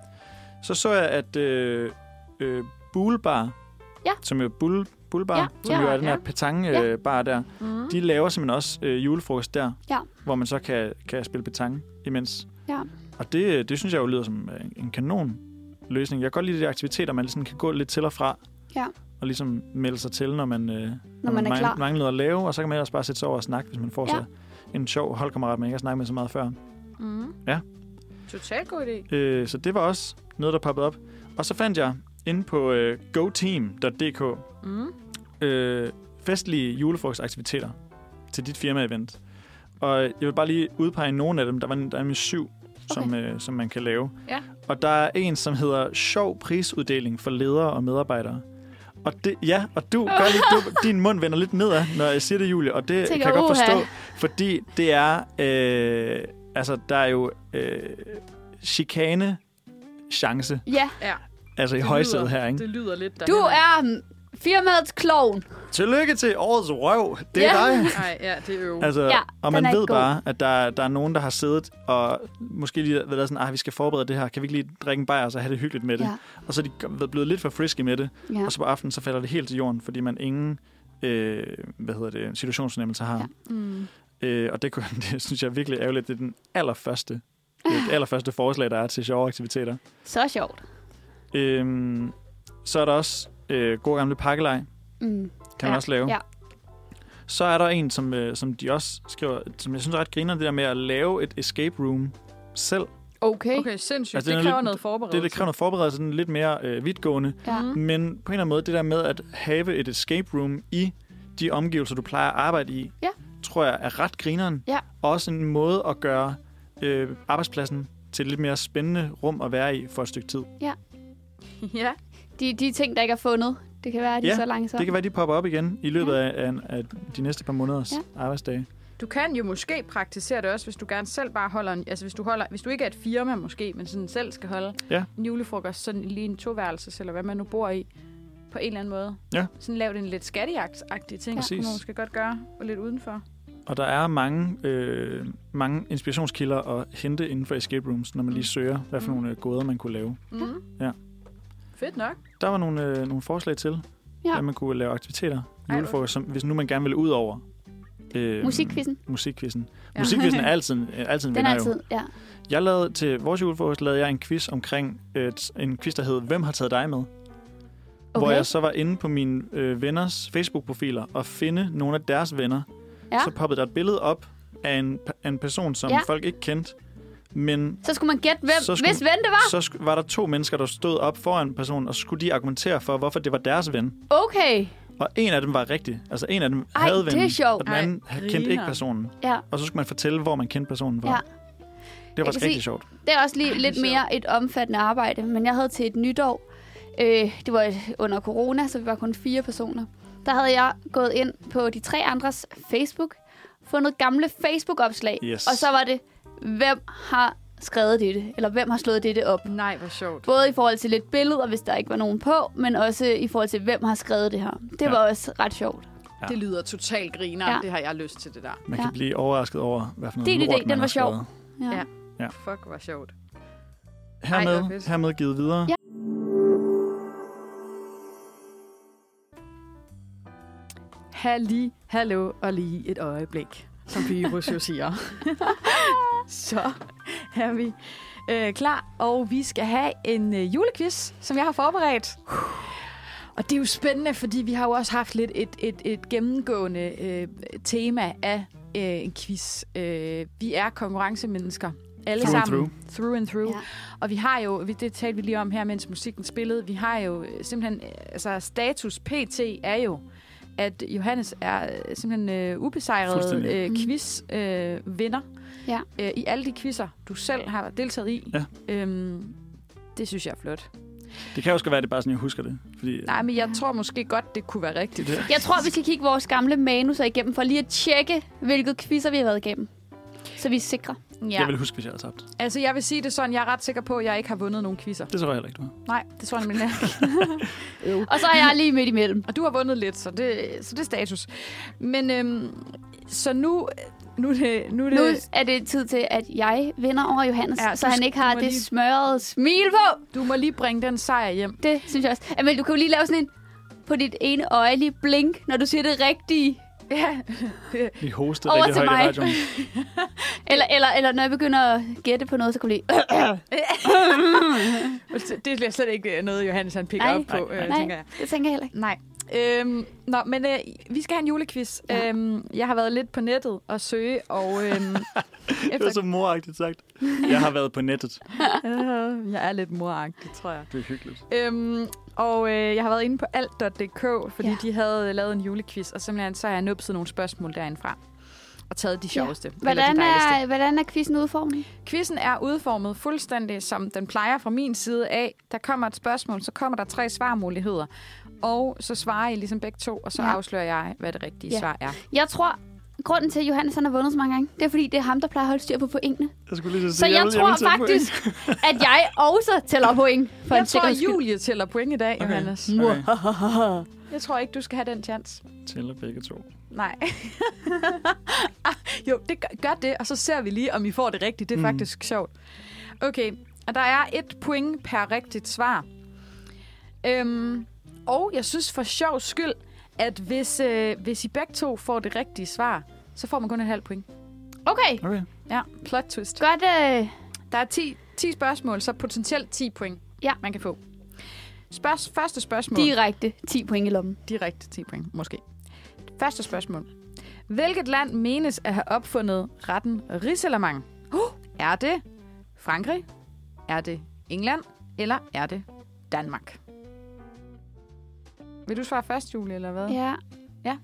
Speaker 2: Så så jeg, at øh, øh, Bullbar,
Speaker 4: Ja.
Speaker 2: som jo er Bull, Bullbar,
Speaker 4: Ja,
Speaker 2: som
Speaker 4: ja,
Speaker 2: jo er den her
Speaker 3: ja.
Speaker 2: petangue-bar øh, bar der, mm. de laver simpelthen også øh, julefrokost der,
Speaker 4: Ja.
Speaker 2: hvor man så kan, kan spille petanque imens.
Speaker 4: Ja.
Speaker 2: Og det, det synes jeg jo lyder som øh, en kanon løsning. Jeg kan godt lide de aktiviteter, man ligesom kan gå lidt til og fra.
Speaker 4: Ja.
Speaker 2: Og ligesom melde sig til, når man, øh, når
Speaker 4: man er
Speaker 2: mang-
Speaker 4: klar.
Speaker 2: mangler noget at lave. Og så kan man ellers bare sætte sig over og snakke, hvis man får
Speaker 4: Ja.
Speaker 2: sig en sjov holdkammerat, man ikke har snakket med så meget før.
Speaker 3: Mm.
Speaker 2: Ja.
Speaker 3: Totalt god idé.
Speaker 2: Øh, så det var også noget, der poppede op. Og så fandt jeg inde på øh, goteam.dk
Speaker 3: Mm.
Speaker 2: øh, festlige julefrokostaktiviteter til dit firma-event. Og jeg vil bare lige udpege nogle af dem. Der, var, der er nemlig syv, okay. som, øh, som man kan lave.
Speaker 3: Ja.
Speaker 2: Og der er en, som hedder Sjov prisuddeling for ledere og medarbejdere. Og det, ja, og du, gør lige, du, din mund vender lidt nedad, når jeg siger det, Julie, og det
Speaker 4: Tænker,
Speaker 2: kan jeg godt
Speaker 4: uha.
Speaker 2: forstå, fordi det er, øh, altså, der er jo øh, chikane chance,
Speaker 4: Ja,
Speaker 3: Ja.
Speaker 2: altså i
Speaker 3: det
Speaker 2: højsædet
Speaker 3: lyder-
Speaker 2: her, ikke?
Speaker 3: Det lyder lidt der.
Speaker 4: du er mm, firmaets klovn.
Speaker 2: Tillykke til årets røv, det er
Speaker 4: Ja.
Speaker 2: dig.
Speaker 3: Nej, ja, det er jo...
Speaker 2: Altså,
Speaker 4: Ja,
Speaker 2: ja, og
Speaker 4: den
Speaker 2: man
Speaker 4: er
Speaker 2: ved
Speaker 4: ikke god.
Speaker 2: bare, at der, der er nogen, der har siddet og måske lige har været sådan, ah, vi skal forberede det her, kan vi ikke lige drikke en bajer og så have det hyggeligt med det?
Speaker 4: Ja.
Speaker 2: Og så er de g- været blevet lidt for frisky med det,
Speaker 4: Ja.
Speaker 2: og så på aftenen, så falder det helt til jorden, fordi man ingen øh, hvad hedder det, situationsfornemmelse har.
Speaker 7: Mm.
Speaker 2: Ja. Øh, og det, kunne, det synes jeg er virkelig ærgerligt. Det er den allerførste, det, er det allerførste forslag, der er til sjove aktiviteter.
Speaker 4: Så sjovt.
Speaker 2: Øh, så er der også øh, god gamle pakkelej, kan
Speaker 4: Mm.
Speaker 2: man
Speaker 4: Ja,
Speaker 2: også lave.
Speaker 4: ja.
Speaker 2: Så er der en, som, øh, som de også skriver, som jeg synes er ret griner, det der med at lave et escape room selv.
Speaker 4: Okay.
Speaker 3: Okay, sindssygt.
Speaker 2: Altså,
Speaker 3: Altså,
Speaker 2: den
Speaker 3: det,
Speaker 2: er
Speaker 3: kræver
Speaker 2: lidt-
Speaker 3: noget forberedelse.
Speaker 2: Det, det kræver noget forberedelse, den er lidt mere øh, vidtgående.
Speaker 4: Ja.
Speaker 3: Mm.
Speaker 2: Men på en eller anden måde, det der med at have et escape room i de omgivelser, du plejer at arbejde i,
Speaker 4: Ja.
Speaker 2: tror jeg er ret grineren.
Speaker 4: Ja.
Speaker 2: Også en måde at gøre øh, arbejdspladsen til et lidt mere spændende rum at være i for et stykke tid.
Speaker 3: Ja.
Speaker 4: De, de ting, der ikke er fundet, det kan være, at de
Speaker 2: Ja,
Speaker 4: er så langsomme.
Speaker 2: Det kan være, de popper op igen i løbet af, af, af de næste par måneders
Speaker 4: Ja.
Speaker 2: arbejdsdage.
Speaker 3: Du kan jo måske praktisere det også, hvis du gerne selv bare holder en, altså hvis du, holder, hvis du ikke er et firma måske, men sådan selv skal holde
Speaker 2: Ja.
Speaker 3: en julefrokost, sådan lige en toværelses, eller hvad man nu bor i, på en eller anden måde.
Speaker 2: Ja.
Speaker 3: Sådan lav det en lidt skattejagt-agtig ting,
Speaker 2: Præcis.
Speaker 3: som man skal godt gøre, og lidt udenfor.
Speaker 2: Og der er mange, øh, mange inspirationskilder at hente inden for escape rooms, når man lige søger, hvad for
Speaker 3: Mm.
Speaker 2: nogle øh, gåder man kunne lave.
Speaker 3: Mm.
Speaker 2: Ja.
Speaker 3: Fedt nok.
Speaker 2: Der var nogle, øh, nogle forslag til,
Speaker 4: Ja.
Speaker 2: ja. hvad man kunne lave aktiviteter.
Speaker 3: hvor-
Speaker 2: Julefrokost, som, hvis nu man gerne vil ud over øh,
Speaker 4: Musikkvizzen.
Speaker 2: musikquizzen.
Speaker 3: Ja.
Speaker 2: Ja. Musikquizzen er altid, øh, altid en
Speaker 4: Den er
Speaker 2: vinder
Speaker 4: altid,
Speaker 2: jo.
Speaker 4: ja.
Speaker 2: Jeg lavede til vores julefrokost, lavede jeg en quiz omkring, øh, t- en quiz, der hed Hvem har taget dig med? Okay. Hvor
Speaker 4: Okay.
Speaker 2: jeg så var inde på mine øh, venners Facebook-profiler og finde nogle af deres venner.
Speaker 4: Ja.
Speaker 2: Så poppede der et billede op af en, af en person, som
Speaker 4: Ja.
Speaker 2: ja. folk ikke kendte. Men
Speaker 4: Så skulle man gætte, hvem,
Speaker 2: Så skulle-
Speaker 4: hvis ven det var.
Speaker 2: så sk- var der to mennesker, der stod op foran personen, og så skulle de argumentere for, hvorfor det var deres ven.
Speaker 4: Okay.
Speaker 2: Og en af dem var rigtig. Altså en af dem
Speaker 4: Ej,
Speaker 2: havde
Speaker 4: det
Speaker 2: vennen,
Speaker 4: er sjovt.
Speaker 2: og den anden
Speaker 3: Ej,
Speaker 2: kendte ikke
Speaker 3: griner.
Speaker 2: personen.
Speaker 4: Ja.
Speaker 2: Og så skulle man fortælle, hvor man kendte personen fra.
Speaker 4: Ja.
Speaker 2: Det var
Speaker 4: kan
Speaker 2: faktisk rigtig
Speaker 4: se-
Speaker 2: sjovt.
Speaker 4: Det er også lige lidt mere et omfattende arbejde, men jeg havde til et nytår, øh, det var under corona, så vi var kun fire personer, der havde jeg gået ind på de tre andres Facebook, fundet gamle Facebook-opslag,
Speaker 2: Yes.
Speaker 4: og så var det, hvem har skrevet dette, eller hvem har slået dette op.
Speaker 3: Nej, hvor sjovt.
Speaker 4: Både i forhold til lidt billeder, hvis der ikke var nogen på, men også i forhold til, hvem har skrevet det her. Det
Speaker 2: Ja.
Speaker 4: var også ret sjovt.
Speaker 2: Ja.
Speaker 3: Det lyder totalt griner.
Speaker 4: Ja.
Speaker 3: Ja. Det har jeg lyst til, det der.
Speaker 2: Man
Speaker 4: Ja.
Speaker 2: kan blive overrasket over, hvad for noget
Speaker 4: Din idé,
Speaker 2: lort,
Speaker 4: den
Speaker 2: man
Speaker 4: var
Speaker 2: har
Speaker 4: sjov.
Speaker 2: skrevet.
Speaker 4: Ja.
Speaker 3: Ja.
Speaker 2: Ja.
Speaker 3: Fuck, hvor sjovt. hvor
Speaker 2: Hermed,
Speaker 3: fedt.
Speaker 2: hermed givet videre.
Speaker 4: Ja.
Speaker 3: Halli, hallo og lige et øjeblik, som Pyrus jo siger. Så er vi øh, klar, og vi skal have en øh, julequiz, som jeg har forberedt. Og det er jo spændende, fordi vi har jo også haft lidt et, et, et gennemgående øh, tema af øh, en quiz. Øh, vi er konkurrencemennesker. Alle
Speaker 2: Through and
Speaker 3: sammen. Through and through.
Speaker 4: Ja.
Speaker 3: Og vi har jo, vi- det talte vi lige om her, mens musikken spillede, vi har jo øh, simpelthen, øh, altså status pt. er jo, at Johannes er øh, simpelthen øh, ubesejret
Speaker 2: Fuldstændig.
Speaker 3: øh,
Speaker 4: Mm.
Speaker 3: quiz-vinder øh, vinder.
Speaker 4: Ja.
Speaker 3: øh, i alle de quizzer, du selv har deltaget i.
Speaker 2: Ja.
Speaker 3: Øhm, det synes jeg er flot.
Speaker 2: Det kan jo også godt være, at det er bare sådan, jeg husker det. Fordi,
Speaker 3: Nej, men jeg tror måske godt, det kunne være rigtigt.
Speaker 2: Det-
Speaker 4: Jeg tror, vi skal kigge vores gamle manuser igennem, for lige at tjekke, hvilket quizzer vi har været igennem. Så vi er sikre.
Speaker 2: Jeg
Speaker 3: Ja.
Speaker 2: vil huske, hvis jeg havde tabt.
Speaker 3: Altså, jeg vil sige det sådan, jeg er ret sikker på, at jeg ikke har vundet nogen quizzer.
Speaker 2: Det tror jeg heller ikke, du har.
Speaker 3: Nej, det tror jeg nemlig ikke.
Speaker 4: Og så er jeg lige midt imellem.
Speaker 3: Og du har vundet lidt, så det, så det er status. Men øhm, så nu, nu, er det, nu, er det,
Speaker 4: Nu er det tid til, at jeg vinder over Johannes,
Speaker 3: Ja,
Speaker 4: ja, så
Speaker 3: du
Speaker 4: han
Speaker 3: skal-
Speaker 4: ikke
Speaker 3: du
Speaker 4: har
Speaker 3: må
Speaker 4: det
Speaker 3: lige-
Speaker 4: smørrede smil på.
Speaker 3: du må lige bringe den sejr hjem.
Speaker 4: Det synes jeg også. Amel, du kan jo lige lave sådan en på dit ene øje lige blink, når du siger det rigtige.
Speaker 3: Ja,
Speaker 2: Vi hostede
Speaker 4: Over
Speaker 2: rigtig
Speaker 4: til
Speaker 2: højt i
Speaker 4: mig.
Speaker 2: radioen.
Speaker 4: Eller, eller, eller når jeg begynder at gætte på noget, så kan du lige... Øh,
Speaker 3: det er slet ikke noget, Johannes han picker
Speaker 4: Nej.
Speaker 3: op på, øh,
Speaker 4: Nej,
Speaker 3: tænker jeg.
Speaker 4: det tænker jeg heller ikke.
Speaker 3: Nej, Øhm, nå, men øh, vi skal have en julequiz. Ja. Øhm, jeg har været lidt på nettet og søge, og øhm,
Speaker 2: Det var så
Speaker 3: efter,
Speaker 2: moragtigt sagt. Jeg har været på nettet.
Speaker 3: øh, jeg er lidt moragtig, tror jeg.
Speaker 2: Det er hyggeligt.
Speaker 3: Øhm, og øh, jeg har været inde på alt.dk, fordi ja.
Speaker 4: Ja.
Speaker 3: de havde øh, lavet en julequiz, og simpelthen så har jeg nupset nogle spørgsmål derindfra. Og taget de sjoveste. Ja.
Speaker 4: Hvordan
Speaker 3: de dejligste.
Speaker 4: er, hvordan er quizzen udformet?
Speaker 3: Quizzen er udformet fuldstændig, som den plejer fra min side af. Der kommer et spørgsmål, så kommer der tre svarmuligheder. Og så svarer I ligesom begge to, og så ja.
Speaker 4: Ja.
Speaker 3: afslører jeg, hvad det rigtige ja.
Speaker 4: Ja.
Speaker 3: svar er.
Speaker 4: Jeg tror, grunden til, at Johannes han har vundet så mange gange, det er, fordi det er ham, der plejer at holde styr på pointene.
Speaker 2: Jeg skulle lige så sige,
Speaker 4: Så jeg
Speaker 2: vil-
Speaker 4: tror
Speaker 2: vil tage point.
Speaker 4: faktisk, at jeg også tæller point. For
Speaker 3: Jeg
Speaker 4: en
Speaker 3: tror,
Speaker 4: sikkerheds skyld.
Speaker 3: Julie tæller point i dag, okay. Johannes.
Speaker 2: Okay.
Speaker 3: Jeg tror ikke, du skal have den chance.
Speaker 2: Tæller begge to.
Speaker 3: Nej. Ah, jo, det gør, gør det, og så ser vi lige, om I får det rigtigt. Det er mm. faktisk sjovt. Okay, og der er et point per rigtigt svar. Øhm, og jeg synes for sjov skyld, at hvis, øh, hvis I begge to får det rigtige svar, så får man kun et halvt point.
Speaker 4: Okay,
Speaker 2: Okay.
Speaker 3: Ja, plot twist.
Speaker 4: godt. Øh,
Speaker 3: Der er 10, 10 spørgsmål, så potentielt 10 point,
Speaker 4: Ja.
Speaker 3: man kan få. Spørgs, første spørgsmål.
Speaker 4: direkte 10 point i lommen.
Speaker 3: Direkte 10 point, måske. Første spørgsmål. Hvilket land menes at have opfundet retten risalamang? Oh, er det Frankrig? Er det England? Eller er det Danmark? Vil du svare først, Julie, eller hvad?
Speaker 4: Ja. Ja.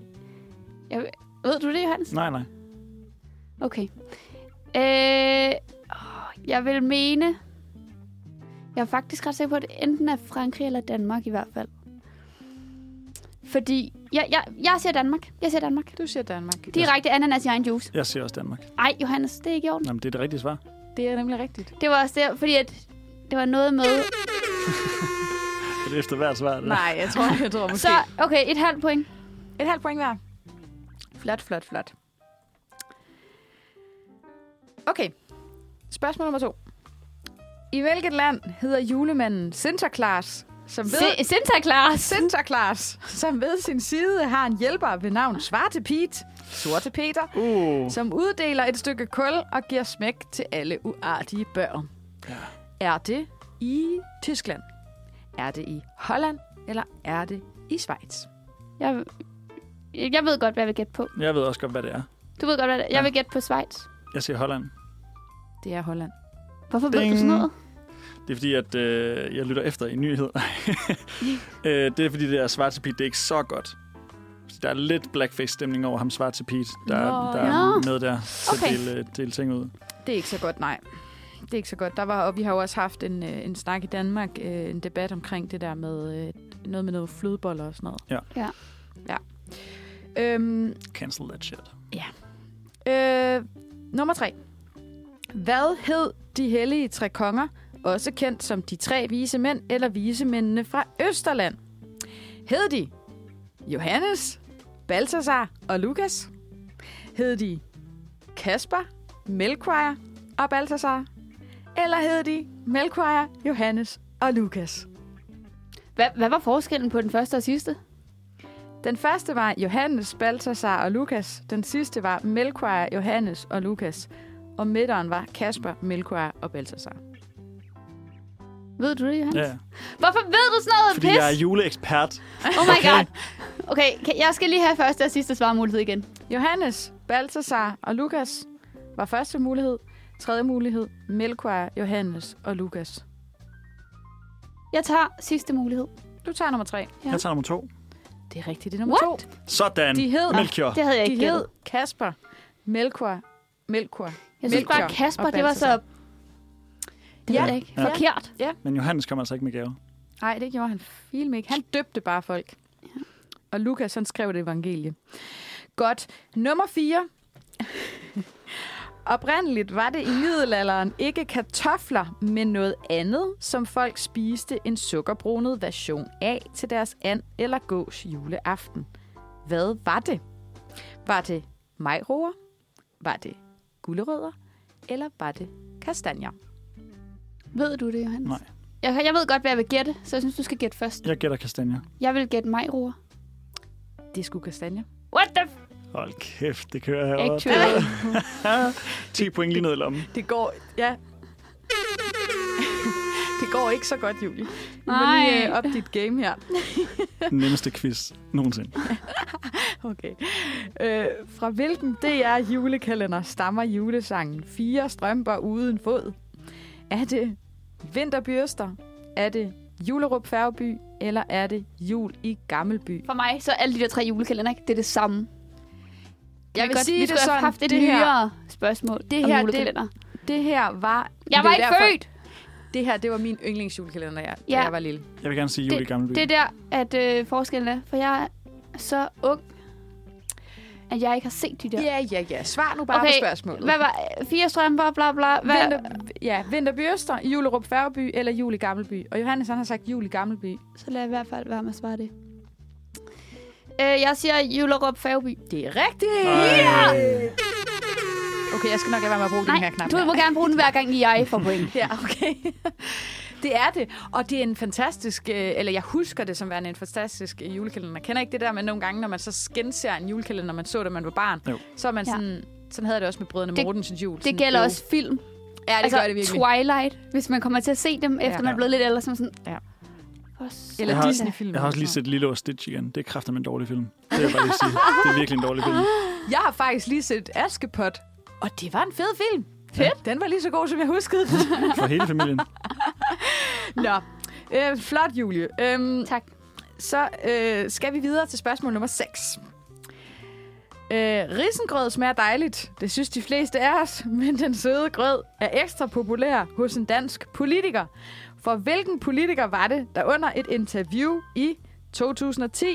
Speaker 4: Jeg, ved- ved du det, Johannes?
Speaker 2: Nej, nej.
Speaker 4: Okay. Øh, åh, jeg vil mene... Jeg er faktisk ret sikker på, at det enten er Frankrig eller Danmark i hvert fald. Fordi... Jeg, jeg, jeg siger Danmark. Jeg siger Danmark.
Speaker 3: Du siger Danmark.
Speaker 4: Direkte ananas i egen juice.
Speaker 2: Jeg siger også Danmark.
Speaker 4: Ej, Johannes, det er ikke i orden.
Speaker 2: Jamen, det er det rigtige svar.
Speaker 3: Det er nemlig rigtigt.
Speaker 4: Det var også der, fordi at det var noget med...
Speaker 2: Det er efter hvert svar. det der.
Speaker 3: Nej, jeg tror, jeg tror måske.
Speaker 4: Så, okay, et halvt point.
Speaker 3: Et halvt point hver. Flot, flot, flot. Okay. Spørgsmål nummer to. I hvilket land hedder julemanden Sinterklaas, som ved,
Speaker 4: Se- Sinterklaas.
Speaker 3: Sinterklaas, som ved sin side har en hjælper ved navn Svarte Pete, Sorte Peter,
Speaker 2: Uh,
Speaker 3: som uddeler et stykke kul og giver smæk til alle uartige børn. Er det i Tyskland? Er det i Holland? Eller er det i Schweiz?
Speaker 4: Jeg, jeg ved godt, hvad jeg vil gætte på.
Speaker 2: jeg ved også godt, hvad det er.
Speaker 4: Du ved godt, hvad det er.
Speaker 2: Ja.
Speaker 4: Jeg vil gætte på Schweiz.
Speaker 2: Jeg siger Holland.
Speaker 3: Det er Holland.
Speaker 4: Hvorfor Ding. ved du
Speaker 2: Ding.
Speaker 4: sådan noget?
Speaker 2: Det er fordi, at øh, jeg lytter efter i nyhed. øh, det er fordi, det er svart til Pete, det er ikke så godt. Så Der er lidt blackface-stemning over ham svart til Pete, der,
Speaker 3: Nå,
Speaker 2: der er
Speaker 4: ja.
Speaker 2: med der til
Speaker 4: Okay.
Speaker 2: at dele, dele ting ud.
Speaker 3: Det er ikke så godt, nej. Det er ikke så godt. Der var, og vi har jo også haft en, øh, en snak i Danmark, øh, en debat omkring det der med øh, noget med noget flødeboller og sådan noget.
Speaker 2: Ja.
Speaker 4: Ja.
Speaker 3: ja. Øhm,
Speaker 2: Cancel that shit.
Speaker 4: Mm.
Speaker 3: øh, nummer tre. Hvad hed de hellige tre konger, også kendt som de tre vise mænd eller visemændene fra Østerland? Hed de Johannes, Balthasar og Lukas? Hed de Kasper, Melchior og Balthasar? Eller hed de Melchior, Johannes og Lukas?
Speaker 4: Hvad, hvad var forskellen på den første og sidste?
Speaker 3: Den første var Johannes, Balthasar og Lukas. Den sidste var Melchior, Johannes og Lukas. Og midteren var Kasper, Melchior og Balthasar.
Speaker 4: Ved du det, Johan?
Speaker 2: Ja,
Speaker 4: Hvorfor ved du sådan noget
Speaker 2: fordi
Speaker 4: pis?
Speaker 2: jeg er juleekspert.
Speaker 4: Oh my god. Okay, kan, jeg skal lige have første og sidste svarmulighed igen.
Speaker 3: Johannes, Balthasar og Lukas var første mulighed. Tredje mulighed, Melchior, Johannes og Lukas.
Speaker 4: Jeg tager sidste mulighed.
Speaker 3: Du tager nummer tre.
Speaker 4: Ja.
Speaker 2: Jeg tager nummer to.
Speaker 3: Det er rigtigt, det er nummer
Speaker 4: What?
Speaker 3: to.
Speaker 2: Sådan.
Speaker 3: De hed,
Speaker 2: Melchior.
Speaker 4: Det havde jeg
Speaker 3: de
Speaker 4: ikke
Speaker 3: hed
Speaker 4: gættet.
Speaker 3: Kasper, Melchior, Melchior.
Speaker 4: Jeg synes
Speaker 3: Melchior
Speaker 4: bare, Kasper,
Speaker 3: og
Speaker 4: det var så... Det
Speaker 3: Ja.
Speaker 4: ved jeg ikke.
Speaker 2: Ja.
Speaker 4: Forkert.
Speaker 2: Men Johannes kommer altså ikke med gave.
Speaker 3: Nej, det gjorde han film ikke. Han døbte bare folk. Og Lukas, han skrev det evangelie. Godt. Nummer 4. Oprindeligt var det i middelalderen ikke kartofler, men noget andet, som folk spiste en sukkerbrunet version af til deres and eller gås juleaften. Hvad var det? Var det majroer? Var det gulerødder? Eller var det kastanjer?
Speaker 4: Ved du det, Johannes?
Speaker 2: Nej.
Speaker 4: Jeg, jeg ved godt, hvad jeg vil gætte, så jeg synes, du skal gætte først.
Speaker 2: Jeg gætter kastanjer.
Speaker 4: Jeg vil gætte majroer.
Speaker 3: Det skulle kastanjer.
Speaker 4: What the... F-
Speaker 2: Hold kæft, det kører
Speaker 4: ikke
Speaker 2: herovre. 10
Speaker 4: tvivl.
Speaker 2: point lige ned i lommen.
Speaker 3: Det går, ja. det går ikke så godt, Julie. Du må lige
Speaker 4: Nej.
Speaker 3: øh, op dit game her.
Speaker 2: Den nemmeste quiz nogensinde.
Speaker 3: Okay. Øh, fra hvilken DR julekalender stammer julesangen Fire strømper uden fod? Er det Vinterbyrster? Er det Julerup Færgeby? Eller er det Jul i Gammelby?
Speaker 4: For mig, så er alle de der tre julekalender, ikke? Det er det samme. Jeg
Speaker 3: vil
Speaker 4: vil
Speaker 3: sige
Speaker 4: godt, sige, vi
Speaker 3: det
Speaker 4: skulle
Speaker 3: sådan,
Speaker 4: have haft et
Speaker 3: det her-
Speaker 4: nyere spørgsmål
Speaker 3: det
Speaker 4: det her,
Speaker 3: her,
Speaker 4: om
Speaker 3: det-
Speaker 4: julekalender. Det,
Speaker 3: Det her var...
Speaker 4: jeg
Speaker 3: det
Speaker 4: var
Speaker 3: er
Speaker 4: ikke
Speaker 3: derfor-
Speaker 4: født!
Speaker 3: Det her, det var min yndlingsjulekalender, ja, da
Speaker 4: Ja.
Speaker 3: jeg var lille.
Speaker 2: Jeg vil gerne sige jul i Gamleby.
Speaker 4: Det er der, at øh, forskellen er. For jeg er så ung, at jeg ikke har set de der.
Speaker 3: Ja, ja, ja. Svar nu bare okay.
Speaker 4: Okay,
Speaker 3: på spørgsmålet.
Speaker 4: Hvad var øh, fire strømper, bla bla? Hvad?
Speaker 3: Vinter, ja, Vinterbyrster, Julerup Færgeby eller Jul i Gammelby? Og Johannes han har sagt Jul i Gammelby.
Speaker 4: Så lad i hvert fald være med at svare det. Øh, jeg siger Julerup Fagby.
Speaker 3: Det er rigtigt!
Speaker 2: Ej.
Speaker 3: Okay, jeg skal nok lade være med at bruge den
Speaker 4: Nej,
Speaker 3: her knap.
Speaker 4: du
Speaker 3: her.
Speaker 4: må gerne bruge den hver gang i jeg får point.
Speaker 3: Ja, okay. det er det. Og det er en fantastisk, øh, eller jeg husker det som værende en fantastisk øh, julekalender. Jeg kender ikke det der med nogle gange, når man så genser en julekalender, når man så, da man var barn.
Speaker 2: Jo.
Speaker 3: Så er man
Speaker 4: Ja.
Speaker 3: sådan, sådan havde jeg det også med Brødrene
Speaker 4: Det-
Speaker 3: Mortensens jul.
Speaker 4: Det
Speaker 3: Sådan,
Speaker 4: gælder
Speaker 3: jo.
Speaker 4: også film.
Speaker 3: Ja, det
Speaker 4: altså
Speaker 3: gør det virkelig.
Speaker 4: Twilight, hvis man kommer til at se dem, efter
Speaker 3: Ja.
Speaker 4: ja. man er blevet lidt ældre, så er man sådan...
Speaker 3: Ja.
Speaker 4: "Hvor sødt."
Speaker 3: Eller
Speaker 2: Jeg har-
Speaker 3: Disney-film.
Speaker 2: Jeg har også lige set Lilo og Stitch igen. Det er kraften en dårlig film. Det vil jeg bare lige sige. Det er virkelig en dårlig film.
Speaker 3: Jeg har faktisk lige set Askepot, og det var en fed film. Fedt. Den var lige så god, som jeg huskede den.
Speaker 2: For hele familien.
Speaker 3: Nå, øh, flot, Julie. Øhm,
Speaker 4: Tak.
Speaker 3: så øh, skal vi videre til spørgsmål nummer 6. Øh, risengrød smager dejligt. Det synes de fleste af os, men den søde grød er ekstra populær hos en dansk politiker. For hvilken politiker var det, der under et interview i 2010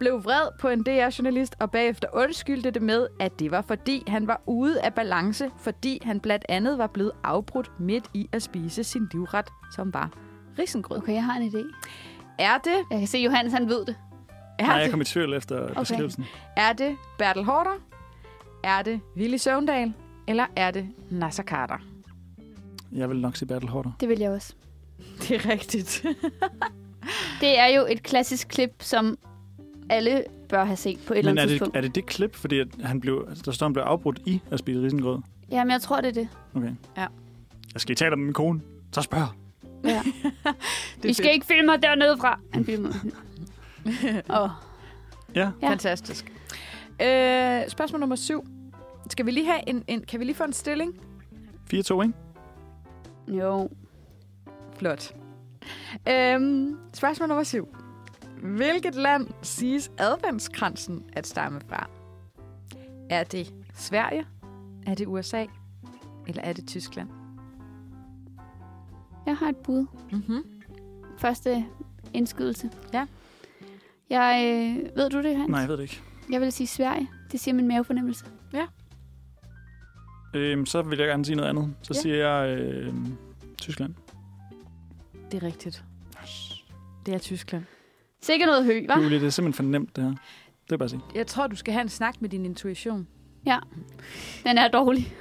Speaker 3: blev vred på en DR-journalist og bagefter undskyldte det med, at det var fordi han var ude af balance, fordi han blandt andet var blevet afbrudt midt i at spise sin livret, som var risengrød.
Speaker 4: Okay, jeg har en idé.
Speaker 3: Er det?
Speaker 4: Jeg kan se, Johannes han ved det.
Speaker 3: Er
Speaker 2: Nej,
Speaker 3: det?
Speaker 2: jeg kom i tvivl efter beskrivelsen.
Speaker 3: Er det Bertel Hårder? Er det Willy Søvndal? Eller er det Nasser Carter?
Speaker 2: Jeg vil nok sige Battle Hotter.
Speaker 4: Det vil jeg også.
Speaker 3: Det er rigtigt.
Speaker 4: Det er jo et klassisk klip, som alle bør have set på et eller
Speaker 2: Men er
Speaker 4: andet
Speaker 2: det,
Speaker 4: tidspunkt.
Speaker 2: er det det klip, fordi at han blev, altså, der står, han blev afbrudt i at spise risengrød?
Speaker 4: Jamen, jeg tror, det er det.
Speaker 2: Okay.
Speaker 3: Ja.
Speaker 2: Jeg skal i tale med min kone. Så spørg.
Speaker 4: Ja.
Speaker 3: er
Speaker 4: I skal
Speaker 3: fedt.
Speaker 4: ikke filme mig dernede fra. Han filmer. oh.
Speaker 2: Ja.
Speaker 4: Ja.
Speaker 3: Fantastisk. Øh, spørgsmål nummer syv. Skal vi lige have en, en, kan vi lige få en stilling?
Speaker 2: 4-2, ikke?
Speaker 4: Jo.
Speaker 3: Flot. Øhm, spørgsmål nummer syv. Hvilket land siges adventskransen at stamme fra? Er det Sverige? Er det USA? Eller er det Tyskland?
Speaker 4: Jeg har et bud.
Speaker 3: Mm-hmm.
Speaker 4: Første indskydelse.
Speaker 3: Ja.
Speaker 4: Jeg, øh, ved du det, Hans?
Speaker 2: Nej, jeg ved det ikke.
Speaker 4: Jeg vil sige Sverige. Det siger min mavefornemmelse.
Speaker 2: Øhm, så vil jeg gerne sige noget andet. Så
Speaker 4: Ja.
Speaker 2: siger jeg øh, Tyskland.
Speaker 3: Det er rigtigt. Det er Tyskland.
Speaker 4: Sikkert noget hø, hva'?
Speaker 2: Julie, det er simpelthen for nemt, det her. Det er bare at sige.
Speaker 3: Jeg tror, du skal have en snak med din intuition.
Speaker 4: Den er dårlig.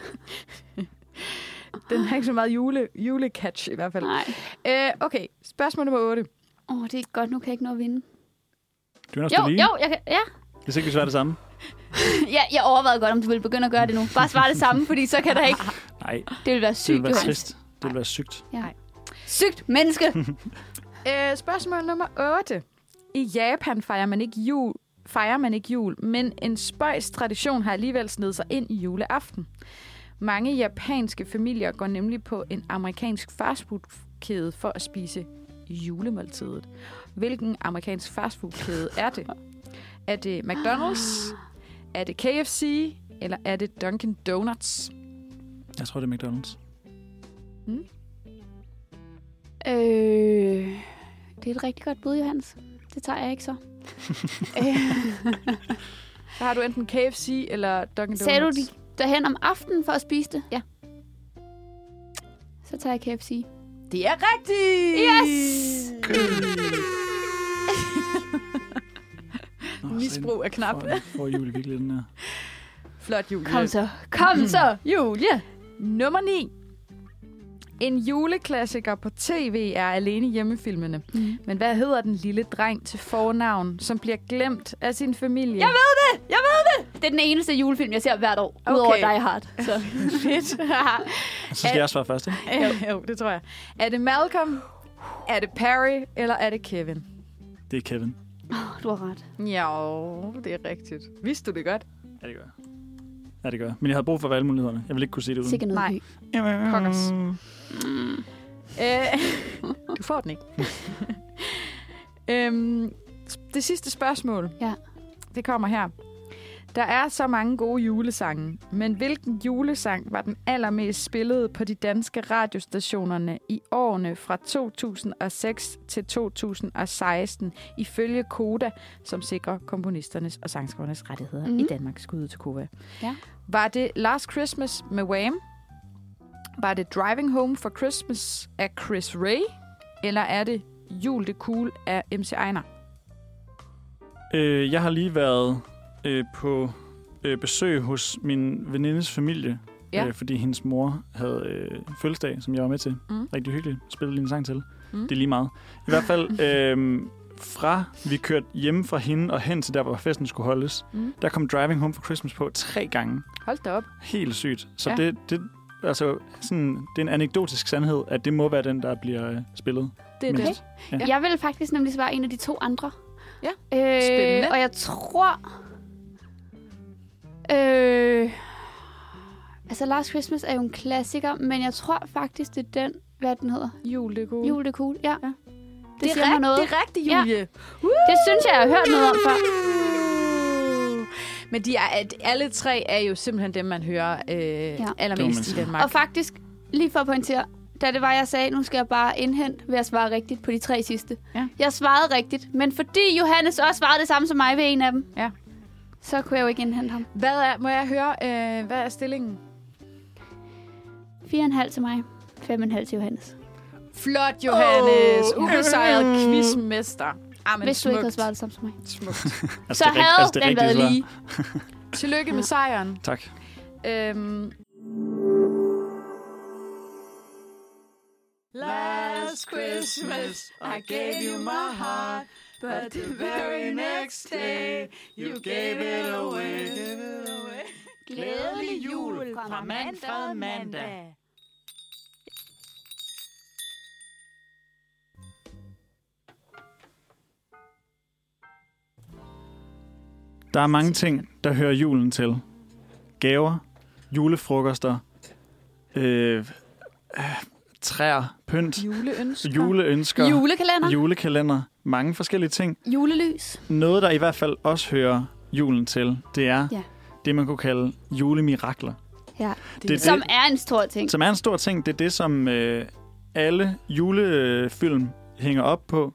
Speaker 3: Den har ikke så meget jule, julecatch i hvert fald.
Speaker 4: Nej.
Speaker 3: Øh, okay, spørgsmål nummer 8.
Speaker 4: Åh, oh, det er godt. Nu kan jeg ikke nå at vinde.
Speaker 2: Du er
Speaker 4: Jo,
Speaker 2: også lige.
Speaker 4: jo, jeg kan, ja.
Speaker 2: Hvis ikke vi svarer det samme.
Speaker 4: ja. Jeg overvejede godt, om du ville begynde at gøre det nu. Bare svare det samme, fordi så kan der ikke...
Speaker 2: Nej,
Speaker 4: Det ville være
Speaker 2: det
Speaker 4: sygt,
Speaker 2: vil være
Speaker 4: Johannes.
Speaker 2: trist. Det vil være sygt.
Speaker 4: Sygt menneske!
Speaker 3: Øh, spørgsmål nummer 8. I Japan fejrer man ikke jul, fejrer man ikke jul, men en spøjs tradition har alligevel snedet sig ind i juleaften. Mange japanske familier går nemlig på en amerikansk fastfoodkæde for at spise julemåltidet. Hvilken amerikansk fastfoodkæde er det? Er det McDonald's?
Speaker 4: Ah.
Speaker 3: Er det KFC? Eller er det Dunkin' Donuts?
Speaker 2: Jeg tror, det er McDonald's.
Speaker 4: Øh, det er et rigtig godt bud, Johannes. Det tager jeg ikke så. Øh,
Speaker 3: Så har du enten KFC eller Dunkin' Donuts.
Speaker 4: Sagde du de derhen om aftenen for at spise det? Ja. Så tager jeg KFC.
Speaker 3: Det er rigtigt!
Speaker 4: Yes!
Speaker 2: Nå,
Speaker 3: Misbrug af knap.
Speaker 2: Hvor, hvor Julie virkelig den her.
Speaker 3: Flot jul.
Speaker 4: Kom så. Kom så, Julie!
Speaker 3: Nummer 9. En juleklassiker på tv er alene hjemmefilmene.
Speaker 4: Mhm.
Speaker 3: Men hvad hedder den lille dreng til fornavn, som bliver glemt af sin familie?
Speaker 4: Jeg ved det! Jeg ved det! Det er den eneste julefilm, jeg ser hvert år. Okay. Udover
Speaker 3: Okay.
Speaker 4: Die Hard. Så.
Speaker 3: fedt.
Speaker 2: Så skal jeg svare først, ikke?
Speaker 3: jo, det tror jeg. Er det Malcolm? Er det Perry, eller er det Kevin?
Speaker 2: Det er Kevin.
Speaker 4: Åh, du har ret.
Speaker 3: Ja, det er rigtigt. Vidste du det godt?
Speaker 2: Ja, det gør jeg. Ja, det gør jeg. Men jeg havde brug for valgmulighederne. Jeg ville ikke kunne sige det uden.
Speaker 4: Sikkert noget
Speaker 3: Nej.
Speaker 4: ny.
Speaker 3: Pokkers.
Speaker 2: Mm.
Speaker 3: Øh, du får den ikke. øhm, det sidste spørgsmål.
Speaker 4: Ja.
Speaker 3: Det kommer her. Der er så mange gode julesange, men hvilken julesang var den allermest spillede på de danske radiostationerne i årene fra 2006 til 2016 ifølge Koda, som sikrer komponisternes og sangskrivernes rettigheder mm.
Speaker 4: Mhm.
Speaker 3: i Danmark skud til Koda.
Speaker 4: Ja.
Speaker 3: Var det Last Christmas med Wham? Var det Driving Home for Christmas af Chris Ray? Eller er det Jul det Cool af MC Einar?
Speaker 2: Øh, jeg har lige været øh, på øh, besøg hos min venindes familie,
Speaker 3: Ja.
Speaker 2: øh, fordi hendes mor havde øh, fødselsdag, som jeg var med til.
Speaker 3: Mm.
Speaker 2: Rigtig hyggeligt. Spillede lige en sang til.
Speaker 3: Mm.
Speaker 2: Mm. Det er lige meget. I hvert fald, øh, fra vi kørte hjemme fra hende og hen til der, hvor festen skulle holdes,
Speaker 3: Mm.
Speaker 4: Mhm.
Speaker 2: mm. der kom Driving Home for Christmas på tre gange.
Speaker 3: Hold da op.
Speaker 2: Helt sygt. Så
Speaker 3: Ja.
Speaker 2: ja. det, det, altså, sådan, det er en anekdotisk sandhed, at det må være den, der bliver øh, spillet.
Speaker 3: Det er
Speaker 2: Men-
Speaker 3: det.
Speaker 4: Ja.
Speaker 2: Ja.
Speaker 4: Jeg vil faktisk nemlig svare en af de to andre.
Speaker 3: Ja. Spændende.
Speaker 4: Øh, og jeg tror... Øh, altså, Last Christmas er jo en klassiker, men jeg tror faktisk, det er den... Hvad den hedder?
Speaker 3: Jul det er
Speaker 4: Uh.
Speaker 3: cool.
Speaker 4: Jul, det er cool. Ja.
Speaker 3: Ja.
Speaker 4: ja. Det, det siger mig noget.
Speaker 3: Det er rigtigt,
Speaker 4: Ja.
Speaker 3: Julie. Ja.
Speaker 4: Det synes jeg, jeg har hørt noget om før.
Speaker 3: Men de er, at alle tre er jo simpelthen dem, man hører øh, ja.
Speaker 2: Det må man
Speaker 3: allermest i
Speaker 2: sige.
Speaker 3: Danmark.
Speaker 4: Og faktisk, lige for at pointere, da det var, jeg sagde, nu skal jeg bare indhente ved at svare rigtigt på de tre sidste.
Speaker 3: Ja.
Speaker 4: Jeg svarede rigtigt, men fordi Johannes også svarede det samme som mig ved en af dem,
Speaker 3: Ja.
Speaker 4: så kunne jeg jo ikke indhente ham.
Speaker 3: Hvad er, må jeg høre, øh, hvad er stillingen?
Speaker 4: 4,5 til mig, 5,5 til Johannes.
Speaker 3: Flot, Johannes. Oh. Ubesejret quizmester. Ah, men
Speaker 4: Hvis du
Speaker 3: smukt.
Speaker 4: ikke havde svaret det samme som mig.
Speaker 3: Smukt.
Speaker 2: Altså,
Speaker 4: så
Speaker 2: det er rigt-
Speaker 4: havde
Speaker 2: altså, det
Speaker 4: den
Speaker 2: rigtige
Speaker 4: været
Speaker 2: svar.
Speaker 4: lige.
Speaker 3: Tillykke med sejren.
Speaker 2: Tak.
Speaker 3: Øhm,
Speaker 5: Last Christmas, I gave you my heart, but the very next day, you gave it away. Glædelig jul fra mandag mandag.
Speaker 2: Der er mange ting, der hører julen til. Gaver, julefrokoster, øh, øh, træer, pynt,
Speaker 3: juleønsker.
Speaker 2: juleønsker,
Speaker 4: Julekalender,
Speaker 2: julekalender, mange forskellige ting.
Speaker 4: julelys.
Speaker 2: Noget, der i hvert fald også hører julen til, det er
Speaker 4: Ja.
Speaker 2: ja. det, man kunne kalde julemirakler.
Speaker 4: Ja.
Speaker 2: Det, er
Speaker 4: Som
Speaker 2: det,
Speaker 4: er en stor ting.
Speaker 2: som er en stor ting. Det er det, som øh, alle julefilm hænger op på.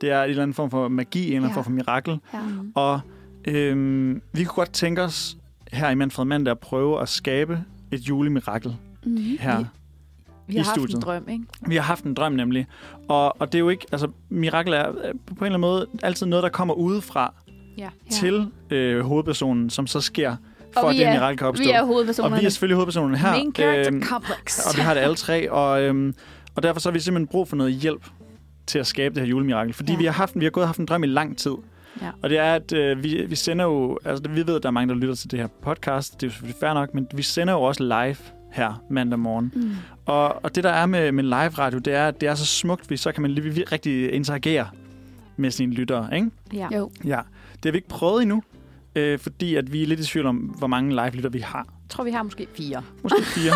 Speaker 2: Det er en eller anden form for magi, en eller anden
Speaker 4: Ja.
Speaker 2: form for mirakel.
Speaker 4: Ja.
Speaker 2: Og øhm, vi kunne godt tænke os her i Manfred Mandag at prøve at skabe et julemirakel
Speaker 4: Mm.
Speaker 2: her.
Speaker 3: Vi- Vi
Speaker 2: i
Speaker 3: har haft en
Speaker 2: studiet.
Speaker 3: drøm, ikke?
Speaker 2: Vi har haft en drøm nemlig, og, og det er jo ikke, altså mirakel er øh, på en eller anden måde altid noget, der kommer udefra
Speaker 3: Ja.
Speaker 2: ja. til øh, hovedpersonen, som så sker, for
Speaker 4: Og
Speaker 2: at
Speaker 4: vi
Speaker 2: det
Speaker 4: er-
Speaker 2: mirakel kan opstå.
Speaker 4: Vi er
Speaker 2: og
Speaker 4: hovedpersonerne.
Speaker 2: vi er selvfølgelig hovedpersonerne her,
Speaker 3: Main character
Speaker 2: øhm,
Speaker 3: complex.
Speaker 2: og vi har det alle tre, og, øhm, og derfor så har vi simpelthen brug for noget hjælp til at skabe det her julemirakel, fordi
Speaker 4: Ja.
Speaker 2: ja. vi, har haft, en- vi har gået og haft en drøm i lang tid.
Speaker 3: Ja.
Speaker 2: Og det er, at øh, vi, vi sender jo... Altså, vi ved, at der er mange, der lytter til det her podcast. Det er jo selvfølgelig fair nok, men vi sender jo også live her mandag morgen.
Speaker 4: Mm.
Speaker 2: Og, og det, der er med, med live radio, det er, at det er så smukt, fordi så kan man lige vir- rigtig interagere med sine lyttere, ikke?
Speaker 3: Ja.
Speaker 4: Jo.
Speaker 2: Ja. Det har vi ikke prøvet endnu, øh, fordi at vi er lidt i tvivl om, hvor mange live-lytter vi har.
Speaker 3: Jeg tror, vi har måske fire.
Speaker 2: Måske fire.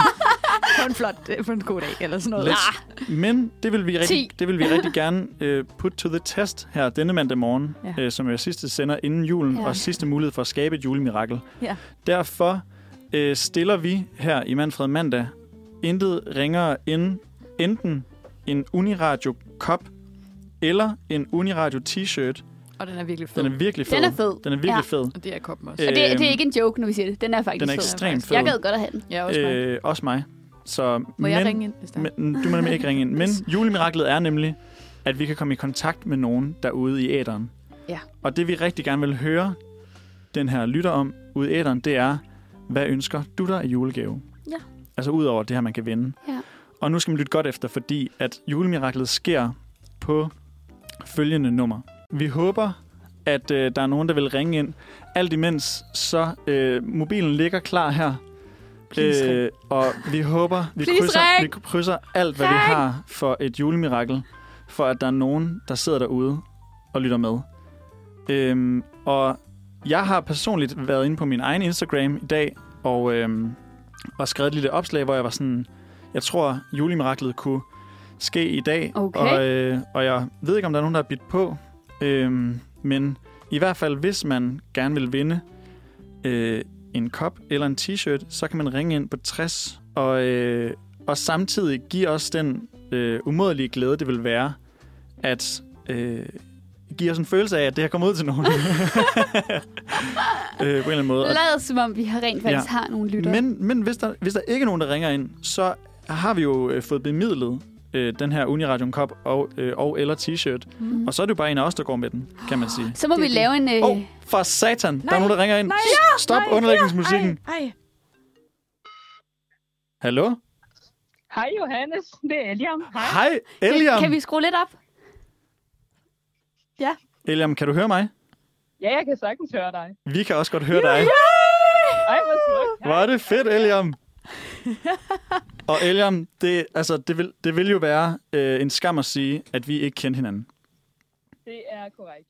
Speaker 3: På en flot, øh, på en god dag, eller sådan noget. Ah,
Speaker 2: Lidt. Men det vil vi rigtig,
Speaker 4: Ti.
Speaker 2: det vil vi rigtig gerne uh, put to the test her denne mandag morgen,
Speaker 3: Ja.
Speaker 2: ja. uh, som er sidste sender inden julen,
Speaker 4: Ja.
Speaker 2: ja. og sidste mulighed for at skabe et julemirakel.
Speaker 3: Ja.
Speaker 2: Derfor uh, stiller vi her i Manfred Mandag intet ringere end enten en Uniradio-kop eller en Uniradio-t-shirt.
Speaker 3: Og den er virkelig fed.
Speaker 2: Den er virkelig fed.
Speaker 4: Den er fed.
Speaker 2: Den er virkelig ja. fed.
Speaker 3: Og det er koppen også.
Speaker 4: Og det, det er
Speaker 2: Øhm,
Speaker 4: ikke en joke, når vi siger det. Den er faktisk
Speaker 2: Den er
Speaker 4: fed.
Speaker 2: ekstremt fed.
Speaker 4: Jeg gad godt at have den.
Speaker 3: Ja, også mig.
Speaker 2: øh, også mig. Så,
Speaker 3: Må jeg ringe ind, hvis der er?
Speaker 2: Men, du må nemlig ikke ringe ind. Men julemiraklet er nemlig, at vi kan komme i kontakt med nogen derude i æderen.
Speaker 3: Ja.
Speaker 2: Og det vi rigtig gerne vil høre den her lytter om ude i æderen, det er, hvad ønsker du dig i julegave?
Speaker 4: Ja.
Speaker 2: Altså ud over det her, man kan vinde.
Speaker 4: Ja.
Speaker 2: Og nu skal man lytte godt efter, fordi at julemiraklet sker på følgende nummer. Vi håber, at øh, der er nogen, der vil ringe ind. Alt imens, så øh, mobilen ligger klar her. Øh,
Speaker 3: Please ring.
Speaker 2: og vi håber, vi
Speaker 4: Please
Speaker 2: krydser,
Speaker 4: ring!
Speaker 2: vi krydser alt, hvad vi
Speaker 4: Ring!
Speaker 2: har for et julemirakel. for at der er nogen, der sidder derude og lytter med. Øhm, og jeg har personligt været inde på min egen Instagram i dag og, øhm, og skrevet et lille opslag, hvor jeg var sådan, jeg tror, julemiraklet kunne ske i dag.
Speaker 4: Okay.
Speaker 2: Og, øh, og jeg ved ikke, om der er nogen, der har bidt på. Øhm, men i hvert fald, hvis man gerne vil vinde øh, en kop eller en t-shirt, så kan man ringe ind på 60 og, øh, og samtidig give os den øh, umådelige glæde, det vil være, at øh, give os en følelse af, at det her kommer ud til nogen. øh, på en eller anden måde. Og-
Speaker 4: Lad som om, vi har rent faktisk ja. har nogle lytter.
Speaker 2: men, men hvis, der, hvis der ikke er nogen, der ringer ind, så har vi jo øh, fået bemidlet øh, den her Uniradion Cup og, øh, og eller t-shirt.
Speaker 4: Mm. Ah,
Speaker 2: Og så er det jo bare en af os, der går med den, kan man sige.
Speaker 4: Så må
Speaker 3: Det
Speaker 4: vi
Speaker 3: er det.
Speaker 4: lave en... Øh,
Speaker 2: Åh, oh, for satan! Nej, der
Speaker 3: Nej,
Speaker 2: er nogen, der ringer ind.
Speaker 3: nej,
Speaker 2: S- Stop
Speaker 3: nej,
Speaker 2: underlægningsmusikken.
Speaker 3: Ej, ej.
Speaker 2: Hallo?
Speaker 8: Hej Johannes, det er Eliam.
Speaker 2: Hej,
Speaker 4: det,
Speaker 2: Eliam.
Speaker 4: kan vi skrue lidt op?
Speaker 2: Eliam, kan du høre mig?
Speaker 8: Ja, jeg kan sagtens høre dig.
Speaker 2: Vi kan også godt høre dig.
Speaker 8: Ej, hvor smukt.
Speaker 2: Hvor er det fedt, Eliam. Og Eliam, det, altså, det, vil, det vil jo være øh, en skam at sige, at vi ikke kendte hinanden.
Speaker 8: Det er korrekt.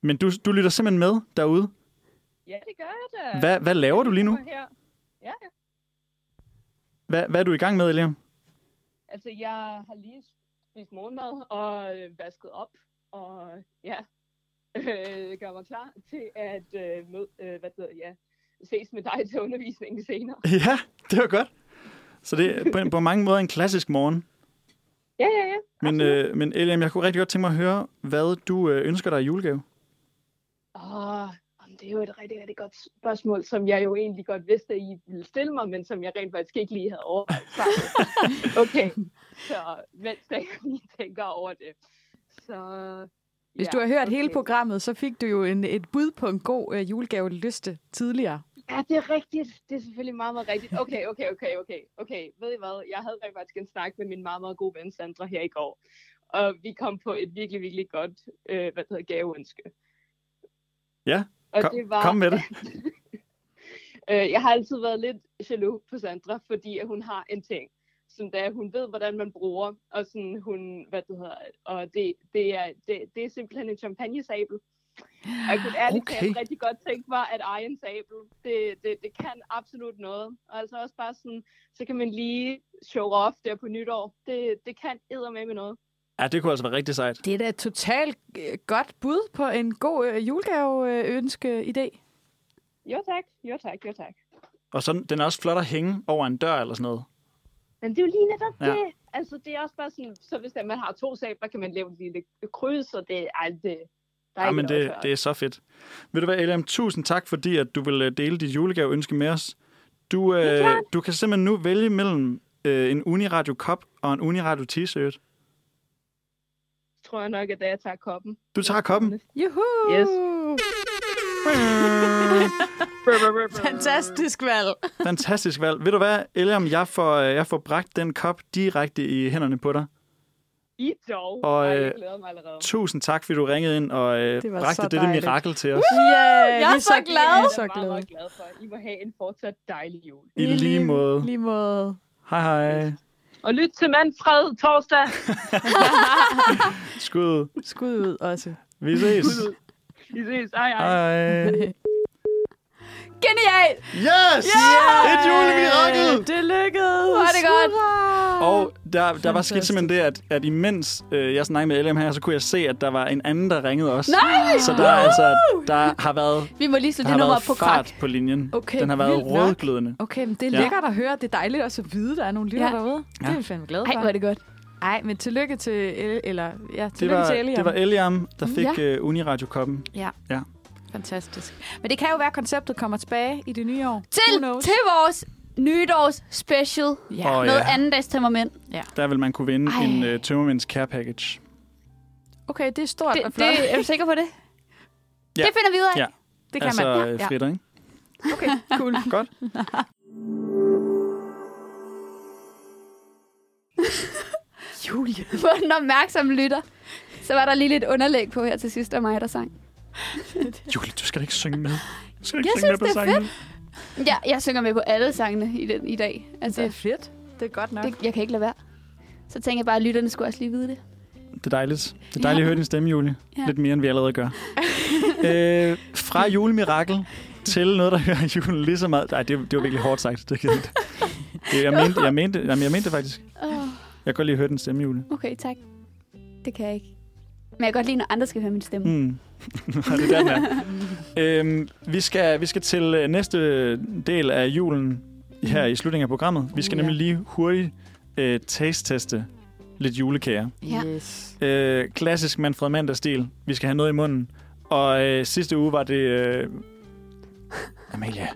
Speaker 2: Men du, du lytter simpelthen med derude.
Speaker 8: Ja, det gør jeg da.
Speaker 2: Hvad, hvad laver du lige nu?
Speaker 8: Jeg er Her. Ja, ja.
Speaker 2: Hvad, hvad er du i gang med, Eliam?
Speaker 8: altså jeg har lige spist morgenmad og øh, vasket op. Og ja, øh, gør mig klar til at øh, mød, øh, hvad hedder, ja, ses med dig til undervisningen senere.
Speaker 2: Ja, det var godt. Så det er på, på mange måder en klassisk morgen.
Speaker 8: Ja, ja, ja.
Speaker 2: Men, øh, men Eliam, jeg kunne rigtig godt tænke mig at høre, hvad du øh, ønsker dig i julegave.
Speaker 8: Åh, jamen, det er jo et rigtig, rigtig godt spørgsmål, som jeg jo egentlig godt vidste, at I ville stille mig, men som jeg rent faktisk ikke lige havde overvejet. Så, okay, så mens jeg lige tænker over det. Så,
Speaker 3: Hvis
Speaker 8: ja,
Speaker 3: du har hørt okay. hele
Speaker 8: okay.
Speaker 3: programmet, så fik du jo en, et bud på en god øh, julegavelyste tidligere.
Speaker 8: Ja, det er rigtigt. Det er selvfølgelig meget, meget rigtigt. Okay, okay, okay, okay. Okay, ved I hvad? Jeg havde rent faktisk en snak med min meget, meget gode ven Sandra her i går. Og vi kom på et virkelig, virkelig godt, øh, hvad det hedder, gaveønske.
Speaker 2: Ja,
Speaker 8: og
Speaker 2: kom-
Speaker 8: det var,
Speaker 2: kom med det.
Speaker 8: øh, jeg har altid været lidt jaloux på Sandra, fordi at hun har en ting, som det er, hun ved, hvordan man bruger, og sådan hun, hvad det hedder, og det, det, er, det, det er simpelthen en champagnesabel. Og jeg kunne ærligt okay.
Speaker 2: Okay.
Speaker 8: talt rigtig godt tænke mig, at eje en sabel. Det, det, det kan absolut noget. Og altså også bare sådan, så kan man lige show off der på nytår. Det, det kan med med noget.
Speaker 2: Ja, det kunne altså være rigtig sejt.
Speaker 3: Det er da et totalt øh, godt bud på en god øh, julegaveønske-idé.
Speaker 8: Jo tak, jo tak, jo tak.
Speaker 2: Og så den er også flot at hænge over en dør eller sådan noget.
Speaker 8: Men det er jo lige netop
Speaker 2: Ja.
Speaker 8: ja. det. Altså, det er også bare sådan, så hvis der- man har to sabler, kan man lave et lille kryds, og det er alt det. Der er
Speaker 2: Ja,
Speaker 8: ikke
Speaker 2: men
Speaker 8: noget
Speaker 2: det,
Speaker 8: at
Speaker 2: det
Speaker 8: gøre.
Speaker 2: er så fedt. Ved du hvad, Eliam, tusind tak, fordi at du vil øh, dele dit julegaveønske med os. Du, øh, du kan simpelthen nu vælge mellem øh, en Uniradio Cup og en Uniradio T-shirt.
Speaker 8: tror jeg nok, at da jeg tager koppen.
Speaker 2: Du tager koppen.
Speaker 3: Juhu!
Speaker 8: Yes.
Speaker 3: Fantastisk valg.
Speaker 2: Fantastisk valg. Ved du hvad, Eliam, jeg får, øh, jeg får bragt den kop direkte i hænderne på dig.
Speaker 8: I dog.
Speaker 2: Og,
Speaker 8: Og, Ej,
Speaker 2: øh,
Speaker 8: jeg glæder mig allerede.
Speaker 2: Tusind tak, fordi du ringede ind og øh,
Speaker 3: Det var
Speaker 2: bragte
Speaker 3: så
Speaker 2: dette
Speaker 3: dejligt.
Speaker 2: mirakel til os.
Speaker 3: Yeah,
Speaker 4: Jeg er så glad.
Speaker 3: Vi
Speaker 8: Jeg
Speaker 3: er
Speaker 8: er
Speaker 3: så
Speaker 8: meget,
Speaker 3: glade.
Speaker 8: meget glad for. I må have en fortsat dejlig jul.
Speaker 2: I lige måde.
Speaker 3: Lige måde.
Speaker 2: Hej hej.
Speaker 8: Og lyt til Manfred torsdag.
Speaker 2: Skud.
Speaker 3: Skud ud også.
Speaker 2: Vi ses.
Speaker 8: Vi ses. Hej, hej.
Speaker 2: Hej.
Speaker 4: Genial!
Speaker 2: Yes! Et julemirakel!
Speaker 3: Det lykkedes!
Speaker 4: Hvor er det godt.
Speaker 2: Og der, der var sket
Speaker 3: Fantastisk.
Speaker 2: simpelthen det, at, at imens øh, jeg snakkede med Eliam her, så kunne jeg se, at der var en anden, der ringede også.
Speaker 4: Nej!
Speaker 2: Så der, er altså, der har været,
Speaker 4: Vi må lige slå
Speaker 2: der
Speaker 4: det
Speaker 2: har
Speaker 4: nummer
Speaker 2: været
Speaker 4: op på krak.
Speaker 2: fart på linjen.
Speaker 3: Okay,
Speaker 2: Den har været
Speaker 3: vildt nok.
Speaker 2: rødglødende.
Speaker 3: Okay, men det er
Speaker 2: Ja.
Speaker 3: lækkert at høre. Det er dejligt også at vide, at der er nogle lytter
Speaker 4: Ja.
Speaker 3: derude. Det er
Speaker 2: Ja.
Speaker 3: vi fandme glade
Speaker 4: Ej,
Speaker 3: for.
Speaker 4: hvor er det godt.
Speaker 3: Ej, men tillykke til, El- eller, ja,
Speaker 2: Det
Speaker 3: tillykke
Speaker 2: var,
Speaker 3: til Eliam.
Speaker 2: det var Eliam, der fik ja. uh, Uniradio-koppen.
Speaker 3: Fantastisk. Men det kan jo være, at konceptet kommer tilbage i det nye år.
Speaker 4: Til,
Speaker 3: Who knows?
Speaker 4: til vores nytårs special.
Speaker 3: Ja.
Speaker 2: Og-
Speaker 4: Oh,
Speaker 2: Åh,
Speaker 4: noget
Speaker 2: ja.
Speaker 4: anden dags temperament.
Speaker 2: Der vil man kunne vinde
Speaker 4: Ej.
Speaker 2: Ej. en uh, tømmermænds care package.
Speaker 3: Okay, det er stort
Speaker 4: Det,
Speaker 3: og flot.
Speaker 4: det, er du sikker på det?
Speaker 2: Ja.
Speaker 4: Det finder vi ud af.
Speaker 2: Ja.
Speaker 3: det
Speaker 2: altså
Speaker 3: Ja,
Speaker 2: øh,
Speaker 3: ja.
Speaker 2: fritter, ikke?
Speaker 3: Okay, cool.
Speaker 2: Godt.
Speaker 3: Julie.
Speaker 4: For den opmærksomme lytter. Så var der lige lidt underlæg på her til sidst af mig, der sang.
Speaker 2: Julie, du skal da ikke synge med. Du skal da ikke
Speaker 4: Jeg
Speaker 2: synge
Speaker 4: synes,
Speaker 2: med
Speaker 4: det
Speaker 2: på
Speaker 4: er
Speaker 2: sangen.
Speaker 4: Ja, jeg synger med på alle sangene i, den, i dag. Altså,
Speaker 3: Det er fedt. Det er godt nok.
Speaker 4: det, jeg kan ikke lade være. Så tænker jeg bare, at lytterne skulle også lige vide det.
Speaker 2: Det er dejligt. Det er dejligt at høre din stemme, Julie.
Speaker 4: Ja.
Speaker 2: Lidt mere, end vi allerede gør. øh, fra julemirakel til noget, der hører julen lige så meget. Nej, det, det var virkelig hårdt sagt. Det kan jeg ikke. Jeg mente, jeg, mente, jamen, jeg mente det faktisk.
Speaker 4: Oh,
Speaker 2: Jeg kan godt lige høre din stemme, Julie.
Speaker 4: okay, tak. Det kan jeg ikke. Men jeg kan godt lide, når andre skal høre min stemme. Mm.
Speaker 2: Mm. Nå, det er der, den er. øhm, vi, skal, vi skal til øh, næste del af julen her i slutningen af programmet. Vi skal
Speaker 3: Uh, ja.
Speaker 2: nemlig lige hurtigt øh, taste-teste lidt julekager.
Speaker 4: Ja.
Speaker 3: Yes.
Speaker 2: Øh, klassisk Manfred Mandag-stil. Vi skal have noget i munden. Og øh, sidste uge var det... Øh, Amalie.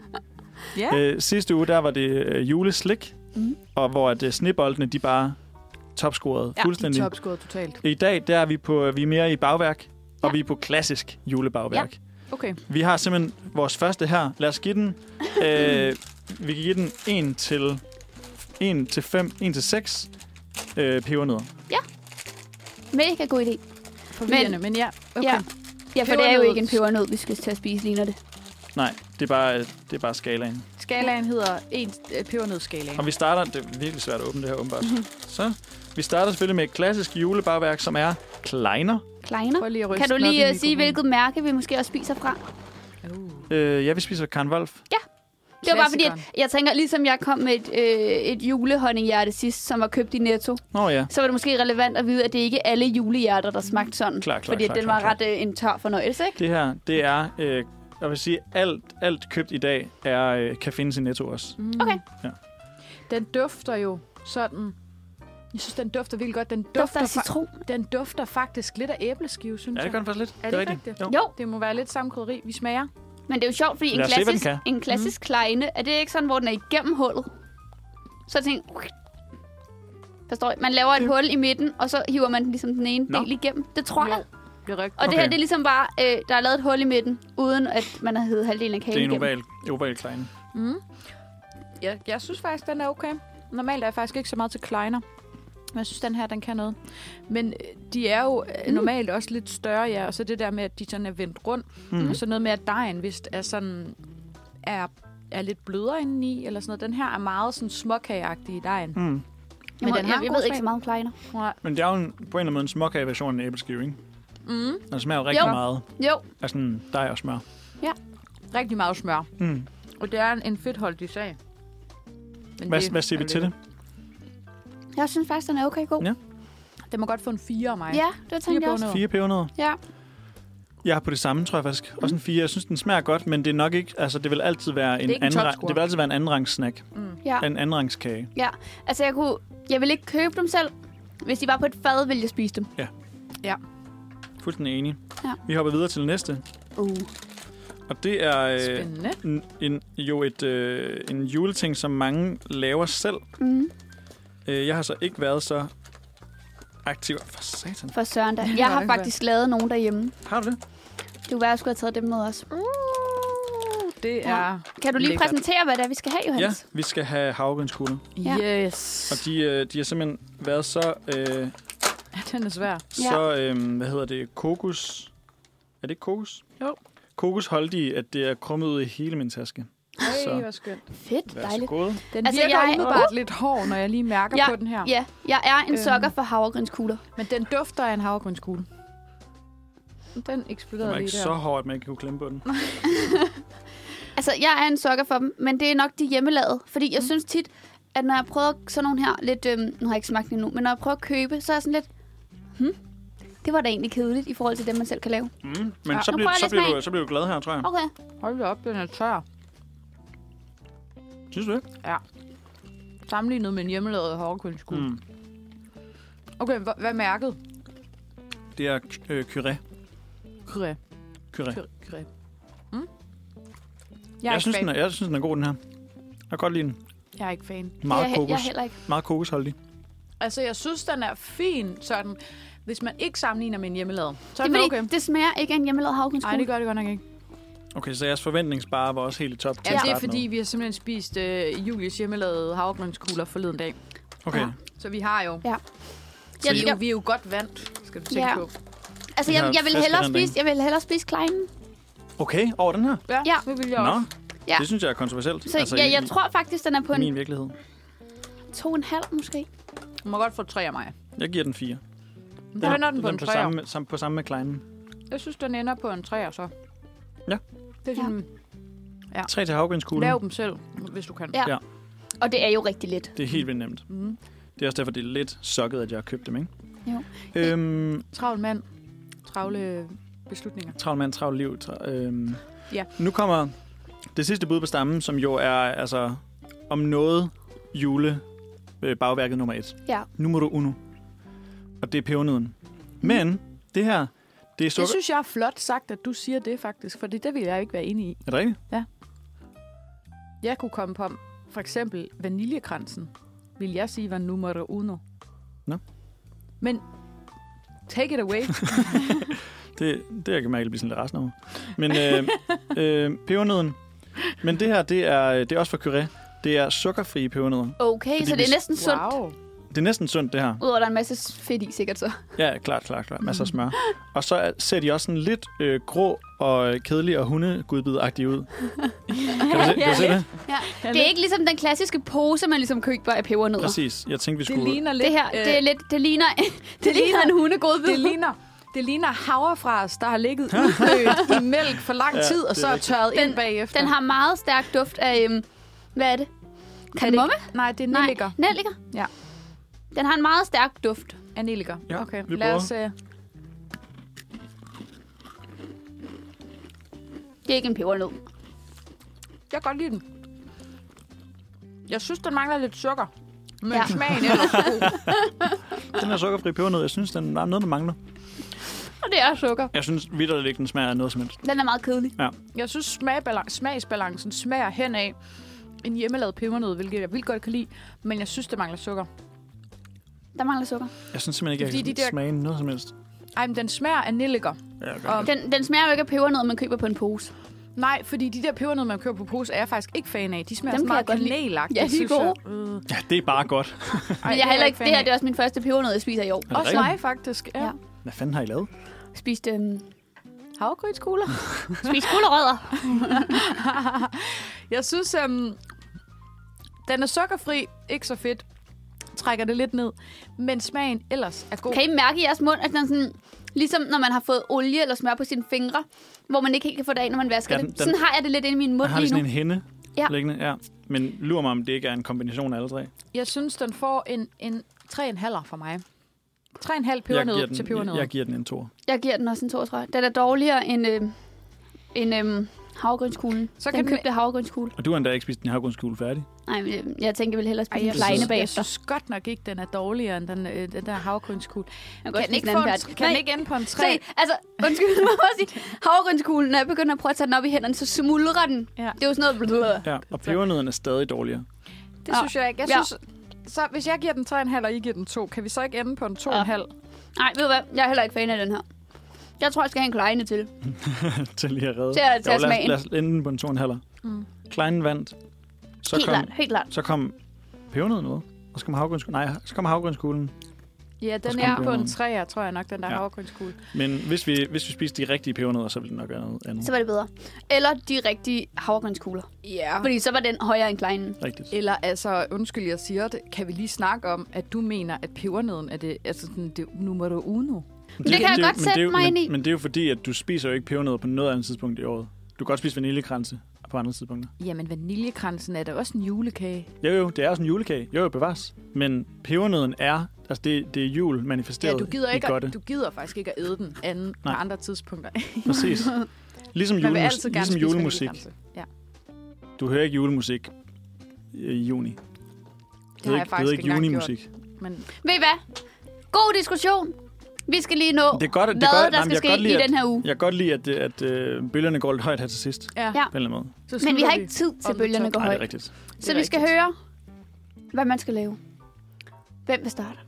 Speaker 3: Ja.
Speaker 2: Øh, sidste uge, der var det øh, juleslik.
Speaker 4: Mhm.
Speaker 2: Mm. Og hvor at, øh, sneboldene, de bare topscorede ja,
Speaker 3: De
Speaker 2: fuldstændig.
Speaker 3: topscorer totalt.
Speaker 2: I dag, der er vi, på, øh, vi er mere i bagværk. Og
Speaker 4: Ja.
Speaker 2: vi er på klassisk julebagværk.
Speaker 3: Okay.
Speaker 2: Vi har simpelthen vores første her. Lad os give den... Øh, vi kan give den 1 til, 1 til 5, 1 til 6 øh, pebernødder.
Speaker 4: Mega god idé.
Speaker 3: Forvirrende, men, men ja. Okay.
Speaker 4: Ja. Ja, for det er jo
Speaker 3: Pebernød.
Speaker 4: ikke en pebernød, vi skal til at spise lige når det.
Speaker 2: Nej, det er bare, øh, det er bare skalaen.
Speaker 3: Skalaen hedder en øh, pebernødskalaen.
Speaker 2: Og vi starter... Det er virkelig svært at åbne det her, åbenbart.
Speaker 3: Mhm.
Speaker 2: Så, vi starter selvfølgelig med et klassisk julebagværk, som er Kleiner.
Speaker 4: Kleiner.
Speaker 3: Prøv lige at ryste
Speaker 4: Kan du
Speaker 3: den op i
Speaker 4: lige øh, sige,
Speaker 3: mikrofonen.
Speaker 4: hvilket mærke vi måske også spiser fra?
Speaker 3: Uh.
Speaker 2: Øh, ja, vi spiser Karen Wolf.
Speaker 4: Det var bare fordi, at
Speaker 3: Klassikeren.
Speaker 4: jeg tænker, ligesom jeg kom med et, øh, et julehonninghjerte sidst, som var købt i Netto,
Speaker 2: Nå ja,
Speaker 4: så var det måske relevant at vide, at det ikke er alle julehjerter, der smagte sådan.
Speaker 2: Klar, klar,
Speaker 4: fordi at
Speaker 2: klar,
Speaker 4: den
Speaker 2: klar,
Speaker 4: var
Speaker 2: klar.
Speaker 4: ret øh, en tør fornøjelse, ikke?
Speaker 2: det her, det er... Øh, jeg vil sige, alt, alt købt i dag er, øh, kan findes i Netto også.
Speaker 3: Mm.
Speaker 4: Okay.
Speaker 2: Ja.
Speaker 3: Den dufter jo sådan... Jeg synes, den dufter vildt godt. Den
Speaker 4: Dufter
Speaker 3: dufter,
Speaker 4: af
Speaker 3: fa-
Speaker 4: citron.
Speaker 3: den dufter faktisk lidt af æbleskive, synes
Speaker 2: Ja, det
Speaker 3: jeg.
Speaker 2: gør den faktisk lidt.
Speaker 3: Er det ikke rigtigt?
Speaker 2: Jo.
Speaker 4: Jo,
Speaker 3: Det må være lidt samme krydderi. Vi smager.
Speaker 4: men det er jo sjovt, fordi en
Speaker 2: Lad os se, hvad den Mhm.
Speaker 4: klassisk, en klassisk mm. kleine, er det ikke sådan, hvor den er igennem hullet? Så jeg tænker, Forstår I? Man laver et hul i midten, og så hiver man den ligesom den ene
Speaker 2: Nå.
Speaker 4: del igennem. Det tror jeg.
Speaker 3: Det er rigtigt.
Speaker 4: Og det her,
Speaker 2: Okay.
Speaker 4: det er ligesom bare, øh, der er lavet et hul i midten, uden at man har hævet halvdelen af kagen
Speaker 2: Det er en
Speaker 4: igennem.
Speaker 2: oval, oval Kleiner.
Speaker 3: Mm. Jeg, jeg synes faktisk, den er okay. Normalt er jeg faktisk ikke så meget til kleiner. Men jeg synes, den her, den kan noget. Men øh, de er jo mm. normalt også lidt større, ja. Og så det der med, at de sådan er vendt rundt. Mm. Og så noget med, at dejen vist er sådan... Er, er lidt blødere indeni, eller sådan noget. Den her er meget sådan småkageagtig i dejen. Mm.
Speaker 2: Mm.
Speaker 4: Men den har jeg, jeg
Speaker 3: en
Speaker 4: ved
Speaker 3: god
Speaker 4: ikke så
Speaker 3: smag.
Speaker 4: meget om kleiner.
Speaker 3: Nej.
Speaker 2: Men det er jo en, på en eller anden måde en småkage-version af en æbleskive, ikke?
Speaker 3: Mm.
Speaker 2: Den smager jo rigtig
Speaker 4: Jo.
Speaker 2: jo. meget
Speaker 4: Jo,
Speaker 2: af sådan dej og smør.
Speaker 3: Rigtig meget smør.
Speaker 2: Mm.
Speaker 3: Og det er en, en fedtholdig sag. Men
Speaker 2: Hvad, hvad siger vi til det?
Speaker 4: jeg synes faktisk, den er okay god.
Speaker 2: Ja.
Speaker 3: Det må godt få en 4 af mig.
Speaker 4: Ja, det tænkte jeg også.
Speaker 2: Fire pebernødder?
Speaker 4: Ja.
Speaker 2: Jeg har på det samme, tror jeg faktisk. Også en fire. Jeg synes, den smager godt, men det er nok ikke... Altså, det vil altid være en,
Speaker 3: ikke en
Speaker 2: anden,
Speaker 3: topscorer.
Speaker 2: det vil altid være en anden rangs snack.
Speaker 4: Ja.
Speaker 2: En anden rangs kage.
Speaker 4: Altså, jeg, kunne, jeg ville ikke købe dem selv. Hvis de var på et fad, ville jeg spise dem.
Speaker 2: Fuldstændig enig.
Speaker 4: Ja.
Speaker 2: Vi hopper videre til næste.
Speaker 4: Uh.
Speaker 2: Og det er øh,
Speaker 3: Spændende.
Speaker 2: en, en, jo et, øh, en juleting, som mange laver selv.
Speaker 4: Mm.
Speaker 2: Øh, jeg har så ikke været så aktiv. For satan.
Speaker 4: For søren da.
Speaker 3: var
Speaker 4: Jeg har
Speaker 3: ikke
Speaker 4: faktisk lavet nogen derhjemme.
Speaker 2: Har du det?
Speaker 4: Det kunne være, at jeg skulle have taget dem med os.
Speaker 3: Det
Speaker 4: Ja.
Speaker 3: er...
Speaker 4: Kan du lige
Speaker 3: Lækkert.
Speaker 4: præsentere, hvad det er, vi skal have, Johannes?
Speaker 2: Ja, vi skal have havregrynskugler.
Speaker 4: Ja.
Speaker 3: Yes.
Speaker 2: Og de, øh, de har simpelthen været så... Øh,
Speaker 3: Den er svær.
Speaker 2: Så, øhm, hvad hedder det, kokos... Er det ikke kokos?
Speaker 3: Jo.
Speaker 2: Kokos holdige, at det er krummet ud i hele min taske. Så.
Speaker 3: Ej, hvor skønt.
Speaker 4: Fedt,
Speaker 2: Vær så
Speaker 4: dejligt.
Speaker 2: god.
Speaker 3: Den
Speaker 4: Altså,
Speaker 3: altså, virker
Speaker 4: jeg-
Speaker 3: jeg... umiddelbart lidt hård, når jeg lige mærker
Speaker 4: Ja,
Speaker 3: på den her.
Speaker 4: Ja, jeg er en
Speaker 3: Øhm.
Speaker 4: sokker for havregrynskugler.
Speaker 3: Men den dufter af en havregrønskugle. Den
Speaker 2: Den var
Speaker 3: eksploderede
Speaker 2: ikke
Speaker 3: lige der.
Speaker 2: så hård, at man ikke kunne klemme på den.
Speaker 4: Altså, jeg er en sokker for dem, men det er nok de hjemmelavede. Fordi jeg mm. synes tit, at når jeg prøver sådan nogle her, lidt, øhm, nu har jeg ikke smagt den endnu, men når jeg prøver at købe, så er jeg sådan lidt, hmm, det var da egentlig kedeligt i forhold til det, man selv kan lave.
Speaker 2: Mm. Men
Speaker 3: Ja.
Speaker 2: så,
Speaker 4: Nu
Speaker 2: bliver,
Speaker 4: prøver jeg
Speaker 2: så,
Speaker 4: lige
Speaker 2: bliver
Speaker 4: smag.
Speaker 2: du, så bliver du glad her, tror jeg.
Speaker 4: Okay.
Speaker 3: Hold da op, den er tør.
Speaker 2: Synes du ikke?
Speaker 3: Sammenlignet med en hjemmelavet havregrønskugle. Mm.
Speaker 2: Mm.
Speaker 3: Okay, hva- hvad er mærket?
Speaker 2: Det er k- øh, curé.
Speaker 3: Kræ.
Speaker 2: curé.
Speaker 3: Kræ. Mm? Jeg er,
Speaker 2: Jeg,
Speaker 3: ikke
Speaker 2: synes,
Speaker 3: fan.
Speaker 2: den er, jeg synes, den er god, den her. Jeg kan godt lide den.
Speaker 3: jeg er ikke fan.
Speaker 2: Meget
Speaker 4: jeg, er he- jeg
Speaker 2: kokos.
Speaker 4: er heller ikke.
Speaker 2: Meget kokosholdig.
Speaker 3: Altså, jeg synes, den er fin, sådan, hvis man ikke sammenligner med en hjemmelavet. Så
Speaker 4: Det
Speaker 3: er
Speaker 4: er
Speaker 3: den
Speaker 4: fordi,
Speaker 3: okay.
Speaker 4: okay. det smager ikke af en hjemmelavet
Speaker 3: Nej,
Speaker 4: havgrønskole.
Speaker 3: det gør det godt nok ikke.
Speaker 2: Okay, så jeres forventningsbare var også helt i top. til
Speaker 3: Ja,
Speaker 2: at
Speaker 3: det er
Speaker 2: starte
Speaker 3: fordi,
Speaker 2: med.
Speaker 3: vi har simpelthen spist øh, Julies hjemmelavede havregrønskugler forleden dag.
Speaker 2: Okay,
Speaker 4: Ja.
Speaker 3: Så vi har jo...
Speaker 4: Jeg,
Speaker 3: Vi,
Speaker 4: jeg,
Speaker 3: jo, vi er jo godt vant, skal du tænke
Speaker 4: Ja.
Speaker 3: på.
Speaker 4: altså,
Speaker 2: Vi
Speaker 4: jeg,
Speaker 2: har
Speaker 4: jeg, vil
Speaker 2: friske
Speaker 4: hellere
Speaker 2: rendring.
Speaker 4: spise, jeg vil hellere spise kleinen.
Speaker 2: okay over den her?
Speaker 4: Ja.
Speaker 3: det vil jeg
Speaker 2: Nå,
Speaker 3: også.
Speaker 4: Ja.
Speaker 2: det synes jeg er kontroversielt.
Speaker 4: Så altså, ja,
Speaker 2: i-
Speaker 4: jeg tror faktisk, den er på
Speaker 2: i
Speaker 4: en
Speaker 2: min virkelighed.
Speaker 4: to og en halv måske.
Speaker 3: Du må godt få tre af mig.
Speaker 2: Jeg giver den fire.
Speaker 3: Der ender den på en
Speaker 2: på
Speaker 3: træer.
Speaker 2: samme, samme, på samme med Kleinen.
Speaker 3: Jeg synes, den ender på en træer så.
Speaker 2: Ja.
Speaker 3: Det er sådan,
Speaker 2: Tre til havgrindskuglen.
Speaker 3: lav dem selv, hvis du kan.
Speaker 4: Ja.
Speaker 2: Ja.
Speaker 4: Og det er jo rigtig let.
Speaker 2: Det er helt vildt nemt.
Speaker 3: Mm.
Speaker 2: Det er også derfor, det er lidt sokket, at jeg har købt dem, ikke?
Speaker 4: Jo.
Speaker 2: Øhm,
Speaker 3: Travl mand. Travle beslutninger.
Speaker 2: travl mand, travl liv. Tra- øhm.
Speaker 3: Ja.
Speaker 2: Nu kommer det sidste bud på stammen, som jo er altså om noget jule øh, bagværket nummer et.
Speaker 4: Ja.
Speaker 2: Numero uno. Og det er pebernøden. Men det her, det er
Speaker 9: Det
Speaker 2: sukker...
Speaker 9: synes jeg er flot sagt, at du siger det faktisk, for det, det vil jeg ikke være enig i.
Speaker 2: Er det rigtigt?
Speaker 9: Jeg kunne komme på, for eksempel vaniljekransen, vil jeg sige var nummer uno.
Speaker 2: Nå.
Speaker 9: Men take it away.
Speaker 2: Det, det jeg kan mærke, at blive sådan lidt resten over. Men øh, øh, pebernøden. Men det her, det er, det er også for curé. Det er sukkerfrie pebernøder.
Speaker 4: Okay,
Speaker 2: Fordi
Speaker 4: så det
Speaker 2: hvis-
Speaker 4: er næsten sundt.
Speaker 2: Det er næsten sundt, det her.
Speaker 4: Udover, at der er en masse fedt i, sikkert så.
Speaker 2: Ja, klart, klart, klart. Masser af smør. Og så er- ser de også sådan lidt øh, grå og kedelige og hundegudbidagtige ud. Kan du se, kan du se det?
Speaker 4: Det er ikke ligesom den klassiske pose, man ligesom køber af pebernødder.
Speaker 2: Præcis. Jeg tænkte, vi
Speaker 9: Det
Speaker 2: skulle...
Speaker 9: ligner lidt... øh,
Speaker 4: Det her, det, er lidt, det ligner, det ligner en hundegodbid.
Speaker 9: det ligner, det ligner havrefras, der har ligget udblødt i mælk for lang
Speaker 2: Ja,
Speaker 9: tid, og
Speaker 2: det
Speaker 9: så
Speaker 2: er
Speaker 9: er
Speaker 2: rigtigt.
Speaker 9: tørret
Speaker 4: Den-
Speaker 9: ind bagefter.
Speaker 4: Den har meget stærk duft af, øhm, hvad er det? Kardemomme?
Speaker 9: Nej, det er
Speaker 4: Nej,
Speaker 9: nelliker.
Speaker 4: nelliker.
Speaker 9: Ja.
Speaker 4: Den har en meget stærk duft.
Speaker 9: Er nelliker.
Speaker 2: Ja,
Speaker 9: okay,
Speaker 2: vi
Speaker 9: lad
Speaker 2: prøver.
Speaker 9: os...
Speaker 3: øh,
Speaker 9: Uh,
Speaker 4: Det er ikke en pebernød.
Speaker 3: Jeg kan godt lide den. Jeg synes, den mangler lidt sukker. Men
Speaker 4: Ja.
Speaker 3: ja. smagen er
Speaker 2: Den her sukkerfri pebernød, jeg synes, den der er noget, der mangler.
Speaker 4: Og det er sukker.
Speaker 2: Jeg synes vidderligt ikke, den smager af noget som helst.
Speaker 4: Den er meget kedelig.
Speaker 3: Jeg synes, smagbala- smagsbalancen smager hen af en hjemmelavet pebernød, hvilket jeg vildt godt kan lide, men jeg synes, det mangler sukker.
Speaker 4: Der mangler sukker.
Speaker 2: Jeg synes simpelthen ikke, jeg
Speaker 3: Fordi
Speaker 2: kan
Speaker 3: de der-
Speaker 2: smage noget som helst.
Speaker 3: Ej, men den smager af nelliker.
Speaker 2: Ja, okay.
Speaker 3: Og-
Speaker 4: Den, den smager jo ikke af pebernød, man køber på en pose.
Speaker 3: Nej, fordi de der pebernødder, man køber på pose, er jeg faktisk ikke fan af. De smager
Speaker 4: Dem
Speaker 3: så
Speaker 4: kan
Speaker 3: meget
Speaker 4: jeg godt lide.
Speaker 3: kanelagtigt.
Speaker 4: Ja, de er
Speaker 3: synes
Speaker 4: gode.
Speaker 3: jeg. Øh.
Speaker 2: ja, det er bare godt.
Speaker 3: Ej,
Speaker 4: Men jeg
Speaker 3: er
Speaker 4: heller ikke, det her
Speaker 3: fan
Speaker 4: det er også min første pebernød, jeg spiser i år.
Speaker 2: Er det
Speaker 3: Også
Speaker 2: rigtigt?
Speaker 3: mig, faktisk. Ja.
Speaker 4: Ja.
Speaker 3: ja.
Speaker 2: Hvad fanden har I lavet?
Speaker 4: Spiste, øhm,
Speaker 3: Havgrydskugler.
Speaker 4: spiste gulerødder.
Speaker 3: Jeg synes, øhm, den er sukkerfri. Ikke så fedt. Trækker det lidt ned. Men smagen ellers er god.
Speaker 4: Kan I mærke i jeres mund, at den sådan... Ligesom når man har fået olie eller smør på sine fingre, hvor man ikke helt kan få det af, når man vasker
Speaker 2: Ja,
Speaker 4: ja,
Speaker 2: den-
Speaker 4: det. Sådan har jeg det lidt inde i min
Speaker 2: Jeg
Speaker 4: mund
Speaker 2: har lige
Speaker 4: lige nu.
Speaker 2: sådan en hende
Speaker 4: Ja.
Speaker 2: liggende. Ja. Men lurer mig, om det ikke er en kombination af alle tre.
Speaker 3: Jeg synes, den får en, en 3,5 for mig. 3,5
Speaker 2: Jeg giver,
Speaker 3: pebernød til
Speaker 2: den,
Speaker 3: pebernød.
Speaker 2: jeg, jeg giver den en to.
Speaker 4: Jeg giver den også en 2, tror jeg. Den er dårligere end, øh, end øh, havregrynskuglen.
Speaker 3: Så
Speaker 4: Så
Speaker 3: kan
Speaker 4: kan den
Speaker 3: den-
Speaker 4: købte havregrynskugle.
Speaker 2: Og du har endda ikke spist din havgrundskule færdig.
Speaker 4: Nej, men øh, jeg tænkte, jeg ville hellere spise en
Speaker 2: synes-
Speaker 4: kleine
Speaker 3: jeg
Speaker 4: bagefter.
Speaker 3: synes godt nok ikke, den er dårligere end den, øh, den der havgrønskugle.
Speaker 4: Jeg
Speaker 3: Kan,
Speaker 4: godt
Speaker 3: den
Speaker 4: spise
Speaker 3: ikke,
Speaker 4: en
Speaker 3: få
Speaker 4: anden
Speaker 3: en,
Speaker 4: færdig.
Speaker 3: kan den
Speaker 4: Nej,
Speaker 3: ikke ende på en
Speaker 4: Se,
Speaker 3: 3?
Speaker 4: altså, undskyld, jeg må bare sige, havregrynskuglen, når jeg begynder at prøve at tage den op i hænderne, så smuldrer den.
Speaker 3: Ja.
Speaker 4: Det er jo sådan noget... Blablabla.
Speaker 2: Ja, og pebernødderne er stadig dårligere.
Speaker 3: Det
Speaker 4: Ja.
Speaker 3: synes jeg ikke. Jeg
Speaker 4: Ja.
Speaker 3: synes, så hvis jeg giver den 3,5, og I giver den 2, kan vi så ikke ende på en 2,5?
Speaker 4: Nej, ved du hvad? Jeg er heller ikke fan af den her. Jeg tror, jeg skal have en kleine til.
Speaker 2: til lige at redde.
Speaker 4: Til at- til
Speaker 2: Jo,
Speaker 4: at
Speaker 2: lad os-
Speaker 4: smage.
Speaker 2: Lad os ende den på en to og en halv.
Speaker 3: Mm.
Speaker 2: Kleinen vandt. Så
Speaker 4: helt
Speaker 2: kom,
Speaker 4: klart, helt klart.
Speaker 2: så kom pebernøden ud. Og så kom havgrønskuglen. Nej, så kom havgrønskuglen.
Speaker 3: Ja, den
Speaker 2: skal
Speaker 3: er
Speaker 2: den
Speaker 3: på
Speaker 2: være
Speaker 3: en
Speaker 2: noget.
Speaker 3: 3, tror jeg nok, den der
Speaker 2: Ja.
Speaker 3: ja. havgrønskugle.
Speaker 2: Men hvis vi, hvis vi spiste de rigtige pebernødder, så ville det nok være noget andet.
Speaker 4: Så var det bedre. Eller de rigtige havregrynskugler.
Speaker 3: Ja.
Speaker 4: Fordi så var den højere end kleinen.
Speaker 2: Rigtigt.
Speaker 3: Eller altså, undskyld, jeg siger det, kan vi lige snakke om, at du mener, at pebernøden er det, altså sådan, det er nummer uno?
Speaker 2: Men
Speaker 4: det
Speaker 2: er-
Speaker 4: kan jeg
Speaker 2: er-
Speaker 4: godt
Speaker 2: men
Speaker 4: sætte
Speaker 2: det er jo-
Speaker 4: mig
Speaker 2: men,
Speaker 4: ind i.
Speaker 2: Men det er jo fordi, at du spiser jo ikke pebernødder på noget andet tidspunkt i året. Du kan godt spise vaniljekranse på andre tidspunkter.
Speaker 3: Jamen, vaniljekransen er da også en julekage.
Speaker 2: Jo, jo, det er også en julekage. Jo, jo, bevares. Men pebernøden er, altså det, det er jul manifesteret
Speaker 3: Ja, du gider,
Speaker 2: i
Speaker 3: ikke
Speaker 2: godte.
Speaker 3: at, du gider faktisk ikke at æde den anden på
Speaker 2: Nej.
Speaker 3: andre tidspunkter.
Speaker 2: Præcis. Ligesom,
Speaker 3: Man vil
Speaker 2: julemus-
Speaker 3: altid gerne
Speaker 2: ligesom
Speaker 3: spise
Speaker 2: julemusik.
Speaker 3: vaniljekranse. Ja,
Speaker 2: Du hører ikke julemusik i juni. Det
Speaker 3: det har jeg faktisk ikke engang gjort. Men
Speaker 4: Ved I hvad? God diskussion. Vi skal lige nå,
Speaker 2: Det er godt, at- det er
Speaker 4: hvad
Speaker 2: godt-
Speaker 4: der
Speaker 2: nej, men
Speaker 4: skal
Speaker 2: jeg kan
Speaker 4: ske
Speaker 2: godt lide,
Speaker 4: i
Speaker 2: at-
Speaker 4: den her uge.
Speaker 2: Jeg kan godt lide, at, at øh, bølgerne går lidt højt her til sidst. På
Speaker 3: ja,
Speaker 4: Ja.
Speaker 2: en eller anden måde.
Speaker 3: så
Speaker 4: Men vi
Speaker 3: slutter
Speaker 4: har ikke tid
Speaker 3: on
Speaker 4: til
Speaker 3: the
Speaker 4: bølgerne
Speaker 3: top.
Speaker 4: går
Speaker 2: Nej, det er
Speaker 4: højt.
Speaker 2: rigtigt.
Speaker 4: Så vi skal
Speaker 3: rigtigt.
Speaker 4: høre, hvad man skal lave. Hvem vil starte?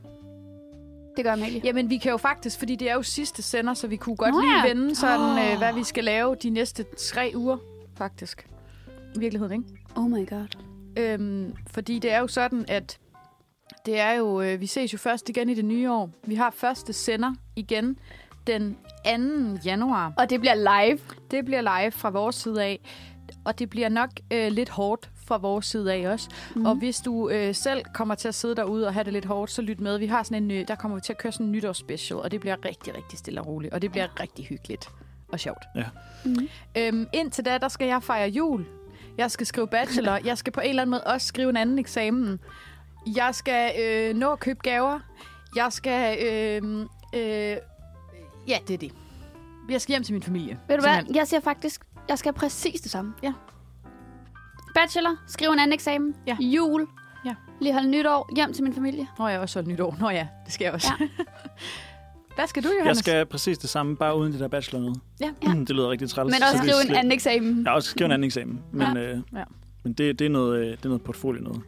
Speaker 4: Det gør Amalie.
Speaker 3: Jamen, vi kan jo faktisk, fordi det er jo sidste sender, så vi kunne godt
Speaker 4: Nå
Speaker 3: Nå, lige
Speaker 4: ja.
Speaker 3: vende sådan,
Speaker 4: Åh.
Speaker 3: øh, hvad vi skal lave de næste tre uger, faktisk. I virkeligheden, ikke?
Speaker 4: Oh my god.
Speaker 3: Øhm, fordi det er jo sådan, at det er jo, øh, vi ses jo først igen i det nye år. Vi har første sender igen den 2. januar.
Speaker 4: Og det bliver live.
Speaker 3: Det bliver live fra vores side af, og det bliver nok øh, lidt hårdt fra vores side af også.
Speaker 4: Mhm.
Speaker 3: Mm. Og hvis du øh, selv kommer til at sidde derude og have det lidt hårdt, så lyt med. Vi har sådan en, øh, der kommer vi til at køre sådan en nytårsspecial, og det bliver rigtig, rigtig stille og roligt. Og det bliver rigtig hyggeligt og sjovt.
Speaker 2: Ja.
Speaker 4: Mhm.
Speaker 3: Øhm, indtil da, der skal jeg fejre jul. Jeg skal skrive bachelor. Jeg skal på en eller anden måde også skrive en anden eksamen. Jeg skal øh, nå at købe gaver. Jeg skal... Øh, øh, ja, det er det. Jeg skal hjem til min familie.
Speaker 4: Ved du
Speaker 3: Simpelthen.
Speaker 4: hvad? Jeg siger faktisk, jeg skal have præcis det samme.
Speaker 3: Ja.
Speaker 4: Bachelor, skriv en anden eksamen.
Speaker 3: Ja.
Speaker 4: Jul.
Speaker 3: Ja.
Speaker 4: Lige holde nytår. Hjem til min familie.
Speaker 3: Nå, jeg har også holdt nytår. Nå ja, det skal jeg også. Ja. Hvad skal du, Johannes?
Speaker 2: Jeg skal præcis det samme, bare uden det der bachelor noget.
Speaker 3: Ja.
Speaker 2: Det lyder rigtig træls.
Speaker 4: Men også
Speaker 2: så det
Speaker 4: skrive
Speaker 2: slet-
Speaker 4: en anden eksamen.
Speaker 2: Jeg har også skrevet en anden eksamen, men, ja. Øh,
Speaker 3: Ja.
Speaker 2: men det, det, er noget, øh, det er noget portfolio noget.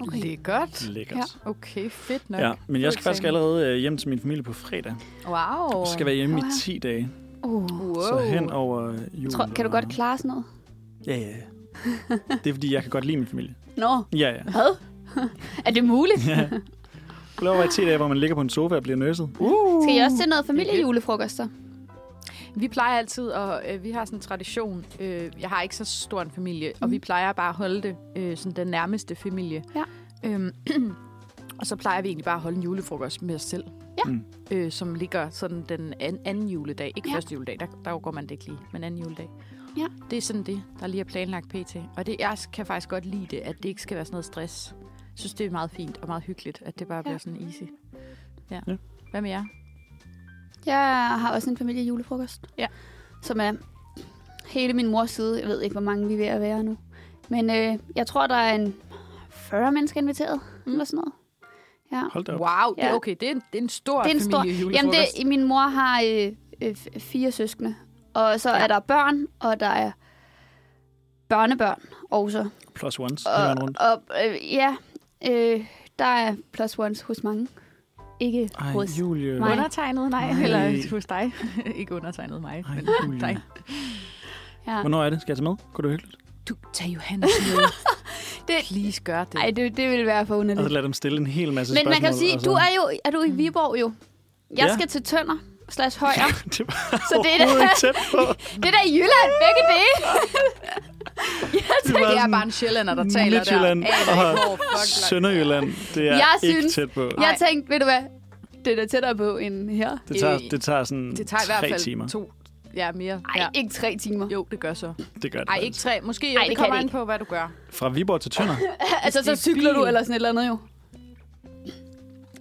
Speaker 4: Okay.
Speaker 3: Lækkert.
Speaker 2: Lækkert.
Speaker 4: Ja.
Speaker 3: Okay, fedt nok.
Speaker 2: Ja, men jeg skal
Speaker 3: Eksamen.
Speaker 2: faktisk allerede øh, hjem til min familie på fredag.
Speaker 3: Wow.
Speaker 2: Jeg skal være hjemme i
Speaker 4: Wow.
Speaker 2: 10 dage,
Speaker 4: Uh.
Speaker 3: wow.
Speaker 2: så hen over øh, jul.
Speaker 4: Jeg tror, kan du
Speaker 2: og-
Speaker 4: godt klare sådan noget?
Speaker 2: Ja, ja. ja. Det er fordi, jeg kan godt lide min familie.
Speaker 4: Nå,
Speaker 2: Ja, ja.
Speaker 4: hvad? er det muligt?
Speaker 2: ja. Du laver bare i 10 dage, hvor man ligger på en sofa og bliver nøsset.
Speaker 4: Skal I også til noget familiejulefrokost så?
Speaker 3: Vi plejer altid, og øh, vi har sådan en tradition, øh, jeg har ikke så stor en familie, mm. og vi plejer bare at holde det øh, sådan den nærmeste familie.
Speaker 4: Ja.
Speaker 3: Øhm, og så plejer vi egentlig bare at holde en julefrokost med os selv.
Speaker 4: Ja.
Speaker 2: Mm.
Speaker 3: Øh, som ligger sådan den an, anden juledag. Ikke
Speaker 4: Ja.
Speaker 3: ja. første juledag, der, der går man det ikke lige, men anden juledag.
Speaker 4: Ja.
Speaker 3: Det er sådan det, der lige er planlagt pt. Og det, jeg kan faktisk godt lide det, at det ikke skal være sådan noget stress. Jeg synes, det er meget fint og meget hyggeligt, at det bare ja. bliver sådan easy. Ja.
Speaker 2: Ja.
Speaker 3: Hvad med jer?
Speaker 4: Jeg har også en familiejulefrokost.
Speaker 3: Ja.
Speaker 4: Som er hele min mors side. Jeg ved ikke, hvor mange vi er ved at være nu. Men øh, jeg tror, der er en 40 mennesker inviteret. Mm. Eller sådan noget.
Speaker 2: Hold da op.
Speaker 3: Wow, det,
Speaker 4: Ja.
Speaker 3: okay, det er, en, det er en stor
Speaker 4: Det er en stor- Jamen,
Speaker 3: familiejulefrokost.
Speaker 4: det, min mor har øh, øh, f- fire søskende. Og så ja.
Speaker 3: Ja.
Speaker 4: er der børn, og der er børnebørn også.
Speaker 2: Plus ones. hele vejen
Speaker 4: Og,
Speaker 2: rundt.
Speaker 4: og øh, ja, øh, der er plus ones hos mange. Ikke Ej,
Speaker 2: Ej,
Speaker 4: hos...
Speaker 2: Julie.
Speaker 4: mig. Nej.
Speaker 3: Undertegnet, nej.
Speaker 2: Nej.
Speaker 3: Eller hos dig. ikke undertegnet mig.
Speaker 2: Ej,
Speaker 3: men
Speaker 2: Julie.
Speaker 3: dig.
Speaker 4: Ja.
Speaker 2: Hvornår er det? Skal jeg tage med? Kunne du hyggeligt?
Speaker 3: Du, tag Johannes med.
Speaker 4: Det-
Speaker 3: Please gør det.
Speaker 4: Ej, det, det ville være for
Speaker 2: Og så
Speaker 4: underligt.
Speaker 2: Altså, lad dem stille en hel masse
Speaker 4: Men
Speaker 2: spørgsmål.
Speaker 4: man kan jo sige,
Speaker 2: og så...
Speaker 4: du er jo er du i Viborg jo. Jeg
Speaker 2: altså. Mm. Ja.
Speaker 4: skal til Tønder slash Højer.
Speaker 2: det var
Speaker 4: Så det er
Speaker 2: overhovedet
Speaker 4: da-
Speaker 2: ikke tæt på.
Speaker 4: det er da i Jylland, begge dele.
Speaker 2: Det var
Speaker 3: det er
Speaker 2: sådan
Speaker 3: bare en sjællander, der taler der.
Speaker 2: Midtjylland
Speaker 3: Aner ikke,
Speaker 2: og
Speaker 3: hvor fuck langt.
Speaker 2: Sønderjylland. Det er
Speaker 4: Jeg
Speaker 2: ikke
Speaker 4: synes-
Speaker 2: tæt på.
Speaker 4: Jeg tænkte, ved du hvad, det er da tættere på end her.
Speaker 2: Det tager, det tager sådan
Speaker 3: Det tager i hvert
Speaker 2: tre
Speaker 3: fald
Speaker 2: timer.
Speaker 3: to. Ja, mere.
Speaker 4: Ej,
Speaker 3: ja.
Speaker 4: ikke tre timer.
Speaker 3: Jo, det gør så.
Speaker 2: Det gør det
Speaker 3: Ej,
Speaker 2: faktisk.
Speaker 3: ikke tre. Måske
Speaker 4: Ej,
Speaker 3: Ej, det,
Speaker 4: det
Speaker 3: det
Speaker 4: kan
Speaker 3: kommer
Speaker 4: det
Speaker 3: an
Speaker 4: ikke.
Speaker 3: på, hvad du gør.
Speaker 2: Fra Viborg til Tønder.
Speaker 4: altså, så
Speaker 3: det er
Speaker 4: cykler du
Speaker 3: bil.
Speaker 4: eller sådan et eller andet jo.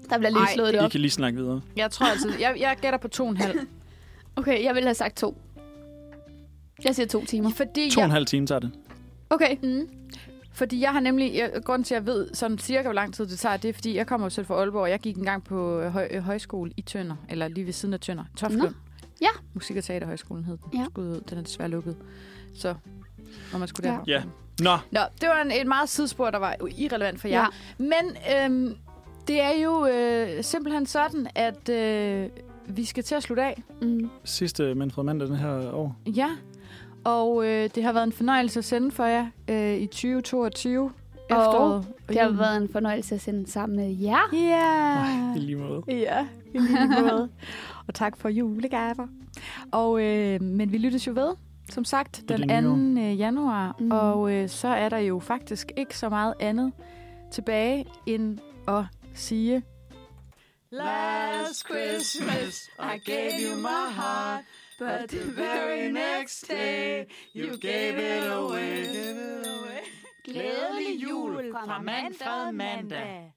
Speaker 4: Der bliver lige
Speaker 3: Ej,
Speaker 4: slået det
Speaker 2: I
Speaker 4: op.
Speaker 2: kan lige snakke videre.
Speaker 3: Jeg tror altså, jeg, jeg gætter på to og en halv.
Speaker 4: Okay, jeg ville have sagt to. Jeg siger to timer.
Speaker 3: Fordi
Speaker 2: To og en
Speaker 3: jeg,
Speaker 2: halv time tager det.
Speaker 4: Okay.
Speaker 3: Mm. Fordi jeg har nemlig, jeg, grunden til, at jeg ved sådan cirka, hvor lang tid det tager, det er, fordi jeg kommer jo selv fra Aalborg, og jeg gik engang på øh, høj, øh, højskole i Tønder, eller lige ved siden af Tønder. Toftlund.
Speaker 4: Ja.
Speaker 3: Musik- og Teaterhøjskolen hed den.
Speaker 4: Ja.
Speaker 3: Ja. ud. Den er desværre lukket. Så, når man skulle
Speaker 4: Ja.
Speaker 3: derop.
Speaker 2: Ja. Nå,
Speaker 3: Nå, det var en, et meget sidespor, der var irrelevant for jer.
Speaker 4: Ja.
Speaker 3: Ja. Men øhm, det er jo øh, simpelthen sådan, at øh, vi skal til at slutte af.
Speaker 4: Mm.
Speaker 2: sidste Manfred Mandag den her år.
Speaker 3: Ja, og øh, det har været en fornøjelse at sende for jer øh, i 2022. efteråret og
Speaker 4: Det har
Speaker 3: julen.
Speaker 4: været en fornøjelse at sende sammen med jer.
Speaker 3: Ja.
Speaker 2: I lige måde.
Speaker 3: Ja, i lige måde. og tak for julegaver. Og, øh, men vi lyttes jo ved, som sagt,
Speaker 2: det nye
Speaker 3: den 2. øh, januar.
Speaker 4: Mhm.
Speaker 3: Mm. Og øh, så er der jo faktisk ikke så meget andet tilbage end at sige...
Speaker 5: Last Christmas, I gave you my heart, but the very next day, you gave it away. Glædelig jul fra Manfred Mandag.